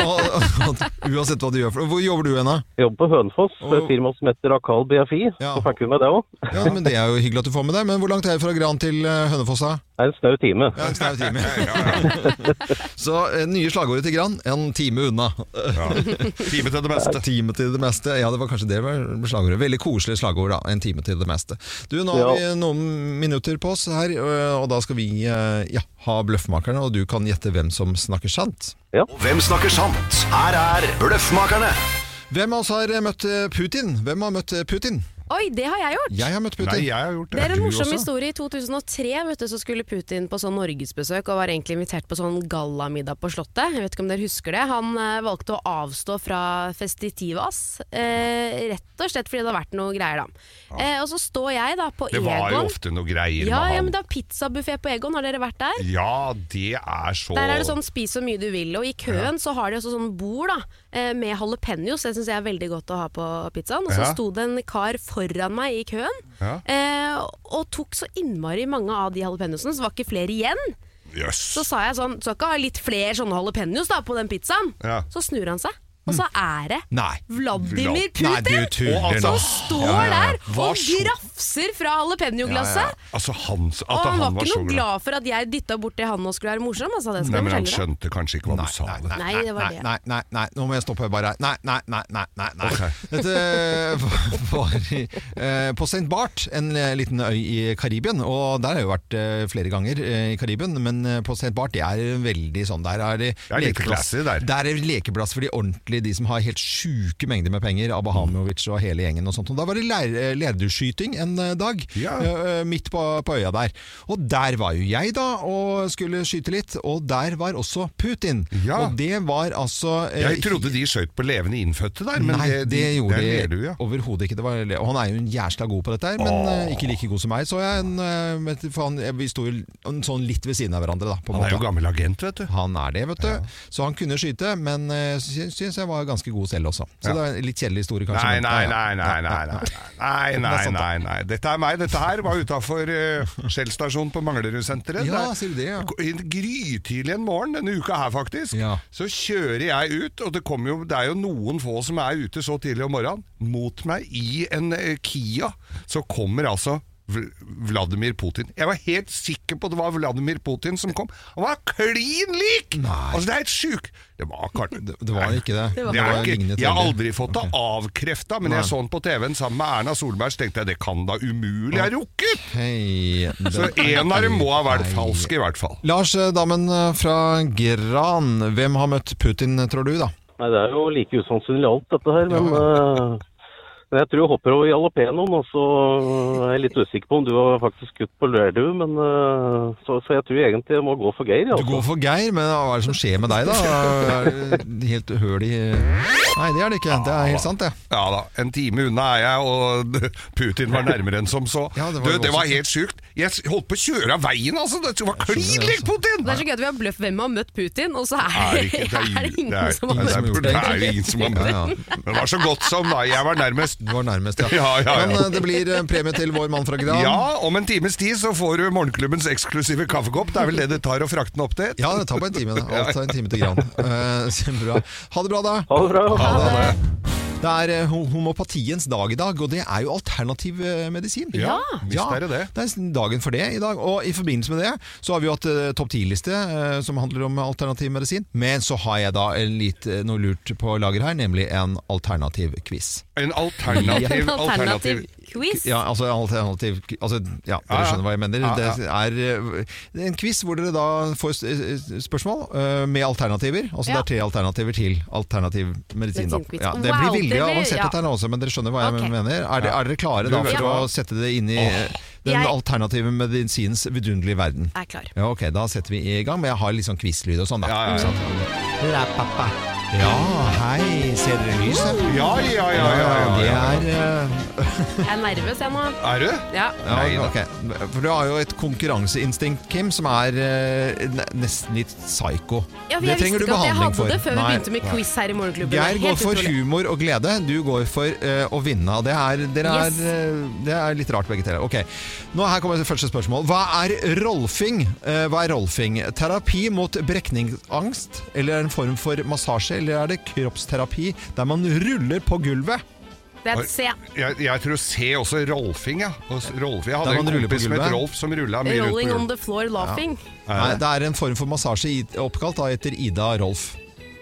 S1: Uansett hva du gjør. for- Hvor jobber du hen, da?
S22: Jeg jobber på Hønefoss, for et firma som heter Akal BFI. Så fikk vi med det òg.
S1: Ja, men Det er jo hyggelig at du får med deg. Men hvor langt er det fra Gran til eh, Hønefoss? da?
S22: Det er en snau time.
S1: Ja, en snau time. Så eh, nye slagordet til Gran en time unna.
S3: Time til det meste.
S1: Time til det meste. Ja, det var kanskje det var slagordet. Veldig koselig slagord, da. En time til det meste. Du, nå har vi
S22: Ja.
S1: noen minutter på oss her, eh, og da skal vi eh, ja, ha Bløffmakerne, og du kan gjette hvem som snakker sant.
S20: Og hvem snakker sant? Her er Bløffmakerne.
S1: Hvem av oss har eh, møtt eh, Putin? Hvem har møtt eh, Putin?
S2: Oi, det har jeg gjort!
S1: Jeg har møtt Putin.
S3: Nei, jeg har gjort
S2: Det er en
S1: Du
S2: morsom
S1: også?
S2: historie. I 2003 vet du, så skulle Putin på sånn norgesbesøk og var egentlig invitert på sånn gallamiddag på Slottet. Jeg vet ikke om dere husker det. Han eh, valgte å avstå fra Festitivas, eh, rett og slett fordi det har vært noe greier da. Eh, og så står jeg da på
S3: Det
S2: Egon.
S3: var jo ofte noe greier
S2: ja,
S3: med
S2: ja,
S3: han.
S2: men det er pizzabuffé på Egon. Har dere vært der?
S3: Ja, det er så
S2: Der er det sånn spis så mye du vil, og i køen så har de også sånn bord da, eh, med jalapeños. Det syns jeg er veldig godt å ha på pizzaen. Og så
S3: Ja.
S2: sto det en kar foran meg i køen
S3: Ja.
S2: eh, og tok så innmari mange av de jalapeñosene, så det var ikke flere igjen.
S3: Jøss.
S2: Så sa jeg sånn, du skal ikke ha litt flere sånne jalapeños da, på den pizzaen.
S3: Ja. Mm.
S2: Så snur han seg, og så er det
S1: Nei.
S2: Vladimir
S3: Vla-
S2: Putin!
S3: Nei, du tuller
S2: Og
S3: nå.
S2: som står
S3: Ja, ja, ja.
S2: der
S3: Hva
S2: og
S3: så-
S2: grafser fra jalapeñoglasset.
S3: Altså, han, at
S2: Og han,
S3: han
S2: var ikke
S3: så
S2: noe glad for at jeg dytta borti han og skulle være morsom. Altså, det skal
S3: Nei,
S2: jeg
S3: men
S2: fortelle
S3: han
S2: deg.
S3: skjønte kanskje ikke hva du sa. det.
S2: Nei, det var
S1: nei,
S2: det.
S1: nei, nei, nei, nå må jeg stoppe bare her. Nei, nei, nei, nei, nei, nei.
S3: Ok.
S1: Dette var i, eh, på St. Bart, en eh, liten øy i Karibien, og der har jeg jo vært eh, flere ganger eh, i Karibien, men eh, på St. Bart, det er veldig sånn, der er det
S3: er litt classy der.
S1: Der er det lekeplass for de ordentlige, de som har helt sjuke mengder med penger, Abahamovic og hele gjengen og sånt, og da var det leir, eh, leirdueskyting en eh, dag, eh, eh, midt på, på øya der. Og der var jo jeg da, og skulle skyte litt, og der var også Putin.
S3: Ja.
S1: Og det var altså eh,
S3: Jeg trodde de skjøt på levende innfødte der, men
S1: Nei, det,
S3: det, de-
S1: gjorde
S3: der ler
S1: de
S3: du, ja.
S1: overhodet ikke. Det var, og han er jo en jæsla god på dette her, men
S3: Åh.
S1: eh, ikke like god som meg, så jeg. En, eh, vet du, for han, eh, vi sto jo en sånn litt ved siden av hverandre, da. På en
S3: Han er
S1: måte.
S3: jo gammel agent, vet du.
S1: Han er det, vet du. Så han kunne skyte, men uh, syns jeg var ganske god selv også. Så
S3: Ja.
S1: det er en litt kjedelig historie, kanskje.
S3: Nei,
S1: men-
S3: nei,
S1: ja, ja.
S3: nei, nei, nei, nei, nei,
S1: Det er
S3: nei,
S1: sant,
S3: nei, nei. Dette er meg. Dette her var utafor Skjell stasjon på Manglerudsenteret.
S1: Ja,
S3: Det er-
S1: sier du det, ja.
S3: I en Grytidlig en morgen denne uka her, faktisk, så kjører jeg ut, og det, kommer jo, det er jo noen få som er ute så tidlig om morgenen, mot meg i en eh, Kia, så kommer altså Vl- Vladimir Putin. Jeg var helt sikker på at det var Vladimir Putin som kom. Han var klin lik! Altså, det er helt sjukt. Det var kanskje Det,
S1: var ikke det.
S3: det
S1: Det var
S3: er ikke,
S1: lignet
S3: jeg har
S1: veldig.
S3: aldri fått det avkrefta, men
S1: Nei.
S3: jeg så den på TV-en sammen med Erna Solberg, så tenkte jeg det kan da umulig ha rukket!
S1: Hei,
S3: Så
S1: det-
S3: en av dem må ha vært falsk, i hvert fall.
S1: Lars, eh, damen eh, fra Gran, hvem har møtt Putin, tror du, da?
S22: Nei, det er jo like usannsynlig alt dette her, men eh, men jeg tror jeg hopper over jalapeñoen, og så er jeg litt usikker på om du har faktisk skutt på lerdue, men eh, så, så jeg tror egentlig jeg må gå for Geir. ja,
S1: Du
S22: Altså.
S1: går for Geir, men hva er det som skjer med deg, da? Er det Helt høl i Nei, det er det ikke. Det er helt sant, det.
S3: Ja da, en time unna er jeg, og Putin var nærmere enn som så.
S1: Ja, det var
S3: du,
S1: jo
S3: det var
S1: også-
S3: helt sjukt! Jeg s- holdt på å kjøre av veien, altså! Det var klin lik Putin!
S2: Det er så gøy at vi har bløff hvem har møtt Putin, og så er,
S3: Er det ikke- det er-
S2: er det ingen
S3: det er-
S2: som har
S3: det er-
S2: møtt
S3: det er jo ingen som har møtt.
S2: Putin.
S3: Men det var så godt som, da. Jeg var nærmest.
S1: Du var nærmest, ja.
S3: ja, ja, ja.
S1: Men eh, det blir eh, premie til vår mann fra Gran.
S3: Ja, om en times tid så får du morgenklubbens eksklusive kaffekopp. Det er vel det det tar å frakte den opp til?
S1: Ja, det tar bare en time. Det Alt tar en time til Gran. Eh, Kjempebra. Ha det bra, da.
S22: Ha det bra.
S1: Det er eh, ho- homopatiens dag i dag, og det er jo alternativ eh, medisin.
S3: Ja, visst er det det.
S1: Det er dagen for det i dag. Og i forbindelse med det så har vi jo hatt eh, topp 10-liste eh, som handler om alternativ medisin. Men så har jeg da en litt, eh, noe lurt på lager her, nemlig en alternativ quiz.
S3: En alternativ,
S1: En
S3: alternativ
S2: quiz?
S1: Ja, altså alternativ altså, Ja,
S3: Ja,
S1: dere
S3: ja.
S1: skjønner hva jeg mener.
S3: Ja, ja.
S1: Det er eh, en quiz hvor dere da får s- eh, spørsmål eh, med alternativer. Altså
S2: Ja.
S1: det er tre alternativer til alternativ medisin. Da.
S2: Medisinquiz.
S1: Ja, det
S2: Wow,
S1: blir
S2: det
S1: veldig
S2: blir-
S1: avansert
S2: ja.
S1: dette her nå også, men dere skjønner hva jeg
S2: Ok.
S1: mener. Er, det, er dere klare da
S3: Du vet
S1: for
S3: hva?
S1: å sette det inn i eh, den
S2: Jeg-
S1: alternative medisinens vidunderlige verden?
S2: Jeg er klar.
S1: Ja, ok, da setter vi i gang, men jeg har litt sånn quizlyd og sånn da. Ikke sant? Rapapa, Ja, hei. Ser dere lyset?
S3: Ja, ja, ja, ja, ja, ja.
S1: Det er eh,
S2: Jeg er nervøs, jeg nå.
S1: Er du?
S2: Ja.
S3: Nei da.
S1: ok. For du har jo et konkurranseinstinkt, Kim, som er eh, ne- nesten litt psycho.
S2: Ja, for
S1: det
S2: jeg visste
S1: trenger du
S2: ikke at jeg
S1: behandling
S2: hadde
S1: for.
S2: det før vi
S1: Nei.
S2: begynte med quiz her i Morgenklubben.
S1: Geir
S2: Helt
S1: går for
S2: utrolig.
S1: humor og glede. Du går for eh, å vinne. Det er, dere er,
S2: Yes.
S1: eh, det er litt rart, begge deler. Ok, Nå Her kommer det første spørsmål. Hva er rolfing? Eh, hva er rolfing? Terapi mot brekningsangst? Eller er det en form for massasje? Eller er det kroppsterapi der man ruller på gulvet?
S2: Det er et C.
S3: Jeg, jeg tror C også Rolfing, ja. Og s- Rolf, jeg
S1: Da
S3: hadde
S1: kan
S3: en
S1: du rulle på
S3: kompis som het
S1: gulvet.
S3: Rolf, som rulla mye rundt på
S2: Rolling on
S3: gulvet.
S2: the floor laughing.
S1: Nei, det er en form for massasje i- oppkalt da, etter Ida Rolf.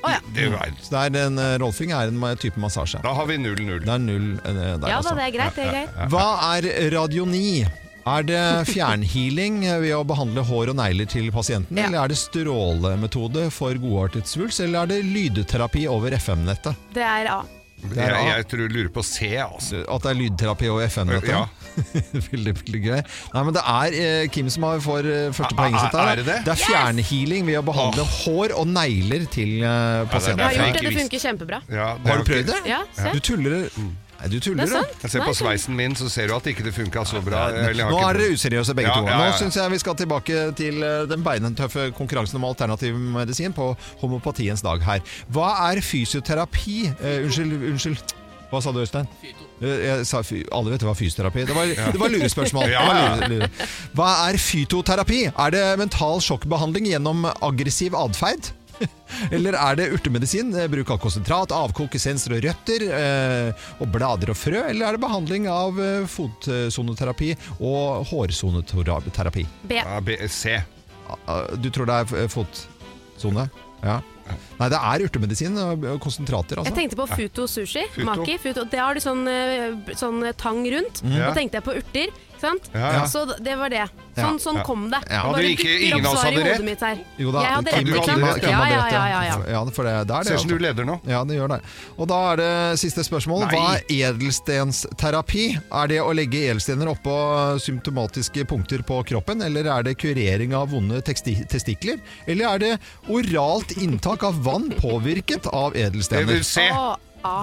S2: Å ja.
S3: Det er-
S1: Så det er en, eh, rolfing er en eh, type massasje.
S3: Da har vi 0-0.
S1: Det er null eh, der,
S2: Ja da,
S1: altså.
S2: det er greit. det er greit.
S1: Hva er radioni? Er det fjernhealing ved å behandle hår og negler til pasienten? Eller er det strålemetode for godartet svulst? Eller er det lydterapi over FM-nettet?
S2: Det er A.
S1: Det er
S3: Jeg,
S1: A.
S3: jeg tror, lurer på C, altså.
S1: At det er lydterapi over FM-nettet?
S3: Ja.
S1: veldig, veldig gøy. Nei, men det er eh, Kim som har får eh, første
S3: Er-
S1: poenget sitt her.
S3: Ah, er det det?
S1: er fjernhealing ved å behandle hår og negler til eh,
S2: Jeg
S1: pasienten.
S2: har gjort det, det funker kjempebra.
S1: Har du prøvd det?
S2: Ja, se. Mm.
S1: Du tuller Nei, du tuller,
S2: Det er
S1: da.
S2: sant.
S3: Se på sveisen min, så ser du at ikke det funka så bra. Eller jeg har
S1: Nå
S3: ikke-
S1: er dere useriøse begge
S3: Ja,
S1: to.
S3: ja, ja, ja.
S1: Nå syns jeg vi skal tilbake til eh, den beinetøffe konkurransen om alternativ medisin på homopatiens dag her. Hva er fysioterapi eh, Unnskyld, unnskyld. Hva sa du, Øystein? Eh, Jeg sa fy, alle vet hva fysioterapi er. Det var,
S3: Ja.
S1: det var lurespørsmål. Det
S3: Ja,
S1: var
S3: ja.
S1: lure, lure. Hva er fytoterapi? Er det mental sjokkbehandling gjennom aggressiv atferd? Eller er det urtemedisin, eh, bruk av konsentrat, avkok, essenser og røtter, eh, og blader og frø? Eller er det behandling av eh, fotsoneterapi og hårsoneterapi?
S2: B.
S3: Ja, B C.
S1: Ah, Du tror det er eh, fotsone? Ja. Nei, det er urtemedisin og og konsentrater, altså.
S2: Jeg tenkte på futo sushi.
S1: Futo.
S2: Maki. Futo. Det har du sånn, eh, b- sånn eh, tang rundt.
S1: Mm.
S2: Da
S1: Ja.
S2: tenkte jeg på urter. Ikke sant?
S1: Ja, ja.
S2: Så d- det var det. Sånn,
S1: Ja.
S2: sånn
S1: Ja.
S2: kom det.
S1: Ja.
S2: Bare
S1: Hadde ikke-
S2: dukker opp
S1: ingen av oss
S2: svaret i
S1: hadde
S2: hodet
S1: rett?
S2: mitt her.
S1: Jo da,
S2: jeg hadde
S1: Kim-
S2: rett,
S1: Kim-
S2: ikke
S1: Kim-
S2: sant?
S1: Kim
S2: Ja,
S1: hadde
S2: ja,
S1: rett,
S2: ja, ja, ja.
S1: ja for det, det er det.
S3: Ser ut som du
S1: altså.
S3: leder nå.
S1: Ja, det gjør det. Og da er det siste spørsmål.
S3: Nei.
S1: Hva er edelstensterapi? Er det å legge edelstener oppå symptomatiske punkter på kroppen, eller er det kurering av vonde teksti testikler? Eller er det oralt inntak av vann påvirket av edelstener?
S3: Det vil se.
S2: Å, ah. A.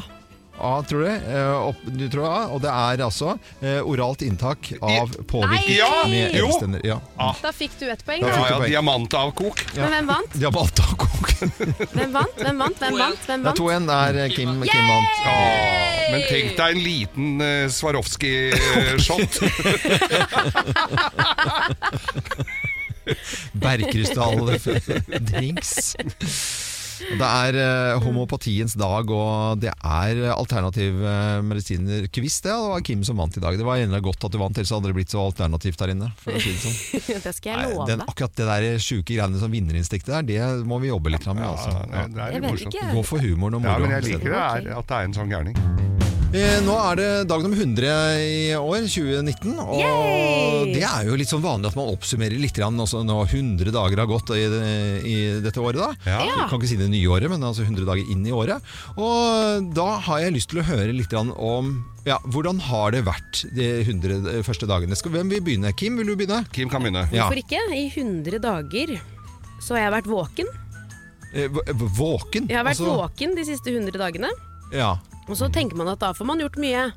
S1: A, tror du? Eh, opp, du tror A, og det er altså eh, oralt inntak av påvirket
S3: Ja,
S1: med
S3: jo.
S1: edelstener. Ja.
S2: Da fikk du ett poeng,
S1: Da
S3: Ja,
S2: da.
S3: ja, diamantavkok.
S2: Men hvem vant?
S1: Diamantavkok.
S2: Hvem vant? Hvem vant? Hvem vant? Hvem
S1: Det er
S2: vant?
S1: 2-1 der eh, Kim, Kim vant.
S3: Ja, men tenk deg en liten eh, Swarovski-shot.
S1: Bergkrystalldrinks. Det er eh, homopatiens dag, og det er alternativ eh, medisiner-quiz. Det var Kim som vant i dag. Det var gjerne godt at du vant, ellers hadde det blitt så alternativt der inne. For å si det sånn.
S2: Det skal jeg
S1: Nei,
S2: love.
S1: den, akkurat det der sjuke greiene som vinnerinstinktet er, det må vi jobbe litt med. Altså.
S3: det er Jeg vet morsomt. ikke.
S1: Gå for humoren og
S3: Ja,
S1: moroa.
S3: men jeg liker det er, at det er en sånn gærning.
S1: Eh, Nå er det dag nummer 100 i år, 2019. Og det er jo litt sånn vanlig at man oppsummerer litt grann også når 100 dager har gått i, i dette året. da.
S3: Ja.
S1: Du kan ikke si det nye året, men altså 100 dager inn i året. Og da har jeg lyst til å høre litt grann om ja, hvordan har det vært de 100 første dagene. Skal, hvem vil begynne? Kim, vil du begynne?
S3: Kim kan begynne.
S1: Ja.
S2: Hvorfor ikke? I 100 dager så har jeg vært våken.
S1: Eh, v- v- Våken?
S2: Jeg har vært
S1: altså.
S2: våken de siste 100 dagene.
S1: Ja.
S2: Og så tenker man at da får man gjort mye.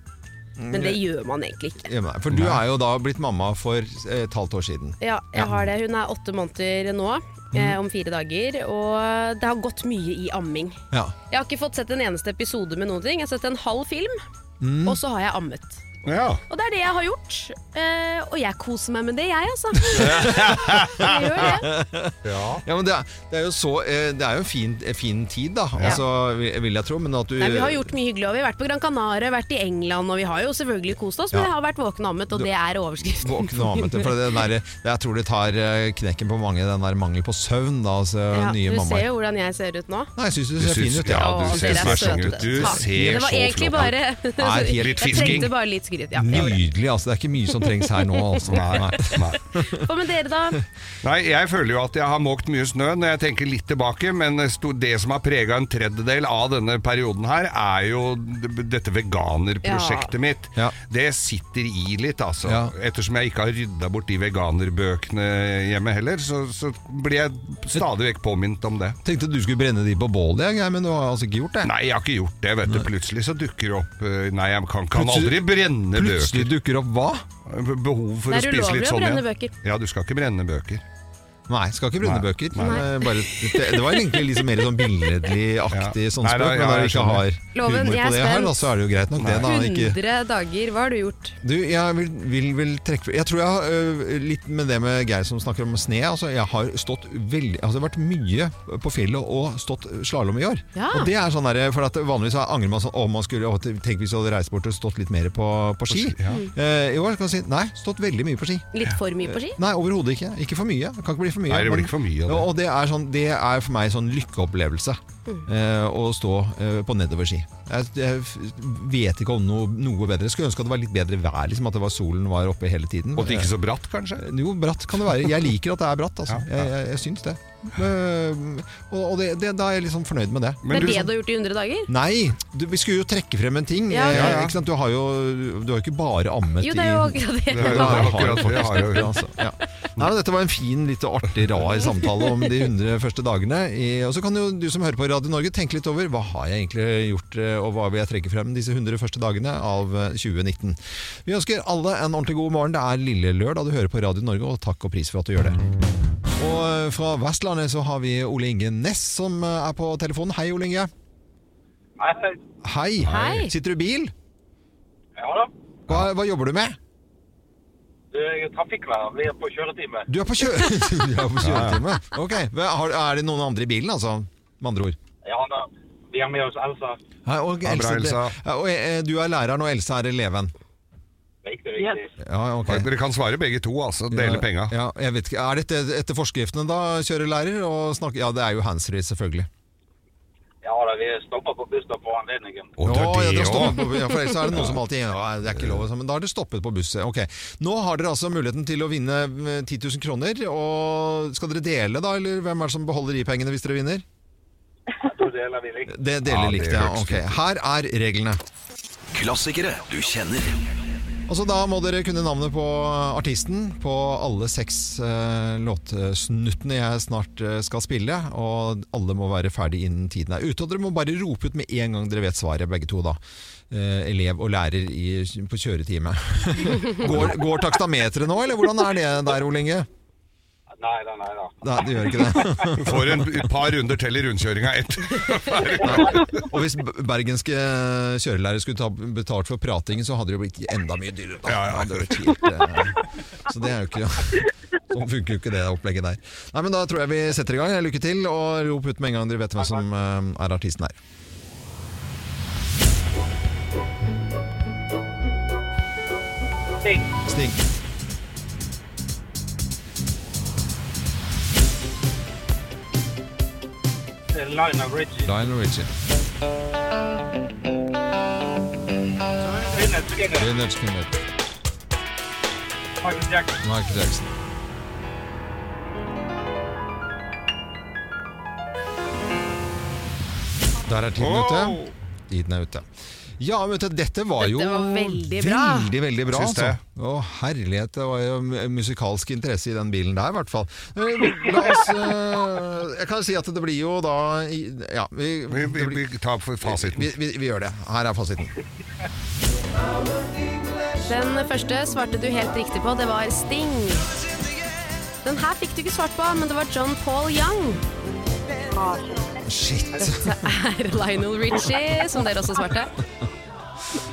S3: Mm,
S2: Men det gjør man egentlig ikke.
S1: Hjemme. For du er jo da blitt mamma for eh, et halvt år siden.
S2: Ja, jeg
S1: Ja. Mhm.
S2: har det. Hun er åtte måneder nå, eh, om fire dager. Og det har gått mye i amming.
S1: Ja.
S2: Jeg har ikke fått sett en eneste episode med noen ting. Jeg har sett en halv film,
S1: Mm.
S2: og så har jeg ammet.
S3: Ja.
S2: Og det er det jeg har gjort. Eh, og jeg koser meg med det, jeg, altså. Jeg gjør
S1: Ja. men det er, det er jo så eh, Det er jo fin, eh, fin tid, da.
S2: Ja.
S1: Altså, vil vil jeg tro, men at du
S2: Nei, vi har gjort mye hyggelig. Og vi har vært på Gran Canaria, vært i England, og vi har jo selvfølgelig kost oss, men
S1: Ja.
S2: jeg har vært våken og ammet, og
S1: Du-
S2: det er overskriften.
S1: Våkne av med det, for det der, jeg tror det tar eh, knekken på mange, den der mangel på søvn. Da, altså,
S2: Ja,
S1: nye
S2: du ser
S1: mammaer.
S2: jo hvordan jeg ser ut nå.
S1: Nei, jeg syns du
S3: Du
S1: ser fin
S3: syns-
S1: ut. jeg.
S3: ja, du Å, ser dere er så søte. fin ut. Du
S2: Takk.
S3: ser
S2: Det var
S3: så
S2: egentlig
S3: flott ut.
S2: bare
S3: Er helt
S2: Jeg
S3: fisking.
S2: trengte bare litt
S21: Sigrid. Ja, jeg gjorde det.
S1: Nydelig, altså. Det er ikke mye som trengs her nå, altså.
S3: Nei, nei, nei.
S21: Hva med dere, da?
S3: Nei, jeg føler jo at jeg har måkt mye snø når jeg tenker litt tilbake, men sto- det som har prega en tredjedel av denne perioden her, er jo d- dette veganerprosjektet
S10: Ja.
S3: mitt. Det sitter i litt, altså.
S1: Ja.
S3: Ettersom jeg ikke har rydda bort de veganerbøkene hjemme heller, så, så blir jeg stadig vekk påminnet om det.
S1: Tenkte du skulle brenne de på bålet, jeg, men du har altså ikke gjort det?
S3: Nei, jeg har ikke gjort det, vet du. Plutselig så dukker det opp eh, Nei, jeg kan, kan aldri
S1: Plutselig-
S3: brenne bøker.
S1: plutselig
S3: dukker opp hva? Behov for
S21: Det
S3: å
S21: er
S3: spise
S21: ulovlig
S3: litt
S21: å
S3: sånn
S21: brenne
S3: igjen.
S21: bøker.
S3: Ja, du skal ikke brenne bøker.
S1: Nei, skal ikke brenne bøker.
S3: Nei.
S1: Eh, Bare, det, det var egentlig liksom mer sånn billedlig-aktig sånn
S3: Nei, da-
S1: spøk, men
S3: ja,
S1: når du
S3: jeg
S1: ikke
S3: skjønner.
S1: har
S23: Loven,
S1: humor
S23: jeg
S1: på
S23: er
S1: det her,
S23: spent.
S1: da, så er det jo greit nok det, da. Ikke,
S23: 100 dager, hva har du gjort?
S1: du, jeg vil, vil, vil trekke Jeg tror jeg har øh, litt med det med Geir som snakker om sne. Altså, jeg har stått veldig Altså, det har vært mye på fjellet og stått slalåm i år.
S10: Ja.
S1: Og det er sånn der, for at Vanligvis angrer man sånn Å, man skulle, å, tenk hvis jeg hadde reist bort og stått litt mer på, på ski.
S3: ski, ja.
S1: Eh, I år kan jeg si nei, stått veldig mye på ski.
S21: Litt for mye på ski?
S1: Nei, overhodet ikke. Ikke for mye. Det kan ikke bli for mye.
S3: Nei, det blir
S1: Men-
S3: ikke for mye av det.
S1: Ja, Og det er, sånn, det er for meg sånn lykkeopplevelse.
S21: Mm.
S1: eh, å stå eh, på nedoverski. Jeg, jeg f- vet ikke om noe, noe bedre. Skulle ønske at det var litt bedre vær, liksom, at det var solen var oppe hele tiden.
S3: Og det er ikke så bratt, kanskje?
S1: Eh, Jo, bratt kan det være. Jeg liker at det er bratt, altså.
S3: Ja, ja.
S1: Jeg, jeg, jeg syns det. Eh, og og det, det, da er jeg liksom fornøyd med det.
S21: det er det du har gjort i 100 dager?
S1: Nei, du, vi skulle jo trekke frem en ting.
S21: Ja,
S1: Eh,
S21: ja, ja.
S1: Ikke sant? Du har jo du har jo ikke bare ammet
S21: Jo, det er jo
S1: i
S21: akkurat det.
S1: Du har-
S21: Det er jo
S1: du har
S3: akkurat det, jeg har jo.
S1: faktisk det, altså. ja. Nei, men Dette var en fin, litt artig, rar samtale om de 100 første dagene. I- Og så kan jo du som hører på Radio Norge tenke litt over hva har jeg egentlig gjort, eh, og hva vil jeg trekke frem disse 100 første dagene av eh, 2019. Vi ønsker alle en ordentlig god morgen. Det er lille lørdag du hører på Radio Norge, og takk og pris for at du gjør det. Og eh, fra Vestlandet så har vi Ole Inge Næss som eh, er på telefonen. Hei, Ole Inge.
S24: Nei,
S1: Hei.
S24: Hei.
S1: Sitter du i bil?
S24: ja da.
S1: Hva, hva jobber du med?
S24: Du, jeg er trafikklærer. Vi er på kjøretime.
S1: Du er på, kjø du er på kjøretime. Ok, Hva- har, Er det noen andre i bilen, altså? Med andre ord.
S24: Ja, da. Vi har med oss Elsa.
S1: Hei, og
S3: Ja, bra,
S1: Else, det-
S3: Elsa.
S1: Ja, og, eh, du er læreren, og Else er eleven.
S24: Riktig, riktig.
S1: Ja, ok.
S3: Dere kan svare begge to, altså. Dele
S1: Ja,
S3: penga.
S1: Ja, jeg vet ikke. Er dette etter forskriftene, da, kjørelærer? Og snakke? Ja, det er jo handsfree, selvfølgelig.
S24: Ja da, vi stopper på bussen på anledningen.
S1: Å, ja, dere har stoppet
S3: også.
S1: på- ja, for ellers er det noen som alltid ja, Det er ikke lov, altså, men da har dere stoppet på busset. Ok. Nå har dere altså muligheten til å vinne eh, 10 000 kroner. Og skal dere dele, da? Eller hvem er det som beholder de pengene hvis dere vinner?
S24: Da deler vi likt.
S1: Det deler
S24: Ja, det
S1: likt, ja.
S24: hørtes
S1: Ok, Her er reglene.
S20: Klassikere du kjenner.
S1: Altså, da må dere kunne navnet på artisten på alle seks eh, låtsnuttene jeg snart eh, skal spille. Og alle må være ferdig innen tiden er ute. Og dere må bare rope ut med en gang dere vet svaret, begge to. da. Eh, elev og lærer i, på kjøretime. går, går takstameteret nå, eller hvordan er det der, Ole Inge?
S24: Nei da, nei da.
S1: Nei, det gjør ikke det.
S3: Du får en, et par runder til i rundkjøringa etter.
S1: Og hvis b- bergenske eh, kjørelærer skulle ta betalt for pratingen, så hadde det jo blitt enda mye dyrere. Da. Det hadde vært helt, eh, så det er jo ikke Sånn funker jo ikke det opplegget der. Nei, men Da tror jeg vi setter i gang. Lykke til, og rop ut med en gang dere vet hvem som eh, er artisten her.
S24: Sting.
S1: Sting.
S24: Line of Richie.
S1: Lionel Richie.
S24: Finnes Skinner.
S1: Leonard Skinner.
S24: Michael Jackson.
S1: Michael Jackson. Der er tiden ute. Tiden er ute. Ja, men vet du, dette var jo
S21: Dette var veldig bra.
S1: Veldig, veldig bra
S3: Syns
S1: altså.
S3: det.
S1: Å, herlighet, det var jo m- musikalsk interesse i den bilen der, i hvert fall. Eh, La oss eh, Jeg kan si at det blir jo da i- Ja, vi,
S3: Vi, vi, vi tar for fasiten.
S1: vi, vi, vi gjør det. Her er fasiten.
S2: Den første svarte du helt riktig på, det var Sting. Den her fikk du ikke svart på, men det var John Paul Young.
S1: Shit.
S2: Dette er Lionel Richie, som dere også svarte.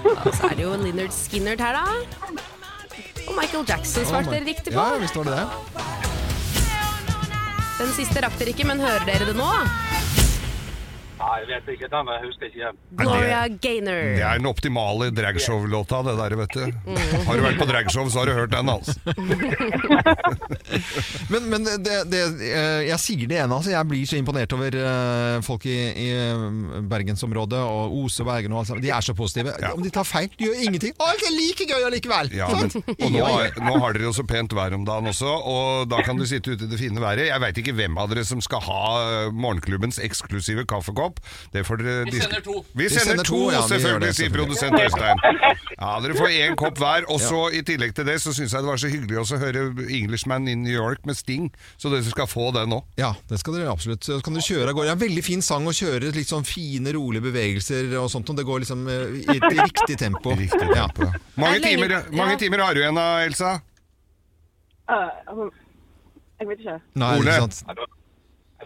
S2: Og så er det jo Leonard Skinner her, da. Og Michael Jackson svarte dere riktig på.
S1: Ja, visst var det det.
S2: Den siste rakk dere ikke, men hører dere det nå?
S24: Nei, jeg vet ikke. Den husker jeg ikke igjen.
S2: Gloria Gaynor.
S3: Det er den optimale dragshow-låta, det der, vet du.
S21: Mm.
S3: Har du vært på dragshow, så har du hørt den, altså.
S1: Men, men det, det, eh, jeg sier det ene, altså. Jeg blir så imponert over eh, folk i, i eh, bergensområdet og Ose Bergen og alt sammen. De er så positive. Om de tar feil, de gjør ingenting. Alt er like gøy allikevel!
S3: Sånn. Ja,
S1: Sant?
S3: og nå, er- nå har dere jo så pent vær om dagen også, og da kan du sitte ute i det fine været. Jeg veit ikke hvem av dere som skal ha eh, morgenklubbens eksklusive kaffekopp. Det får dere
S10: Vi
S3: dis-
S10: sender to.
S3: Vi sender to,
S1: ja, vi gjør det,
S3: selvfølgelig, sier
S1: selvfølgelig.
S3: produsent Øystein. Ja, dere får én kopp hver. Og så i tillegg til det så syns jeg det var så hyggelig også å høre Englishman in New York med Sting, så dere skal få den nå.
S1: Ja, det skal dere absolutt. Så kan dere kjøre av gårde. Det er en veldig fin sang å kjøre, litt sånn fine, rolige bevegelser og sånt. Og det går liksom eh, i et riktig tempo. Ja.
S3: Mange timer, mange timer har du igjen da, Elsa?
S8: Øh, jeg vet ikke.
S1: Nei,
S3: Ole?
S1: ikke sant?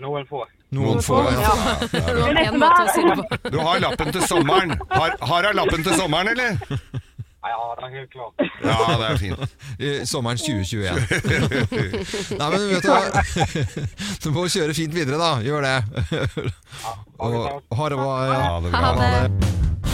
S24: Noen få.
S3: Noen få, ja.
S8: Det er nesten hver.
S3: Du har lappen til sommeren. Har, har jeg lappen til sommeren, eller?
S24: Ja, det er helt klart.
S3: Ja, det er fint.
S1: I Sommeren 2021. Nei, men vet du hva? Du må kjøre fint videre, da. Gjør det. Og ha det bra.
S3: Ja, det er bra.
S1: Ha det.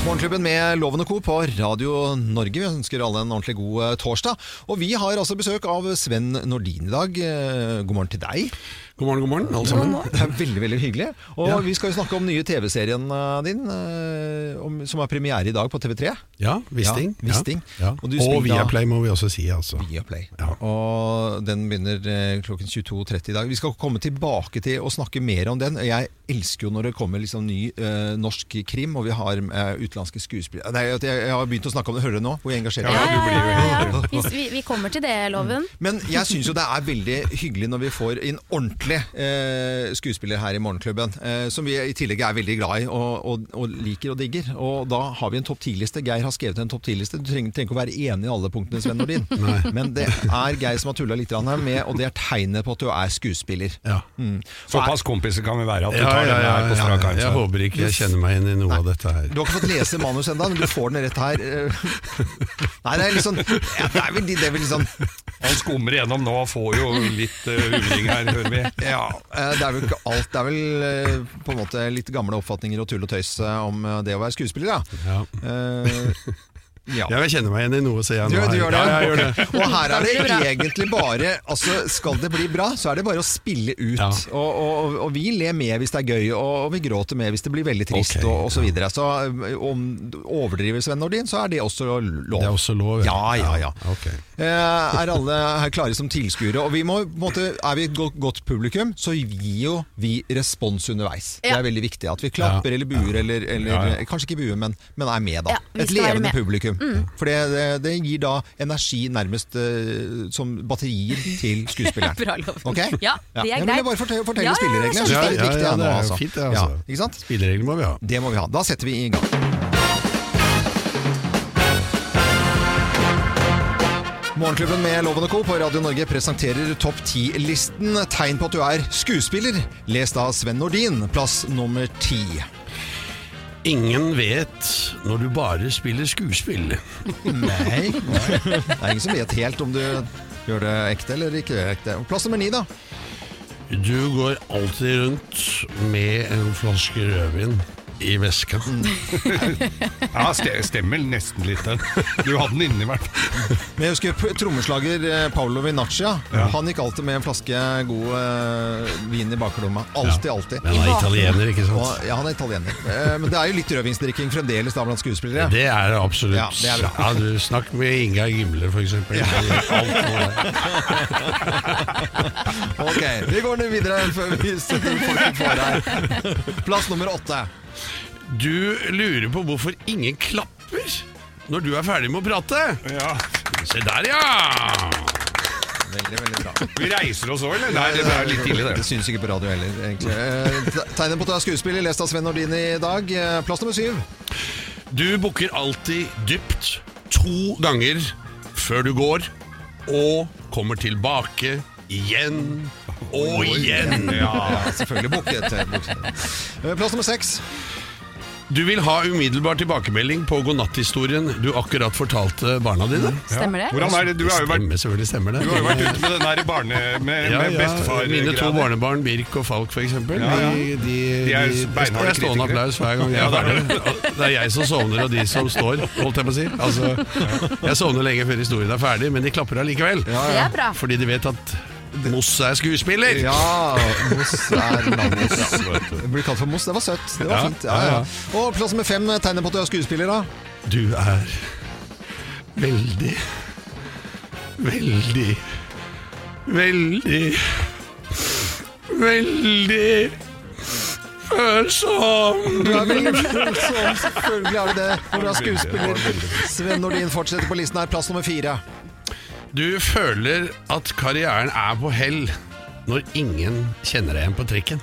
S1: Morgenklubben med Loven og Co. på Radio Norge. Vi ønsker alle en ordentlig god eh, torsdag. Og vi har altså besøk av Sven Nordin i dag. Eh, God morgen til deg.
S10: God morgen, god morgen, alle sammen.
S1: Det er veldig, veldig hyggelig. Og
S10: Ja.
S1: vi skal jo snakke om nye TV-serien eh, din, eh, om- som har premiere i dag på TV3.
S10: Ja, Wisting.
S1: Ja, Wisting.
S10: Ja.
S1: Og du
S10: Og,
S1: spiller da-
S10: Viaplay må vi også si, altså.
S1: Viaplay. Og den begynner eh, klokken 22.30 i dag. Vi skal komme tilbake til å snakke mer om den. Jeg elsker jo når det kommer liksom ny eh, norsk krim, og vi har eh, utenlandske skuespillere Nei, jeg, jeg har begynt å snakke om det. Hører du nå hvor jeg engasjerer
S21: Ja, ja, ja, ja, ja.
S1: meg?
S21: Vi, vi, vi kommer til det, Loven.
S1: Men jeg syns jo det er veldig hyggelig når vi får en ordentlig eh, skuespiller her i Morgenklubben, eh, som vi i tillegg er veldig glad i og, og, og liker og digger. Og da har vi en topp 10-liste. Geir har skrevet en topp 10-liste. Du trenger, trenger ikke å være enig i alle punktene, Sven Nordin. Men det er Geir som har tulla litt grann her med, og det er tegnet på at du er skuespiller. Mm.
S3: Såpass kompiser kan vi være at du
S10: Ja,
S3: tar
S10: ja,
S3: den
S10: ja,
S3: her på strak
S10: ja.
S3: arm.
S10: Jeg håper ikke jeg kjenner meg igjen i noe av dette her.
S1: Du har ikke fått lese manus ennå, men du får den rett her. Eh, Nei, det er litt sånn ja, Det er vel, det er vel litt sånn
S3: Han skummer igjennom nå og får jo litt eh, humring her, hører vi.
S1: Ja, eh, det er vel ikke alt. Det er vel eh, på en måte litt gamle oppfatninger og tull og tøys eh, om eh, det å være skuespiller, da.
S10: Ja.
S1: Eh, Ja.
S10: Jeg kjenner meg igjen i noe, sier jeg
S1: Du,
S10: nå.
S1: du
S10: her.
S1: gjør det?
S10: Ja, jeg gjør det.
S1: Ok. Og her er det egentlig bare altså, Skal det bli bra, så er det bare å spille ut. Og, og, og vi ler med hvis det er gøy, og vi gråter med hvis det blir veldig trist,
S10: Ok,
S1: og, og så videre. Så eh, om du overdriver Sven Nordin, så er det også lov.
S10: Det er også lov,
S1: Ja, ja, ja.
S10: Ok.
S1: Eh, er alle her klare som tilskuere? Og vi må, på en måte, er vi et go- godt publikum, så gir jo vi respons underveis. Det
S2: Ja.
S1: er veldig viktig at vi klapper
S10: Ja.
S1: eller buer, eller, eller eh,
S10: Ja, ja.
S1: kanskje ikke buer, men, men er med, da.
S2: vi
S1: et
S2: skal være
S1: levende
S2: med.
S1: publikum.
S2: Mm.
S1: For det, det, det gir da energi nærmest eh, som batterier til skuespilleren.
S2: Bra, Loven.
S1: Ok?
S2: Ja, det er
S1: Jeg
S2: greit.
S1: ville bare fortelle, fortelle
S2: Ja, ja, ja,
S1: spillereglene. Jeg synes
S10: Ja,
S1: det er litt
S10: ja,
S1: viktig
S10: ja,
S1: her nå,
S10: det er
S1: altså.
S10: fint, det, altså.
S1: Ja, ikke sant?
S10: Spilleregler må vi ha.
S1: Det må vi ha. Da setter vi i gang. Morgenklubben med Loven og Co. på Radio Norge presenterer Topp 10-listen. Tegn på at du er skuespiller. Lest av Sven Nordin, plass nummer ti.
S10: Ingen vet når du bare spiller skuespill.
S1: Nei, nei. Det er ingen som vet helt om du gjør det ekte eller ikke ekte. Plass nummer ni, da.
S10: Du går alltid rundt med en flaske rødvin i veska.
S3: Ja, ste- stemmer nesten litt den. Du hadde den inni hvert fall.
S1: Men jeg husker p- trommeslager eh, Paolo Vinaccia. Han gikk alltid med en flaske god eh, vin i baklomma. Alltid, alltid.
S10: Men han er italiener, ikke sant?
S1: Og, ja, han er italiener. Eh, Men det er jo litt rødvinsdrikking fremdeles da blant skuespillere.
S10: Det er det absolutt.
S1: Ja, det er bra.
S10: Ja, du, snakk med Ingar Gimle, for eksempel. Alt om det.
S1: Ok, vi går ned videre før vi setter folket for her. Plass nummer åtte.
S10: Du lurer på hvorfor ingen klapper når du er ferdig med å prate. Se der, ja!
S1: Veldig, veldig bra.
S3: Vi reiser oss òg, eller? Nei, det er litt tidlig,
S1: Det
S3: det.
S1: syns ikke på radio heller, egentlig. Eh, te- Tegnet på at du er skuespiller, lest av Sven Nordin i dag. Eh, Plass nummer syv.
S10: Du bukker alltid dypt to ganger før du går, og kommer tilbake igjen og igjen.
S1: Eh,
S3: Ah.
S1: Ja, selvfølgelig bukket. bukket. Eh, Plass nummer seks.
S10: Du vil ha umiddelbar tilbakemelding på godnatthistorien du akkurat fortalte barna dine?
S6: Stemmer det?
S3: Hvordan er det? Du Mm. har jo vært-
S10: Stemmer, selvfølgelig stemmer det.
S3: Du har jo vært ute med den her i barne... Med,
S10: Ja,
S3: med
S10: ja,
S3: bestefar.
S10: Mine to barnebarn, Birk og Falk, f.eks. eksempel
S3: Ja, ja.
S10: De, de,
S3: De er
S10: de- Det
S3: beinharde
S10: er stående
S3: kritikere.
S10: applaus hver gang jeg
S3: Ja,
S10: er
S3: det er
S10: ferdig. Det er jeg som sovner, og de som står, holdt jeg på å si. Altså, jeg sovner lenge før historien er ferdig, men de klapper allikevel.
S6: Det er bra.
S10: Fordi de vet at Moss er skuespiller!
S1: Ja, Moss er landets
S10: Ja, vet du.
S1: Det Blir kalt for Moss. Det var søtt. Det var
S10: Ja,
S1: fint. Ja,
S10: ja,
S1: ja.
S10: ja.
S1: Og plass nummer fem tegner på at du er skuespiller, da.
S10: Du er veldig, veldig, veldig, veldig følsom.
S1: Du er veldig følsom, selvfølgelig er du det. Når du er skuespiller. Sven Nordin fortsetter på listen her. Plass nummer fire.
S10: Du føler at karrieren er på hell når ingen kjenner deg igjen på trikken.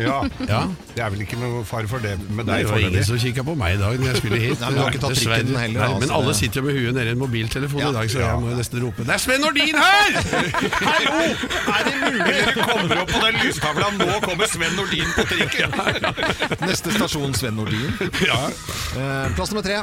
S3: Ja.
S10: ja.
S3: Det er vel ikke noe fare for det
S10: Det
S3: med deg
S10: var ingen
S3: foreløpig.
S10: som kikka på meg i dag når jeg skulle hit.
S3: Nei, men du har ikke tatt
S10: Dessverre.
S3: trikken heller,
S10: Nei,
S3: altså,
S10: men alle
S3: det-
S10: sitter jo med huet nede i en mobiltelefon i dag, så jeg må jo nesten rope Det er Sven Nordin her! Hallo! Er det mulig?
S3: Dere kommer opp på den lystavla, nå kommer Sven Nordin på trikken!
S1: Neste stasjon Sven Nordin.
S10: Ja.
S1: Eh, Plass nummer tre.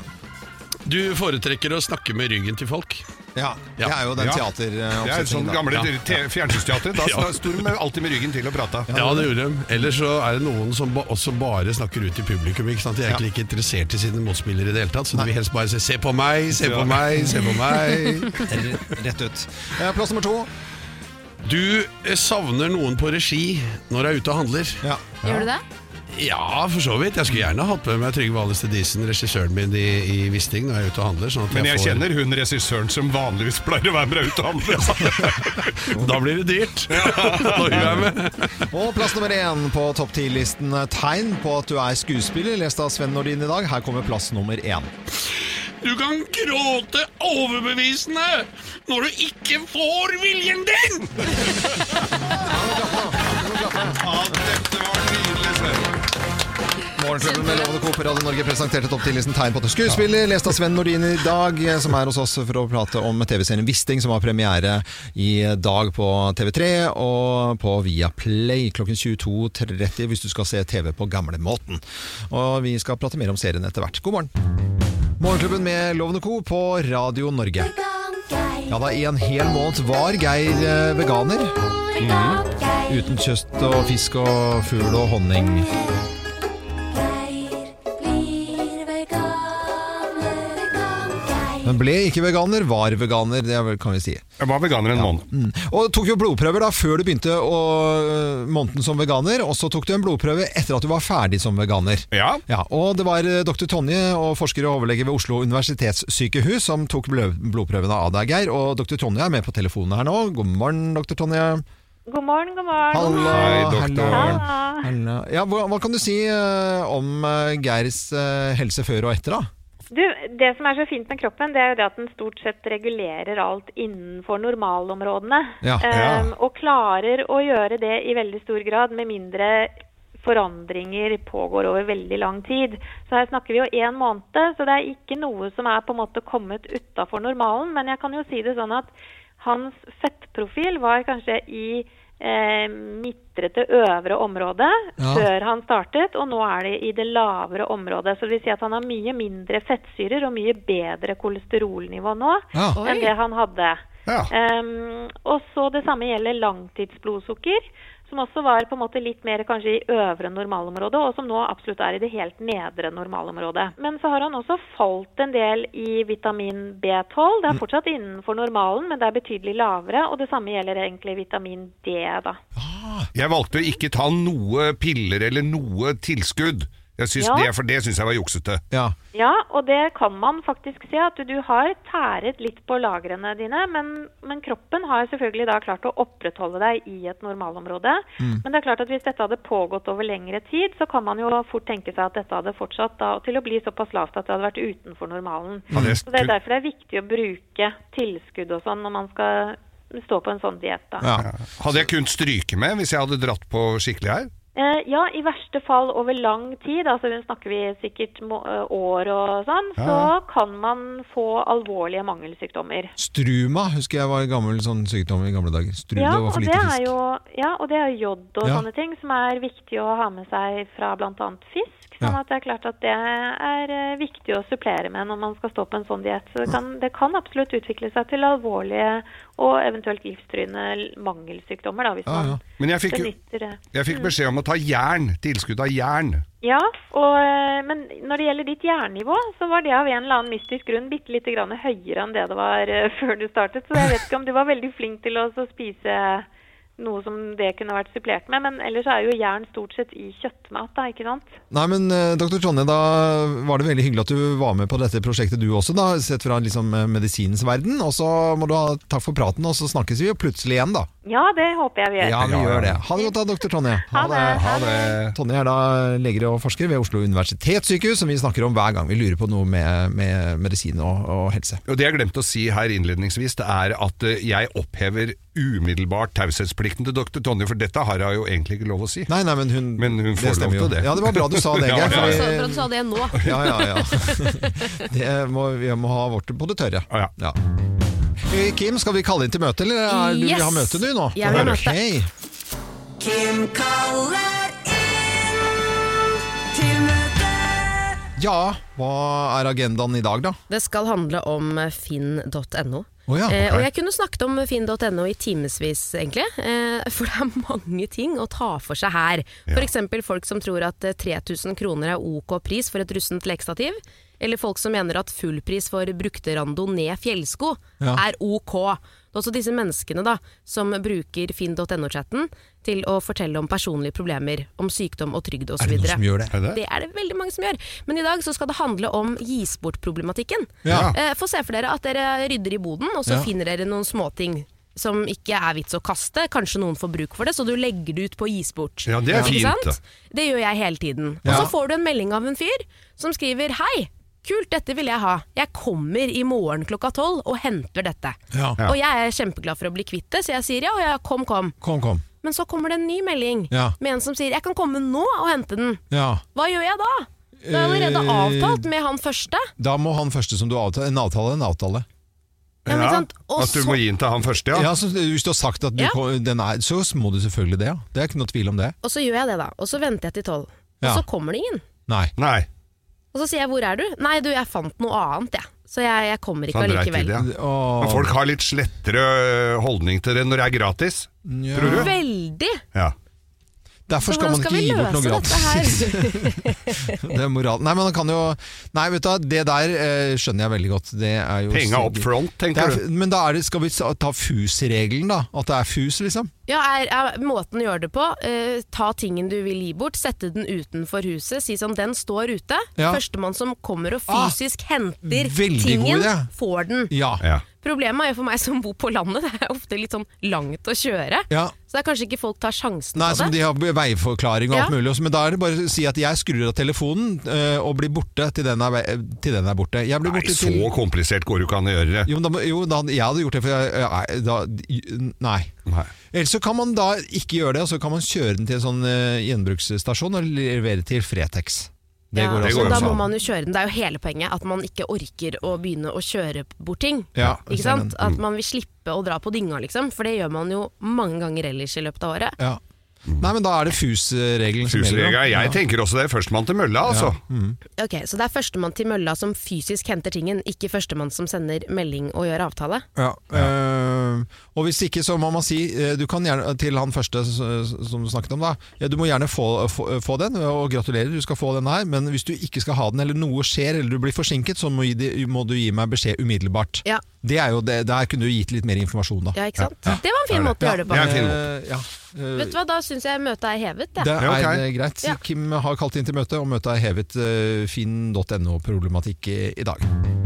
S10: Du foretrekker å snakke med ryggen til folk.
S1: Ja, det er jo den teateroppsetningen.
S3: Det er sånn
S1: da.
S3: gamle
S1: Ja.
S3: te- fjernsynsteater. Da
S10: Ja.
S3: sto de alltid med ryggen til og prata.
S10: Ja, det gjorde de. Ellers så er det noen som ba også bare snakker ut til publikum. ikke sant? De er egentlig ikke interessert i sine motspillere i det hele tatt, så de vil helst bare si 'se på meg, se på
S1: Ja.
S10: meg, se på meg'.
S1: R- Rett ut. Eh, Plass nummer to.
S10: Du eh, savner noen på regi når du er ute og handler.
S6: Gjør du det?
S10: Ja, for så vidt. Jeg skulle gjerne hatt med meg Trygve Alice Disen, regissøren min i, i Wisting, når jeg er ute og handler. Sånn at
S3: Men jeg
S10: får...
S3: kjenner hun regissøren som vanligvis pleier å være med ut og handle.
S10: Da blir det dyrt. Når hun er med.
S1: Og plass nummer én på topp ti-listen. Tegn på at du er skuespiller, lest av Sven Nordin i dag. Her kommer plass nummer én.
S10: Du kan gråte overbevisende når du ikke får viljen din!
S1: Morgenklubben med Lovende Co. på Radio Norge presenterte topp 10-listen Tegn på at du er skuespiller, lest av Sven Nordin i dag, eh, som er hos oss for å prate om TV-serien Wisting, som har premiere i dag på TV3 og på Viaplay klokken 22.30 hvis du skal se TV på gamlemåten. Og vi skal prate mer om serien etter hvert. God morgen! Morgenklubben med Lovende Co. på Radio Norge. Ja da, i en hel måned var Geir eh, veganer.
S3: Mm.
S1: Uten kjøtt og fisk og fugl og honning. Men ble ikke veganer, var veganer, det er vel- kan vi si.
S3: Jeg var veganer en måned.
S1: Mm. Og tok jo blodprøver da før du begynte å, måneden som veganer, og så tok du en blodprøve etter at du var ferdig som veganer.
S3: Ja.
S1: og det var eh, dr. Tonje og forsker og overlege ved Oslo universitetssykehus som tok blø- blodprøvene av deg, Geir. Og dr. Tonje er med på telefonen her nå. God morgen, dr. Tonje.
S8: God morgen, god morgen.
S1: Hallo, hallo.
S8: Hallo.
S1: Hallo. Ja, hva, hva kan du si eh, om eh, Geirs eh, helse før og etter, da?
S8: Du, det som er så fint med kroppen, det er jo det at den stort sett regulerer alt innenfor normalområdene.
S1: Ja.
S8: Ehm, og klarer å gjøre det i veldig stor grad, med mindre forandringer pågår over veldig lang tid. Så her snakker vi jo én måned, så det er ikke noe som er på en måte kommet utafor normalen. Men jeg kan jo si det sånn at hans fettprofil var kanskje i eh, midtre til øvre område
S2: Ja.
S8: før han startet, og nå er det i det lavere området. Så det vil si at han har mye mindre fettsyrer og mye bedre kolesterolnivå nå
S2: Ja. Oi.
S8: enn det han hadde. Ehm, og så det samme gjelder langtidsblodsukker, som også var på en måte litt mer kanskje i øvre normalområde, og som nå absolutt er i det helt nedre normalområdet. Men så har han også falt en del i vitamin B12. Det er fortsatt innenfor normalen, men det er betydelig lavere. Og det samme gjelder egentlig vitamin D, da.
S3: Jeg valgte å ikke ta noe piller eller noe tilskudd. Jeg synes
S8: Ja.
S3: det, for det syns jeg var juksete.
S1: Ja.
S8: Ja, og det kan man faktisk se at du har tæret litt på lagrene dine, men, men kroppen har selvfølgelig da klart å opprettholde deg i et normalområde.
S2: Mm.
S8: Men det er klart at hvis dette hadde pågått over lengre tid, så kan man jo fort tenke seg at dette hadde fortsatt da, til å bli såpass lavt at det hadde vært utenfor normalen.
S3: Ja, det
S8: Så det er derfor det er viktig å bruke tilskudd og sånn når man skal stå på en sånn diett da.
S3: Hadde jeg kunnet stryke med hvis jeg hadde dratt på skikkelig her?
S8: Eh, ja, i verste fall over lang tid, altså hun snakker vi sikkert må, eh, år og sånn,
S1: Ja, ja.
S8: så kan man få alvorlige mangelsykdommer.
S1: Struma husker jeg var en gammel sånn sykdom i gamle dager. Struma
S8: Ja
S1: var
S8: og,
S1: for
S8: det
S1: lite
S8: er
S1: fisk.
S8: jo, ja, og det er jo jod og
S1: Ja.
S8: sånne ting som er viktig å ha med seg fra bl.a. fisk. Sånn at det er klart at det er eh, viktig å supplere med når man skal stå på en sånn diett. Så det kan, det kan absolutt utvikle seg til alvorlige og eventuelt livstruende mangelsykdommer, da, hvis
S3: Ja, ja.
S8: man
S3: Men jeg fikk jo-
S8: benytter det.
S3: Jeg fikk
S8: Mm.
S3: beskjed om å ta jern. Tilskudd av jern.
S8: Ja, og, eh, men når det gjelder ditt jernnivå, så var det av en eller annen mystisk grunn bitte lite grann høyere enn det det var eh, før du startet. Så jeg vet ikke om du var veldig flink til å så spise noe som det kunne vært supplert med. Men ellers er jo jern stort sett i kjøttmat, da, ikke sant?
S1: Nei, men eh, Dr. Tonje, da var det veldig hyggelig at du var med på dette prosjektet du også, da, sett fra liksom, eh, medisinens verden. Og så må du ha takk for praten, og så snakkes vi jo plutselig igjen, da.
S8: Ja, det håper jeg vi gjør.
S1: Ja, vi gjør det. Ha det godt da, doktor Tonje.
S8: Ha det. Ha
S1: Tonje er da leger og forsker ved Oslo universitetssykehus, som vi snakker om hver gang vi lurer på noe med, med medisin og, og helse.
S3: Og Det jeg glemte å si her innledningsvis, det er at eh, jeg opphever umiddelbart taushetsplikten til dr. Tonje, for dette har jeg jo egentlig ikke lov å si.
S1: Nei, nei, Men hun,
S3: hun
S1: det
S3: får lov
S1: stemmer jo.
S3: til det.
S1: Ja, det var bra du sa det, Geir,
S3: ja,
S1: fordi-
S3: ja.
S25: Bra du sa det nå.
S1: Ja, ja, ja. Det må, vi må ha vårt på det tørre. Ah, Ja. Eh, Kim, skal vi kalle inn til møte, eller er du, vil
S6: Yes.
S1: ha møte du nå?
S6: Jeg vil ha møte.
S1: Ok.
S6: Kim kaller inn til møte.
S1: Ja, hva er agendaen i dag, da?
S2: Det skal handle om finn.no.
S1: Å ja,
S2: Eh,
S1: ok.
S2: og jeg kunne snakket om finn.no i timevis, egentlig. Eh, for det er mange ting å ta for seg her.
S6: Ja.
S2: F.eks. folk som tror at eh, 3000 kroner er ok pris for et russent lekestativ. Eller folk som mener at full pris for brukte randonee fjellsko
S6: Ja.
S2: er ok. Det er også disse menneskene da, som bruker finn.no-chatten til å fortelle om personlige problemer, om sykdom og trygd osv.
S6: Er det noen som gjør det? Er det?
S2: Det er det veldig mange som gjør. Men i dag så skal det handle om gis bort-problematikken.
S6: Ja.
S2: Eh, Få se for dere at dere rydder i boden, og så
S6: Ja.
S2: finner dere noen småting. Som ikke er vits å kaste, kanskje noen får bruk for det, så du legger det ut på å gis bort.
S6: Ja, det er
S2: Ikke
S6: fint,
S2: sant?
S6: da.
S2: Det gjør jeg hele tiden. Og
S6: Ja.
S2: så får du en melding av en fyr som skriver Hei, kult, dette vil jeg ha. Jeg kommer i morgen klokka tolv og henter dette.
S1: Ja.
S2: Og jeg er kjempeglad for å bli kvitt det, så jeg sier ja, og jeg kom, kom.
S1: Kom, kom.
S2: Men så kommer det en ny melding
S1: Ja.
S2: med en som sier jeg kan komme nå og hente den.
S1: Ja.
S2: Hva gjør jeg da? Det er allerede
S1: Eh,
S2: avtalt med han første.
S1: Da må han første som du avtaler En avtale, en avtale.
S2: Ja, men ikke sant? Og
S3: At du må
S2: så-
S3: gi den til han første,
S1: Ja,
S3: ja.
S1: så Hvis du har sagt at du
S2: Ja.
S1: kom, den er, så må du selvfølgelig det. ja. Det er ikke noe tvil om det.
S2: Og så gjør jeg det, da. Og så venter jeg til tolv. Og
S1: Ja.
S2: så kommer det ingen.
S1: Nei.
S2: Og så sier jeg 'hvor er du?' Nei, du, jeg fant noe annet, jeg. Så jeg, jeg kommer ikke
S3: Sånn dreit i
S2: allikevel.
S3: det, ja. Men folk har litt slettere ø, holdning til det når det er gratis, tror du?
S2: Veldig!
S3: Ja.
S2: Så
S1: Derfor skal
S2: hvordan
S1: man
S2: skal
S1: ikke
S2: vi
S1: gi bort noe
S2: løse
S1: gratis.
S2: dette her?
S1: Det er moral. Nei, men han kan jo Nei, vet du, hva, det der eh, skjønner jeg veldig godt. Det er jo
S3: Penga up front, tenker
S1: Det er- Men da er det, skal vi sa- ta FUS-regelen, da? At det er FUS, liksom?
S2: Ja, er, er måten å gjøre det på eh, Ta tingen du vil gi bort, sette den utenfor huset, si sånn 'den står ute'.
S1: Ja.
S2: Førstemann som kommer og
S1: Ah,
S2: fysisk henter
S1: veldig
S2: tingen,
S1: god idé.
S2: får den.
S1: Ja.
S2: Problemet er jo for meg som bor på landet, det er ofte litt sånn langt å kjøre.
S1: Ja.
S2: Så det er kanskje ikke folk tar sjansen
S1: Nei,
S2: på
S1: som
S2: det.
S1: de har veiforklaring og alt
S2: Ja.
S1: mulig. også, Men da er det bare å si at jeg skrur av telefonen eh, og blir borte til den er, ve- til den er borte. Jeg blir
S3: Nei,
S1: borte
S3: så
S1: til
S3: komplisert går det jo ikke an å gjøre det.
S1: Jo, men da, må- jo da, jeg hadde gjort det, for jeg, jeg, da, nei. Ellers så kan man da ikke gjøre det, og så kan man kjøre den til en sånn eh, gjenbruksstasjon og levere til Fretex. Det
S2: Ja,
S1: går også.
S2: men da må man jo kjøre den. Det er jo hele poenget at man ikke orker å begynne å kjøre bort ting.
S1: Ja,
S2: ikke
S1: stemmen.
S2: sant? At
S1: Mm.
S2: man vil slippe å dra på dynga, liksom. For det gjør man jo mange ganger ellers i løpet av året.
S1: Ja. Nei, men da er det FUS-regelen som gjelder.
S3: Husregler,
S1: da.
S3: jeg
S1: Ja.
S3: tenker også det. Førstemann til mølla, altså.
S2: Ok, Så det er førstemann til mølla som fysisk henter tingen, ikke førstemann som sender melding og gjør avtale.
S1: Ja. eh, og hvis ikke, så må man si eh, Du kan gjerne, til han første s- s- som du snakket om, da. Ja, du må gjerne få, få, få den, og gratulerer, du skal få den her. Men hvis du ikke skal ha den, eller noe skjer, eller du blir forsinket, så må, gi de- må du gi meg beskjed umiddelbart.
S2: Ja.
S1: Det er jo det, der kunne du gitt litt mer informasjon, da.
S2: Ja, ikke sant? Det var en fin måte å gjøre det på.
S1: Ja,
S2: Det er en fin
S1: eh, ja. Eh,
S2: Vet du hva, da syns jeg møtet er hevet, jeg.
S1: Det er eh, greit. Kim har kalt inn til møte, og møtet er hevet eh, finn.no-problematikk eh, i, i dag. Er du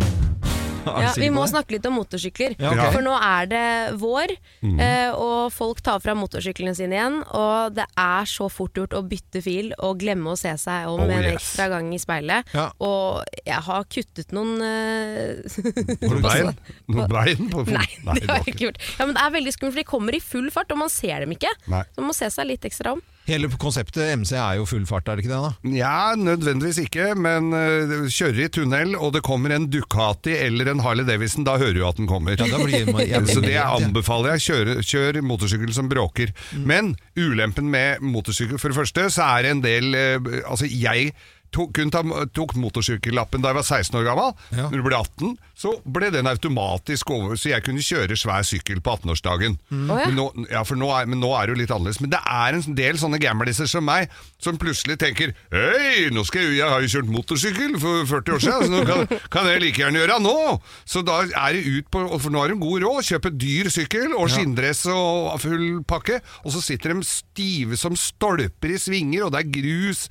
S2: Ja,
S1: sikker
S2: vi
S1: på
S2: må
S1: det?
S2: snakke litt om motorsykler.
S1: Ja, ok.
S2: For nå er det vår,
S1: Mhm.
S2: eh, og folk tar fram motorsyklene sine igjen. Og det er så fort gjort å bytte fil og glemme å se seg om
S6: Oh,
S2: en
S6: yes.
S2: ekstra gang i speilet.
S6: Ja.
S2: Og jeg har kuttet noen
S3: Noen
S2: Noen
S3: bein? Noen bein på
S2: Nei,
S3: Nei,
S2: det har jeg ikke gjort. Ja, men det er veldig skummelt, for de kommer i full fart, og man ser dem ikke.
S3: Nei.
S2: Så man må se seg litt ekstra om.
S1: Hele konseptet MC er jo full fart, er det ikke det? da?
S3: Ja, nødvendigvis ikke, men uh, kjører i tunnel, og det kommer en Ducati eller en Harley Davidson, da hører du at den kommer.
S1: Ja, da blir man- jeg blir
S3: Så det
S1: redd, ja.
S3: anbefaler jeg. Kjør, kjør motorsykkel som bråker.
S1: Mm.
S3: Men ulempen med motorsykkel, for det første, så er det en del eh, Altså, jeg tok, kun ta, tok motorsykkellappen da jeg var 16 år gammel. Når du ble 18, så ble den automatisk over, så jeg kunne kjøre svær sykkel på 18-årsdagen.
S9: Mm. Å, ja.
S3: Men, nå- ja, for nå er- men nå er det jo litt annerledes. Men det er en del sånne gamliser som meg, som plutselig tenker Hei, nå skal jeg, jeg har jo kjørt motorsykkel for 40 år siden, så nå kan, kan jeg like gjerne gjøre det nå! Så da er det ut på For nå har de god råd. Kjøpe dyr sykkel og skinndress og full pakke, og så sitter de stive som stolper i svinger, og det er grus.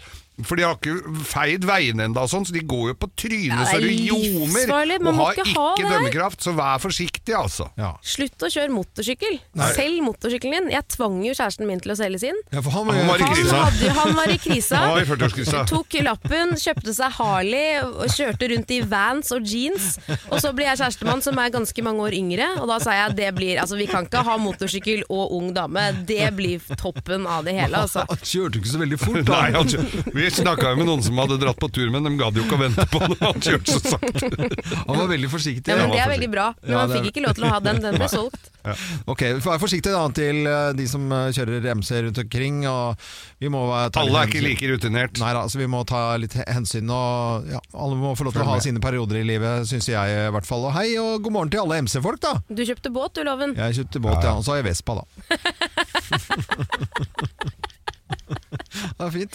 S3: For de har ikke feid veiene ennå, så de går jo på trynet
S2: Ja,
S3: så
S2: det er
S3: det ljomer.
S2: livsfarlig. Man
S3: Og
S2: må
S3: har
S2: ikke ha
S3: ikke
S2: det her.
S3: dømmekraft, så vær forsiktig, altså.
S2: Slutt å kjøre motorsykkel.
S3: Nei.
S2: Selg motorsykkelen din. Jeg tvang jo kjæresten min til å selge sin.
S3: Ja, for han var- Han var i krisa.
S2: hadde jo- han var i krisa.
S3: Han var i 40-årskrisa.
S2: Tok lappen, kjøpte seg Harley og kjørte rundt i Vans og jeans. Og så blir jeg kjærestemann som er ganske mange år yngre, og da sa jeg det blir Altså, vi kan ikke ha motorsykkel og ung dame. Det blir toppen av det hele, altså.
S3: Han kjørte ikke så veldig fort, da. Nei, han kjør... Vi snakka jo med noen som hadde dratt på tur, men de gadd jo ikke å vente på det. Han kjørte så sakte.
S1: Han var veldig forsiktig.
S2: Ja, men det er veldig bra. Men
S1: Ja,
S2: man
S1: det er-
S2: fikk ikke lov til å ha den. Den ble
S1: Nei.
S2: solgt.
S1: Ok, vær forsiktig da til eh, de som eh, kjører MC rundt omkring. Og vi må eh, ta
S3: Alle er
S1: litt
S3: ikke
S1: hensyn.
S3: like rutinert.
S1: Nei da, så vi må ta litt he- hensyn. Og ja, alle må få lov til å
S3: Følg
S1: ha
S3: med.
S1: sine perioder i livet, syns jeg eh, i hvert fall. Og hei og god morgen til alle MC-folk, da.
S2: Du kjøpte båt, du, Loven.
S1: Jeg kjøpte båt, ja. Og så har jeg Vespa, da. det er fint.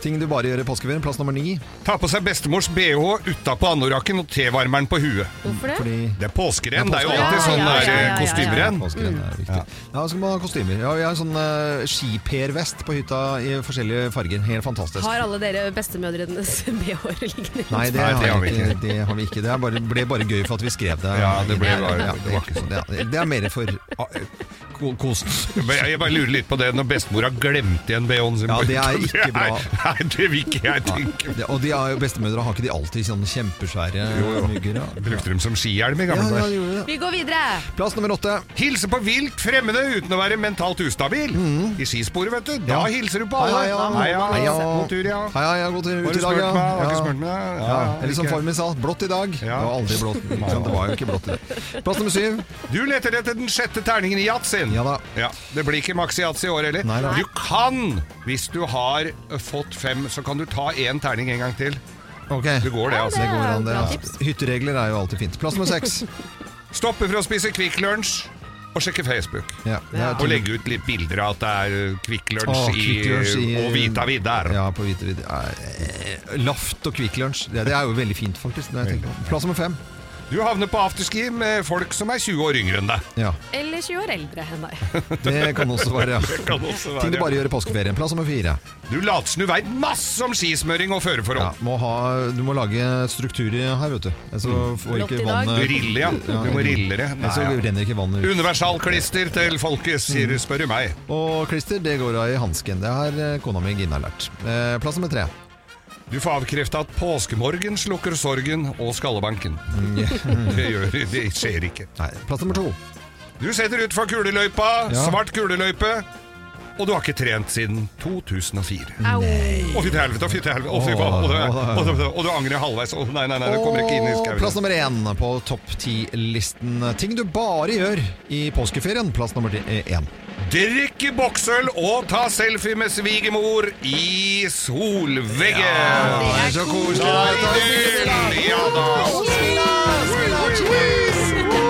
S1: Ting du bare gjør i påskeferien. Plass nummer ni.
S3: Ta på seg bestemors bh utapå anorakken og tevarmeren på huet.
S2: Hvorfor det?
S3: Det er påskerenn.
S1: Det
S3: Det
S1: er
S3: er jo alltid
S1: påskerenn.
S3: sånn
S1: Ja, ja, ja,
S3: der,
S1: ja, ja, ja.
S3: kostymerenn.
S1: Påskerenn er viktig. Ja, så skal man ha kostymer. Ja, jeg har en sånn uh, skipervest på hytta i forskjellige farger. Helt fantastisk.
S2: Har alle dere bestemødrenes BH-er liggende? rundt?
S1: Nei, det,
S3: Nei, det
S1: har
S3: har
S1: vi
S3: vi
S1: ikke. Det, har vi ikke. det er bare, ble bare gøy for at vi skrev det.
S3: Ja, det ble
S1: Ja,
S3: bare-
S1: ja,
S3: det var ikke sånn.
S1: det, er- det er mer for ah, ko- kosen.
S3: Men Jeg jeg bare lurer litt på det når bestemora glemte igjen bh-en sin.
S1: Ja,
S3: på
S1: det er
S3: hytta.
S1: ikke bra.
S3: Nei, Nei, det vil ikke jeg tenke
S1: Det- Og de har jo bestemødre har ikke de alltid sånne kjempesvære
S3: Jo, jo.
S1: mygger? Ja.
S3: Brukte dem som skihjelm i gamle
S1: Ja, ja,
S3: dager.
S1: gjorde det.
S2: Vi går videre.
S1: Plass nummer åtte.
S3: Hilse på vilt fremmede uten å være mentalt ustabil. I skisporet, vet du.
S1: Mm.
S3: Da
S1: Ja.
S3: hilser du på
S1: Hei,
S3: alle.
S1: hei, ja. Hei, ja.
S3: God tur, ja.
S1: Hei, hei, ja, god tur
S3: Har
S1: ut
S3: du
S1: i dag,
S3: smurt
S1: ja.
S3: meg?
S1: ja.
S3: Har du ikke smurt meg? Ja,
S1: Ja,
S3: ja,
S1: Eller som
S3: ikke.
S1: far min sa, blått i dag. Det var aldri blått. ikke sant? Det var jo ikke blått i dag. Plass nummer syv.
S3: Du leter etter den sjette terningen i yatzy.
S1: Ja da.
S3: Ja, det blir ikke maks yatzy i år heller.
S1: Nei da.
S3: Du kan, hvis du har fått fem, så kan du ta én terning en gang til.
S1: Ok.
S3: Det går det, altså.
S1: Det går an, det. Ja. Hytteregler er jo alltid fint. Plass nummer seks.
S3: Stoppe for å spise Kvikk Lunsj og sjekke Facebook.
S1: Ja, det er
S3: Og legge ut litt bilder av at det er Kvikk
S1: Åh,
S3: Lunsj
S1: Kvikk Lunsj
S3: i- og Vita Vidar.
S1: Ja, på Vita Vidar. Eh, Laft og Kvikk Lunsj. Det, det er jo veldig fint, faktisk. Når jeg tenker på. det. Plass nummer fem.
S3: Du havner på afterski med folk som er 20 år yngre enn deg.
S1: Ja,
S2: Eller 20 år eldre enn deg.
S1: Det kan også være.
S3: Det kan også være,
S1: Ting du
S3: ja.
S1: bare gjør i påskeferien. Plass nummer fire.
S3: Du later som du veit masse om skismøring og føreforhold.
S1: Ja, må ha, du må lage strukturer her, vet du. Så får
S3: Blått i
S1: ikke
S3: dag.
S1: vannet
S3: Rille, ja. Du må rille det.
S1: Nei, så
S3: Mm. Nei, ja.
S1: renner ikke vannet ut.
S3: Universalklister til folket, sier du, spør du meg.
S1: Og klister, det går av i hansken. Det har eh, kona mi Gina lært. Eh, Plass nummer tre.
S3: Du får avkrefta at påskemorgen slukker sorgen og skallebanken.
S1: Mm.
S3: Det, gjør, det skjer ikke.
S1: Nei, Plass nummer to.
S3: Du setter utfor kuleløypa,
S1: Ja.
S3: svart kuleløype, og du har ikke trent siden 2004.
S2: Au.
S3: Å, fy til helvete, å, fy til helvete, å, fy
S1: Åh,
S3: faen. Og
S1: åh,
S3: du- Og du- og du angrer halvveis. Å, nei, nei, nei, det kommer ikke inn i
S1: Og plass
S3: skauen.
S1: nummer én på topp ti-listen. Ting du bare gjør i påskeferien. Plass nummer ti- eh, én.
S3: Drikke boksøl og ta selfie med svigermor i solveggen!
S1: det er så koselig.
S3: Nei, Ja da!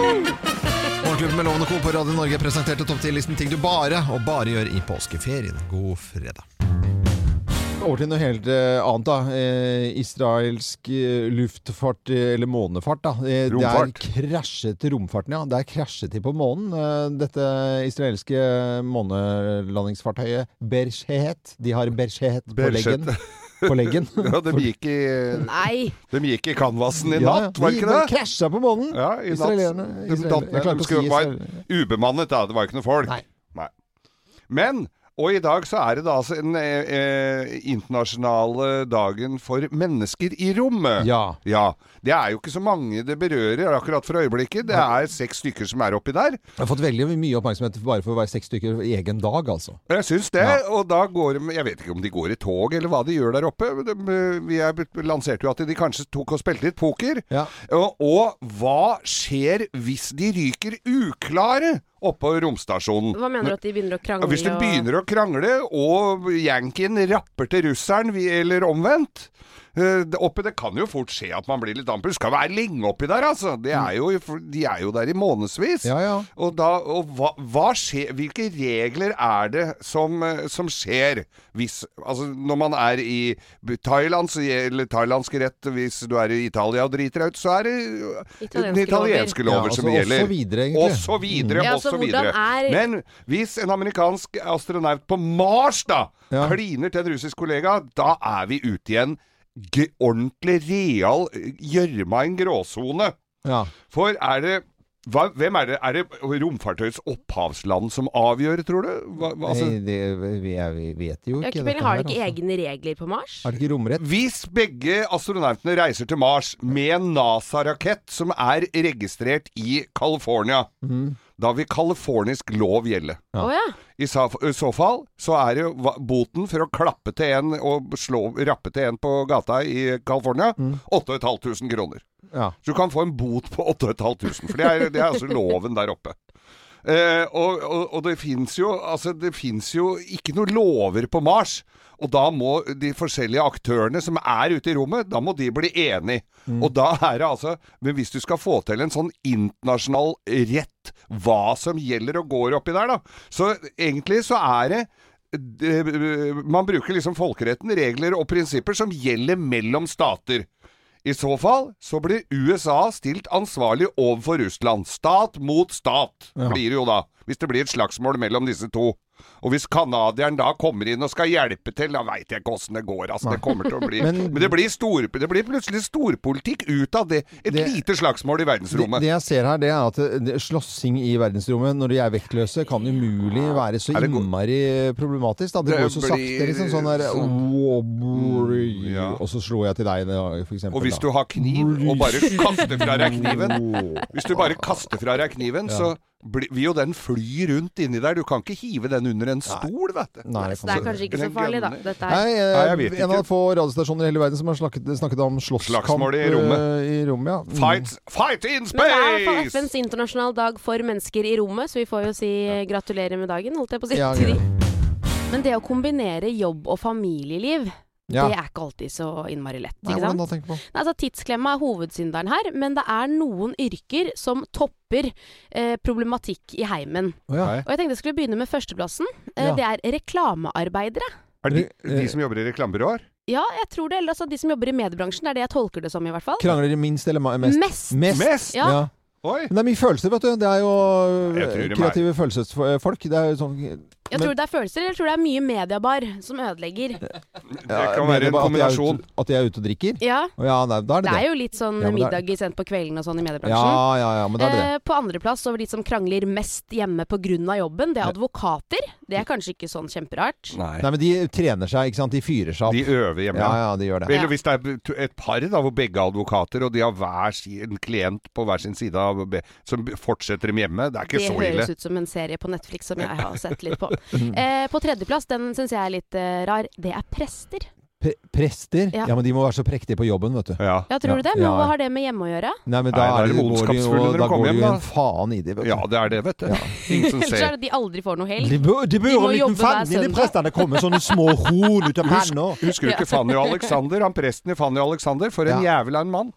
S1: Morgenklubben med Lovende Co. på Radio Norge presenterte topp ti-listen ting du bare og bare gjør i påskeferien. God fredag.
S26: Over til noe helt eh, annet, da. Eh, israelsk eh, luftfart, eh, eller månefart, da. Eh,
S13: Romfart.
S26: Det er krasjet til romfarten, ja. Det er krasjet til på månen. Eh, dette israelske månelandingsfartøyet Bershehet. De har Bershehet på
S9: Bershet.
S26: leggen. På leggen.
S9: Ja, de gikk i
S2: Nei.
S9: De gikk i canvasen
S26: Ja,
S9: i
S26: ja.
S9: natt, var
S26: De
S9: ikke
S26: bare
S9: det?
S26: krasja på månen.
S9: Ja, i natt.
S26: Israelerne.
S9: De, datt
S26: Israelere. Jeg
S9: ned.
S26: klarte
S9: de
S26: å
S9: skulle,
S26: si
S9: var ubemannet, da. Det var ikke noe folk. Nei. Men
S3: Og i dag så er det da altså den eh, eh, internasjonale dagen for mennesker i rommet.
S1: Ja.
S3: Det er jo ikke så mange det berører akkurat for øyeblikket. Det er seks stykker som er oppi der.
S1: Jeg har fått veldig mye oppmerksomhet bare for å være seks stykker i egen dag, altså.
S3: Jeg syns det. Og da går de Jeg vet ikke om de går i tog, eller hva de gjør der oppe. De, eh, vi er, lanserte jo at de kanskje tok og spilte litt poker. Og, og hva skjer hvis de ryker uklare oppå romstasjonen?
S2: Hva mener du at de begynner å krangle?
S3: Ja, Hvis de
S2: og-
S3: begynner å krangle, og yankien rapper til russeren, vi- eller omvendt eh, det- Oppi det kan jo fort skje at man blir litt amper. Skal være lenge oppi der, altså. Det er jo, de er jo der i månedsvis. Og, da, og hva, hva skjer Hvilke regler er det som, eh, som skjer hvis Altså, når man er i b- Thailand, så gjelder thailandsk rett. Hvis du er i Italia og driter deg ut, så er det eh,
S2: Italienske
S3: italienske
S1: lover. Ja,
S3: lover
S1: altså,
S3: som
S1: og så
S3: gjelder.
S1: videre, egentlig.
S3: Og så videre,
S2: Ja,
S3: og
S2: altså,
S3: så
S2: hvordan
S3: videre.
S2: er-
S3: Men hvis en amerikansk astronaut på Mars da kliner til en russisk kollega, da er vi ute i en g- ordentlig real gjørma i en gråsone. For er det hva, hvem er det? Er det romfartøyets opphavsland som avgjør, tror du? Hva, hva, altså-
S1: Nei, Eh, det, vi, jeg, vi vet jo
S2: Ja,
S1: ikke
S2: ikke
S1: dette
S2: vel, har de
S1: her,
S2: ikke
S1: altså.
S2: egne regler på Mars?
S1: Er det ikke romrett?
S3: Hvis begge astronautene reiser til Mars med en NASA-rakett som er registrert i California,
S1: Mm.
S3: da vil californisk lov gjelde.
S2: Å ja.
S3: I sa- i så fall så er det jo hva- boten for å klappe til en og slå, rappe til en på gata i California 8500 kroner.
S1: Ja.
S3: Så du kan få en bot på 8500, for det er, det er altså loven der oppe. Eh, og, og, og det fins jo Altså, det fins jo ikke noen lover på Mars. Og da må de forskjellige aktørene som er ute i rommet, da må de bli enige.
S1: Mm.
S3: Og da er det altså Men hvis du skal få til en sånn internasjonal rett, hva som gjelder og går oppi der, da Så egentlig så er det det- man bruker liksom folkeretten, regler og prinsipper som gjelder mellom stater. I så fall så blir USA stilt ansvarlig overfor Russland. Stat mot stat
S1: Ja.
S3: blir det jo da, hvis det blir et slagsmål mellom disse to. Og hvis canadieren da kommer inn og skal hjelpe til, da veit jeg ikke åssen det går. Altså, det kommer til å bli Men,
S1: Men-
S3: det, blir stor, det blir plutselig storpolitikk ut av det. Et lite slagsmål i
S1: Det,
S3: verdensrommet.
S1: det jeg ser her, det er at eh, det- slåssing i verdensrommet når de er vektløse, kan umulig være så innmari problematisk. Da. Det
S3: Det
S1: går så sakte.
S3: blir
S1: Liksom, sånn der,
S3: sånn-
S1: Wow, Og så slo jeg til deg, da, for eksempel.
S3: Og hvis
S1: da.
S3: du har kniv, og bare kaster fra deg kniven Hvis du bare kaster fra deg kniven,
S1: Ja.
S3: så blir vil jo den fly rundt inni der. Du kan ikke hive den under en stol, vet du.
S1: Nei, det
S2: Så det er kanskje ikke så farlig, da. Dette
S1: Nei,
S2: er
S1: eh,
S3: Nei, jeg vet
S1: en
S3: ikke.
S1: av de få radiostasjoner i hele verden som har snakket, snakket om slåsskamp
S3: Slagsmål i rommet.
S1: eh, i rommet, ja. Mm.
S3: Fight, fight in
S2: Men det er for
S3: space!
S2: FNs internasjonal dag for mennesker i rommet, så vi får jo si eh, gratulerer med dagen, holdt jeg på å si.
S1: Ja,
S2: til de.
S1: greit.
S2: Men det å kombinere jobb og familieliv,
S1: Ja.
S2: det er ikke alltid så innmari lett.
S1: Nei,
S2: ikke
S1: hvordan
S2: sant?
S1: da, tenker du på?
S2: Nei, altså Tidsklemma er hovedsynderen her, men det er noen yrker som topper eh, problematikk i heimen.
S1: Å, ja.
S2: Og jeg tenkte jeg skulle begynne med førsteplassen. Eh,
S3: Ja.
S2: Det er reklamearbeidere.
S3: Er det
S1: Eh,
S3: de, de som jobber i reklamebyråer?
S2: Ja, jeg tror det. Eller altså de som jobber i mediebransjen. Det er det jeg tolker det som, i hvert fall.
S1: Krangler de minst eller ma- mest?
S2: Mest.
S1: Mest!
S2: Mest?
S1: Ja.
S2: Ja.
S1: Men det er mye følelser, vet du. Det er jo
S3: Jeg tror
S1: eh,
S3: de er-
S1: kreative følelsesfolk. Det er jo sånn
S2: Jeg tror det er følelser, eller jeg tror det er mye mediebar som ødelegger.
S1: Eh.
S3: Det kan være en kombinasjon.
S1: At de er ute og drikker?
S2: Ja.
S1: Å ja, nei, da er
S2: Det
S1: det det.
S2: er jo litt sånn
S1: Ja, men det er-
S2: middag i sent på kvelden og sånn i mediebransjen.
S1: Ja, ja, ja, men da er det det.
S2: Eh, på andreplass over de som krangler mest hjemme pga. jobben, det er advokater. Det er kanskje ikke sånn kjemperart.
S3: Nei.
S1: men de trener seg, ikke sant. De fyrer seg opp.
S3: De øver hjemme.
S1: Ja, ja, de gjør det.
S3: Eller hvis det er to- et par da, hvor begge er advokater, og de har hver sin klient på hver sin side, av, be- som fortsetter dem hjemme. Det er ikke
S2: det
S3: så ille.
S2: høres ut som en serie på Netflix som jeg har sett litt på.
S1: Mm.
S2: Eh, på tredjeplass, den syns jeg er litt eh, rar, det er prester.
S1: Pre prester?
S2: Ja.
S1: Ja. men de må være så prektige på jobben, vet du.
S2: Ja, tror du det? Men hva har det med hjemme å gjøre?
S1: Nei, men da,
S3: Nei, da
S1: er
S3: er
S1: det, går
S3: de
S1: de
S3: ondskapsfulle
S1: jo,
S3: når de
S1: da går
S3: kommer
S1: de
S3: hjem,
S1: jo
S3: da.
S1: en faen i det, vet du.
S3: Ja, det er det, vet du. Ingen som
S2: Ellers er
S3: ser.
S2: det de aldri får noe helg.
S1: De bør, de bør
S2: må
S1: en liten
S2: jobbe hver
S1: fann inn i
S2: søndag.
S1: prestene komme, sånne små horn ut av panna.
S3: Husk- Husker du ikke Fanny og Alexander? Han presten i Fanny og Alexander. For en jævla
S1: Mm.
S3: en mann.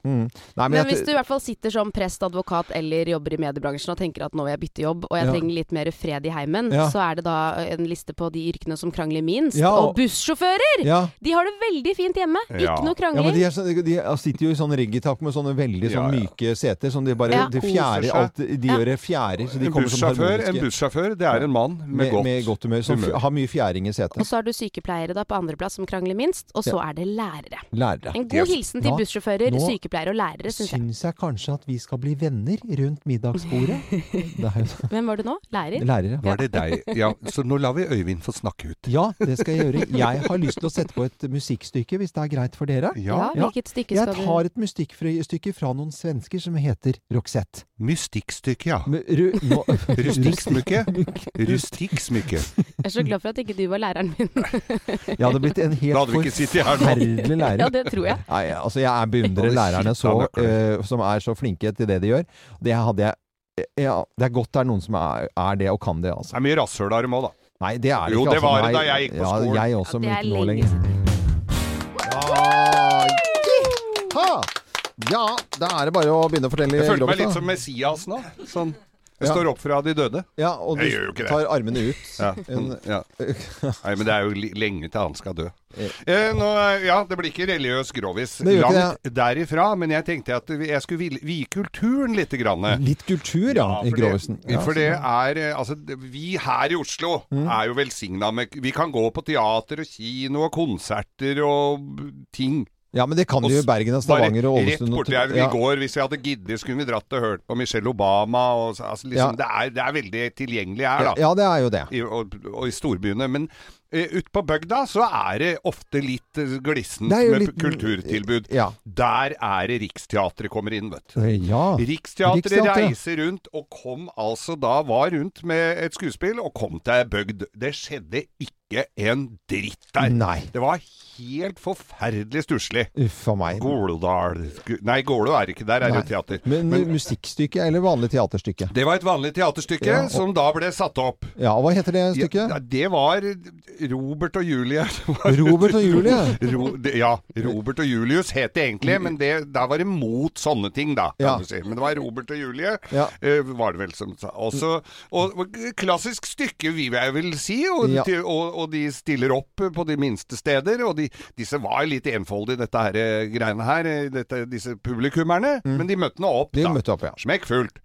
S2: Men, hvis du i hvert fall sitter som prest, advokat eller jobber i mediebransjen og tenker at nå vil jeg bytte jobb, og jeg
S3: Ja.
S2: trenger litt mer fred i heimen,
S3: Ja.
S2: så er det da en liste på de yrkene som krangler minst.
S3: Ja,
S2: og
S3: og-
S2: bussjåfører!
S3: Ja.
S2: De har har det veldig fint hjemme.
S1: Ja.
S2: Ikke noe
S1: Ja, men
S2: krangling.
S1: de, er sånn, de er- sitter jo i sånn reggaetak med sånne veldig sånn myke seter som de bare
S2: Ja.
S1: de
S2: Koser
S1: fjærer
S2: seg.
S1: alt De gjør det fjærer, så de
S3: En
S1: kommer som
S3: bussjåfør,
S1: harmoniske
S3: en bussjåfør, det er en mann med, godt,
S1: med godt humør. Som f- har mye fjæring i
S2: Og
S1: setet.
S2: så har du sykepleiere da på andreplass som krangler minst, og så
S1: Ja.
S2: er det lærere.
S1: Lærere.
S2: En god hilsen til
S1: Nå-
S2: bussjåfører,
S1: nå-
S2: sykepleiere og lærere, syns jeg.
S1: Syns jeg kanskje at vi skal bli venner rundt middagsbordet. Det er jo
S2: Hvem var det nå? Lærer?
S1: Lærere.
S3: Var det deg? Ja, så nå lar vi Øyvind få snakke ut.
S1: Ja, det skal jeg gjøre. Jeg har lyst til å sette på et musikkstykke, hvis det er greit for dere.
S3: Ja. Ja, hvilket stykke skal du-
S1: Jeg tar et mystikkstykke fra noen svensker som heter Roxette.
S3: Mystikkstykke, ja.
S1: nå-
S3: Rustikksmykke. Rustikksmykke.
S2: Jeg er så glad for at ikke du var læreren min.
S1: Jeg hadde blitt en
S3: Da
S1: helt
S3: hadde vi ikke sittet her nå.
S1: forferdelig lærer.
S2: Ja, det tror jeg.
S1: Nei, altså jeg beundrer lærerne så, eh, som er så flinke til det de gjør. Det hadde jeg eh, ja, Det er godt det er noen som er, er det og kan det, altså.
S3: Det er mye rasshøl av dem òg, da.
S1: Nei, det er det
S3: Jo,
S1: ikke.
S3: det
S1: altså.
S3: var
S1: Nei,
S3: det da jeg gikk på
S1: ja,
S3: skolen.
S1: Jeg også, men
S2: Ja, det er
S1: ikke nå
S2: lenge
S1: lenger. Ja, ja. ja, da er det bare å begynne å fortelle.
S3: Jeg følte meg
S1: Robert,
S3: litt
S1: da.
S3: som Messias nå. Sånn. Jeg
S1: Ja.
S3: står opp fra de døde.
S1: Ja, og du
S3: jeg gjør jo ikke det.
S1: tar armene ut.
S3: Ja.
S1: En-
S3: Ja. Nei, men det er jo li- lenge til han skal dø. Eh, nå, er- ja, det blir ikke religiøs grovis
S1: Det gjør ikke
S3: langt derifra, men jeg tenkte at vi- jeg skulle ville- vie kulturen litt. Grann.
S1: Litt kultur, ja, i
S3: for det-
S1: Grovisen. Ja,
S3: for
S1: så
S3: det
S1: bra.
S3: er eh, Altså, det- vi her i Oslo
S1: Mm.
S3: er jo velsigna med Vi kan gå på teater og kino og konserter og b- ting.
S1: Ja, men det kan
S3: Og
S1: de jo i
S3: s-
S1: Bergen og Stavanger og
S3: bare
S1: Ålesund.
S3: Rett
S1: og-
S3: borti her. I
S1: Ja.
S3: går, hvis jeg hadde giddet, skulle vi dratt og hørt på Michelle Obama og så- altså, liksom,
S1: Ja.
S3: det, er, det er veldig tilgjengelig her, da.
S1: Ja, det er jo det.
S3: I, og, og i storbyene. Men uh, ute på bygda så er det ofte litt eh, glissent
S1: Det er jo
S3: med
S1: litt- eh,
S3: p- kulturtilbud.
S1: Ja.
S3: Der er det Riksteatret kommer inn, vet du.
S1: Ja.
S3: Riksteatret
S1: Riksteatret.
S3: reiser rundt, og kom altså da var rundt med et skuespill, og kom til ei bygd. Det skjedde ikke en dritt der.
S1: Nei.
S3: Det var helt forferdelig stusslig.
S1: Uff a meg.
S3: Gålodal sku- Nei, Gålå er ikke der, er det jo teater.
S1: Men, musikkstykke eller vanlig teaterstykke?
S3: Det var et vanlig teaterstykke
S1: Ja, og-
S3: som da ble satt opp.
S1: Ja, og hva heter det stykket?
S3: Ja, det var Robert og Julie. Det var-
S1: Robert og Julie?
S3: Ro, det, ja. Robert og Julius het det egentlig, men det, der var det mot sånne ting, da. Kan
S1: Ja.
S3: du si. Men det var Robert og Julie,
S1: Ja.
S3: eh, var det vel som sa. Også, og, og klassisk stykke, vil jeg vel si. Og,
S1: Ja.
S3: til- og, og de stiller opp eh, på de minste steder. Og de, disse var litt enfoldige, dette her, eh, greiene her, eh, dette, disse publikummerne. Men de møtte nå opp,
S1: Mm. De
S3: da.
S1: møtte opp, ja.
S3: Smekkfullt.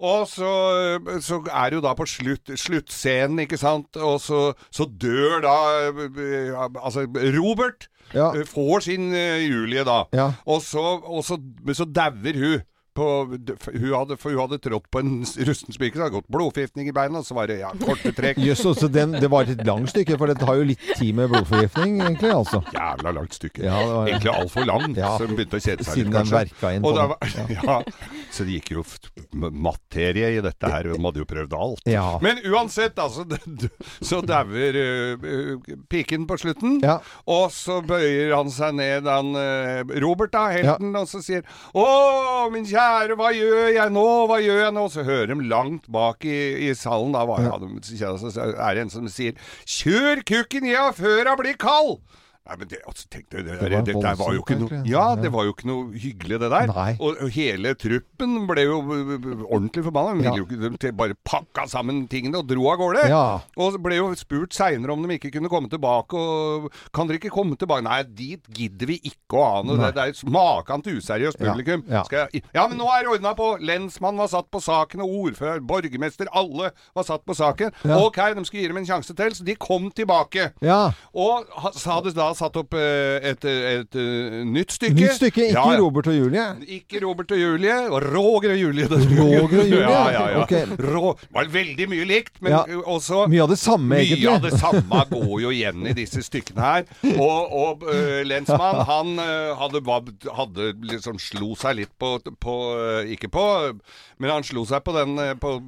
S3: Og så, så er det jo da på slutt, sluttscenen, ikke sant, og så, så dør da eh, Altså, Robert
S1: Ja.
S3: eh, får sin eh, Julie, da.
S1: Ja.
S3: Og så, og så, men så dauer hun. På, hun hadde, for hun hadde trådt på en s- rusten spiker, så hadde gått blodforgiftning i beina, og så var det ja, korte trekk.
S1: Jøss, så den, det var et langt stykke, for det tar jo litt tid med blodforgiftning, egentlig, altså.
S3: Jævla langt stykke.
S1: Ja, det var-
S3: Egentlig altfor langt,
S1: Ja.
S3: så hun begynte å kjede seg
S1: Siden den
S3: litt, kanskje.
S1: verka inn
S3: Og
S1: på
S3: da
S1: den.
S3: var- ja. Så det gikk jo f- materie i dette her, hun hadde jo prøvd alt.
S1: Ja.
S3: Men uansett, altså, d- d- så dauer ø, ø, piken på slutten, og så bøyer han seg ned, han ø, Robert da, helten, og så sier Å, min kjære, hva gjør jeg nå, hva gjør jeg nå? Så hører de langt bak i, i salen, da var, ja. de, så er det en som sier Kjør kukken ja før han blir kald! Nei, men det, altså, tenk deg, det,
S1: Det
S3: der,
S1: var
S3: dette her var jo
S1: voldsomt,
S3: ikke noe
S1: egentlig.
S3: Ja,
S1: Ja.
S3: det var jo ikke noe hyggelig, det der.
S1: Nei.
S3: Og, og hele truppen ble jo ø, ø, ø, ordentlig forbanna. De
S1: Ja.
S3: ville jo ikke- De bare pakka sammen tingene og dro av gårde.
S1: Ja.
S3: Og ble jo spurt seinere om de ikke kunne komme tilbake. Og kan dere ikke komme tilbake? Nei, dit gidder vi ikke å
S1: Nei.
S3: ane. Det, det er jo maken til useriøst
S1: Ja,
S3: publikum.
S1: ja.
S3: Skal jeg, ja, men nå er det ordna på! Lensmann var satt på saken, og ordfører, borgermester, alle var satt på saken.
S1: Ja.
S3: Ok, de skulle gi dem en sjanse til, så de kom tilbake.
S1: Ja.
S3: Og ha- så hadde da satt opp eh, et, et, eh, nytt stykke.
S1: Nytt stykke, ikke
S3: Ja, ja.
S1: Robert og Julie.
S3: Ikke Robert og Julie, og Roger og Julie. det skulle
S1: Roger og
S3: vi-
S1: Julie,
S3: Ja, ja, ja.
S1: ok.
S3: Rå, var veldig mye likt, men
S1: Ja.
S3: også
S1: Mye av det samme, egentlig.
S3: Mye av det samme går jo igjen i disse stykkene her. Og, og øh, lensmann, han øh, hadde, var- hadde liksom slo seg litt på, på øh, Ikke på øh, Men han slo seg på den øh, på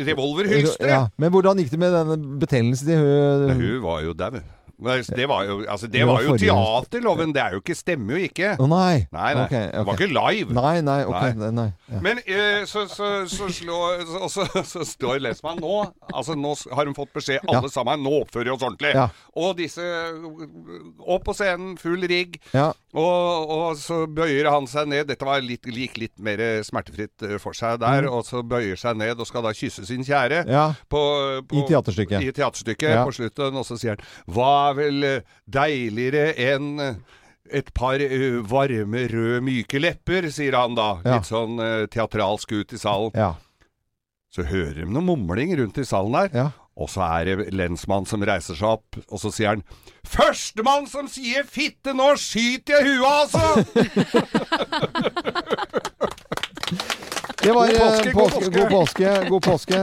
S3: revolverhylsteret.
S1: Ja, men hvordan gikk det med den betennelsen til hun
S3: Hun var jo dau. Men Det var jo, altså, det
S1: Det var
S3: var jo
S1: forrige-
S3: teaterloven, det er jo ikke, stemmer jo ikke.
S1: Å nei.
S3: Nei, nei.
S1: Ok, ok.
S3: Det var ikke live.
S1: Nei, nei, ok. Nei. nei. Ja.
S3: Men eh, så, så, så, slår, så, så, så står lensmannen nå Altså nå s- har hun fått beskjed, alle
S1: Ja.
S3: sammen, nå oppfører vi oss ordentlig.
S1: Ja.
S3: Og disse opp på scenen, full rigg.
S1: Ja.
S3: Og, og så bøyer han seg ned. Dette var litt, gikk litt mer smertefritt eh, for seg der.
S1: Mm.
S3: Og så bøyer seg ned og skal da kysse sin kjære
S1: Ja.
S3: på,
S1: I
S3: på,
S1: teaterstykket.
S3: I teaterstykket
S1: Ja.
S3: på slutten. Og så sier han Hva er vel eh, deiligere enn eh, et par eh, varme, røde, myke lepper, sier han da.
S1: Ja.
S3: Litt sånn eh, teatralsk ut i salen.
S1: Ja.
S3: Så hører de noe mumling rundt i salen der. Og så er det lensmann som reiser seg opp, og så sier han Førstemann som sier 'fitte, nå skyter jeg huet', altså!
S1: Det var
S3: God
S1: eh,
S3: påske, god
S1: påske,
S3: påske.
S1: god påske. God påske.